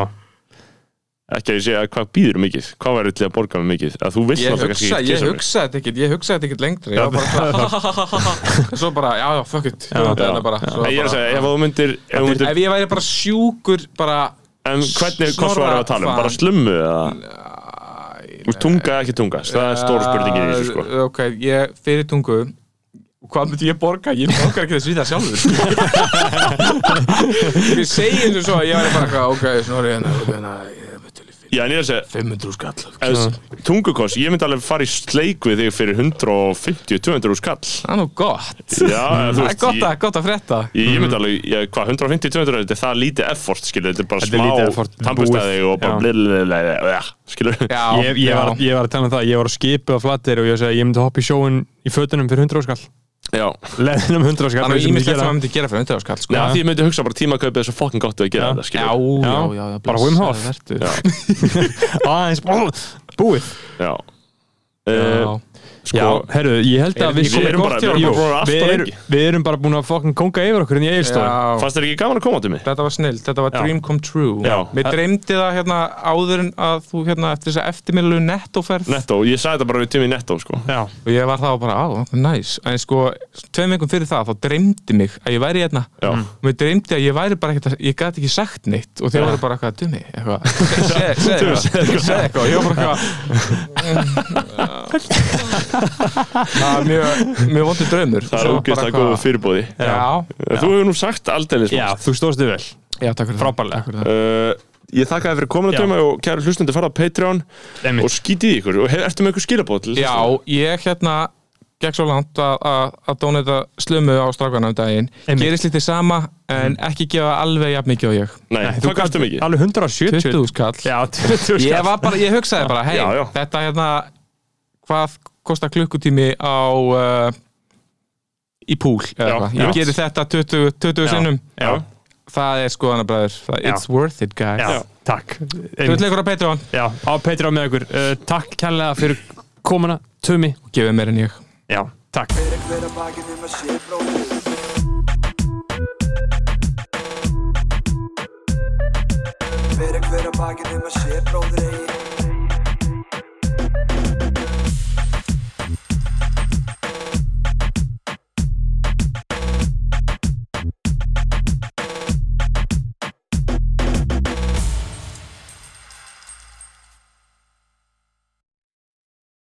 S2: ekki að ég segja hvað býður mikið hvað væri til að borga mig mikið að þú vilt
S4: Ég
S2: náttúrulega
S4: hugsa,
S2: kannski
S4: ég
S2: kissa mig.
S4: hugsa þetta ekkert Ég hugsa þetta ekkert lengri Ég var bara Svo bara, já, já, fuck it Já,
S2: Já.
S4: bara, svo
S2: Nei, ég er að
S4: bara-
S2: segja, ef þú myndir, ef þú myndir
S4: Ef ég væri bara sjúkur bara
S2: en hvernig, hvað svo erum við að tala um, bara slummu eða, þú veist, tunga eða ekki tunga það er stóra spurningin í þessu sko
S4: Uh, ok, ég fyrir tungu hvað myndi ég borga? Ég borgar ekki þess við það sjálfur Við segjum þessu svo að ég væri bara eitthvað ok, snorri hérna, ok, hérna ég myndi til í
S2: Já, en ég er að segja,
S4: 500 skall
S2: Eðs, tungukoss, ég myndi alveg fara í sleik við þig fyrir 150-200 úr skall
S4: Það er nú gott
S2: Já, þú
S4: Það er
S2: veist,
S4: gott að,
S2: ég,
S4: gott að frétta
S2: ég, ég myndi alveg, ég, hvað, 150-200, þetta er það lítið effort, skilur, þetta er bara
S5: Þetta er lítið
S2: smá
S5: effort,
S2: tampustæði
S5: búið.
S2: og bara
S5: Já.
S2: blililililililililililililililililililililililililililililililililililililililililililililililililil, skilur
S4: Já,
S5: Ég, ég, var, ég var að tala um það, ég var að skipa á flatir og ég sagði að ég myndi hoppa í sjóin í fötunum fyrir 100 skall
S2: Já,
S5: Leðinum 100
S4: Þannig að ég
S5: skall sem myndi
S4: myndi sem
S5: gera.
S4: að myndi gera fyrir 100 skall sko.
S2: Nei, af því ég myndi hugsa bara tímakaupið er svo fokkin gott að gera
S5: Já.
S2: þetta,
S4: já,
S2: skilur
S4: já,
S5: Já.
S4: já, já
S5: Bara Wim Hof.
S4: blessaður vertu.
S2: Já,
S5: aðeins búið
S2: já Eh,
S4: Já.
S2: Sko,
S5: herru, ég held að
S4: Erum
S5: við
S4: við komin
S5: séum
S2: bara-
S5: gott hjá
S2: við erum
S5: Jú,
S2: bara allt
S5: við
S2: of
S5: erum-
S2: lengi.
S5: við erum bara búin að fokkin konga yfir okkur en ég eilst
S4: Já.
S2: fannst þér ekki gaman að koma til mig?
S4: Þetta var snill, þetta var
S5: Já.
S4: dream come true
S2: Já.
S4: Mér dreymdi það hérna áður en að þú hérna eftir þess að eftirmiðlu nettóferð
S2: Netto, ég sagði þetta bara við tími netto, sko
S5: Já,
S4: og ég var þá bara, á, næs en sko, tveim vingum fyrir það, þá dreymdi mig að ég væri hérna
S2: Já.
S4: og mér dreymdi að ég væri bara ekkert, að- ég gat ekki sagt neitt og þeir voru bara eitthvað, dumi, eitthvað segð
S2: Dumi,
S4: eitthvað,
S2: segðu eitthvað."
S4: segð eitthvað og ég var bara eitthvað mm, já. það er mjög, mjög vondur draumur
S2: Það er ógeðslega góðu fyrirbóði
S4: já,
S2: Þú hefur nú sagt aldeilis
S5: já þú stóðst þig vel
S4: já, takk fyrir
S5: Frábærlega.
S4: það, takk fyrir það.
S2: uh, Ég þakka þér fyrir komin að
S5: Já.
S2: döma og kæru hlustendur farað á Patreon
S5: Einmitt.
S2: og skítið í ykkur og hef, ertu með ykkur skilabóð til
S4: Já, ég hérna gekk svo langt að- að að dónita slömu á strákanum daginn
S5: Einmitt. Mm.
S4: gerist lítið sama en ekki gefa alveg jafn mikið og ég
S2: Nei,
S5: þú
S2: hvað gastu mikið?
S5: alveg 170
S4: 20 skall
S5: Já, 20
S4: ég,
S5: skall
S4: var bara, ég hugsaði bara, hei,
S2: Já, já.
S4: þetta hérna hvað kostar klukkutími á uh, í púl eða
S2: Já, já.
S4: eitthvað, ég geri þetta 20, 20 sinnum
S5: Já,
S4: það er skoðanabræður,
S5: Já.
S4: it's worth it guys
S5: já,
S2: Já.
S5: takk
S4: Þú
S5: Einmitt.
S4: vil leikur á Patreon,
S5: Já, á Petra með okkur uh, Takk kærlega fyrir komuna, Tumi
S4: gefið mér en ég
S5: Já, takk
S1: Fyrir hver að bakið nema sé bróðir Fyrir hver að bakið nema sé bróðir eigi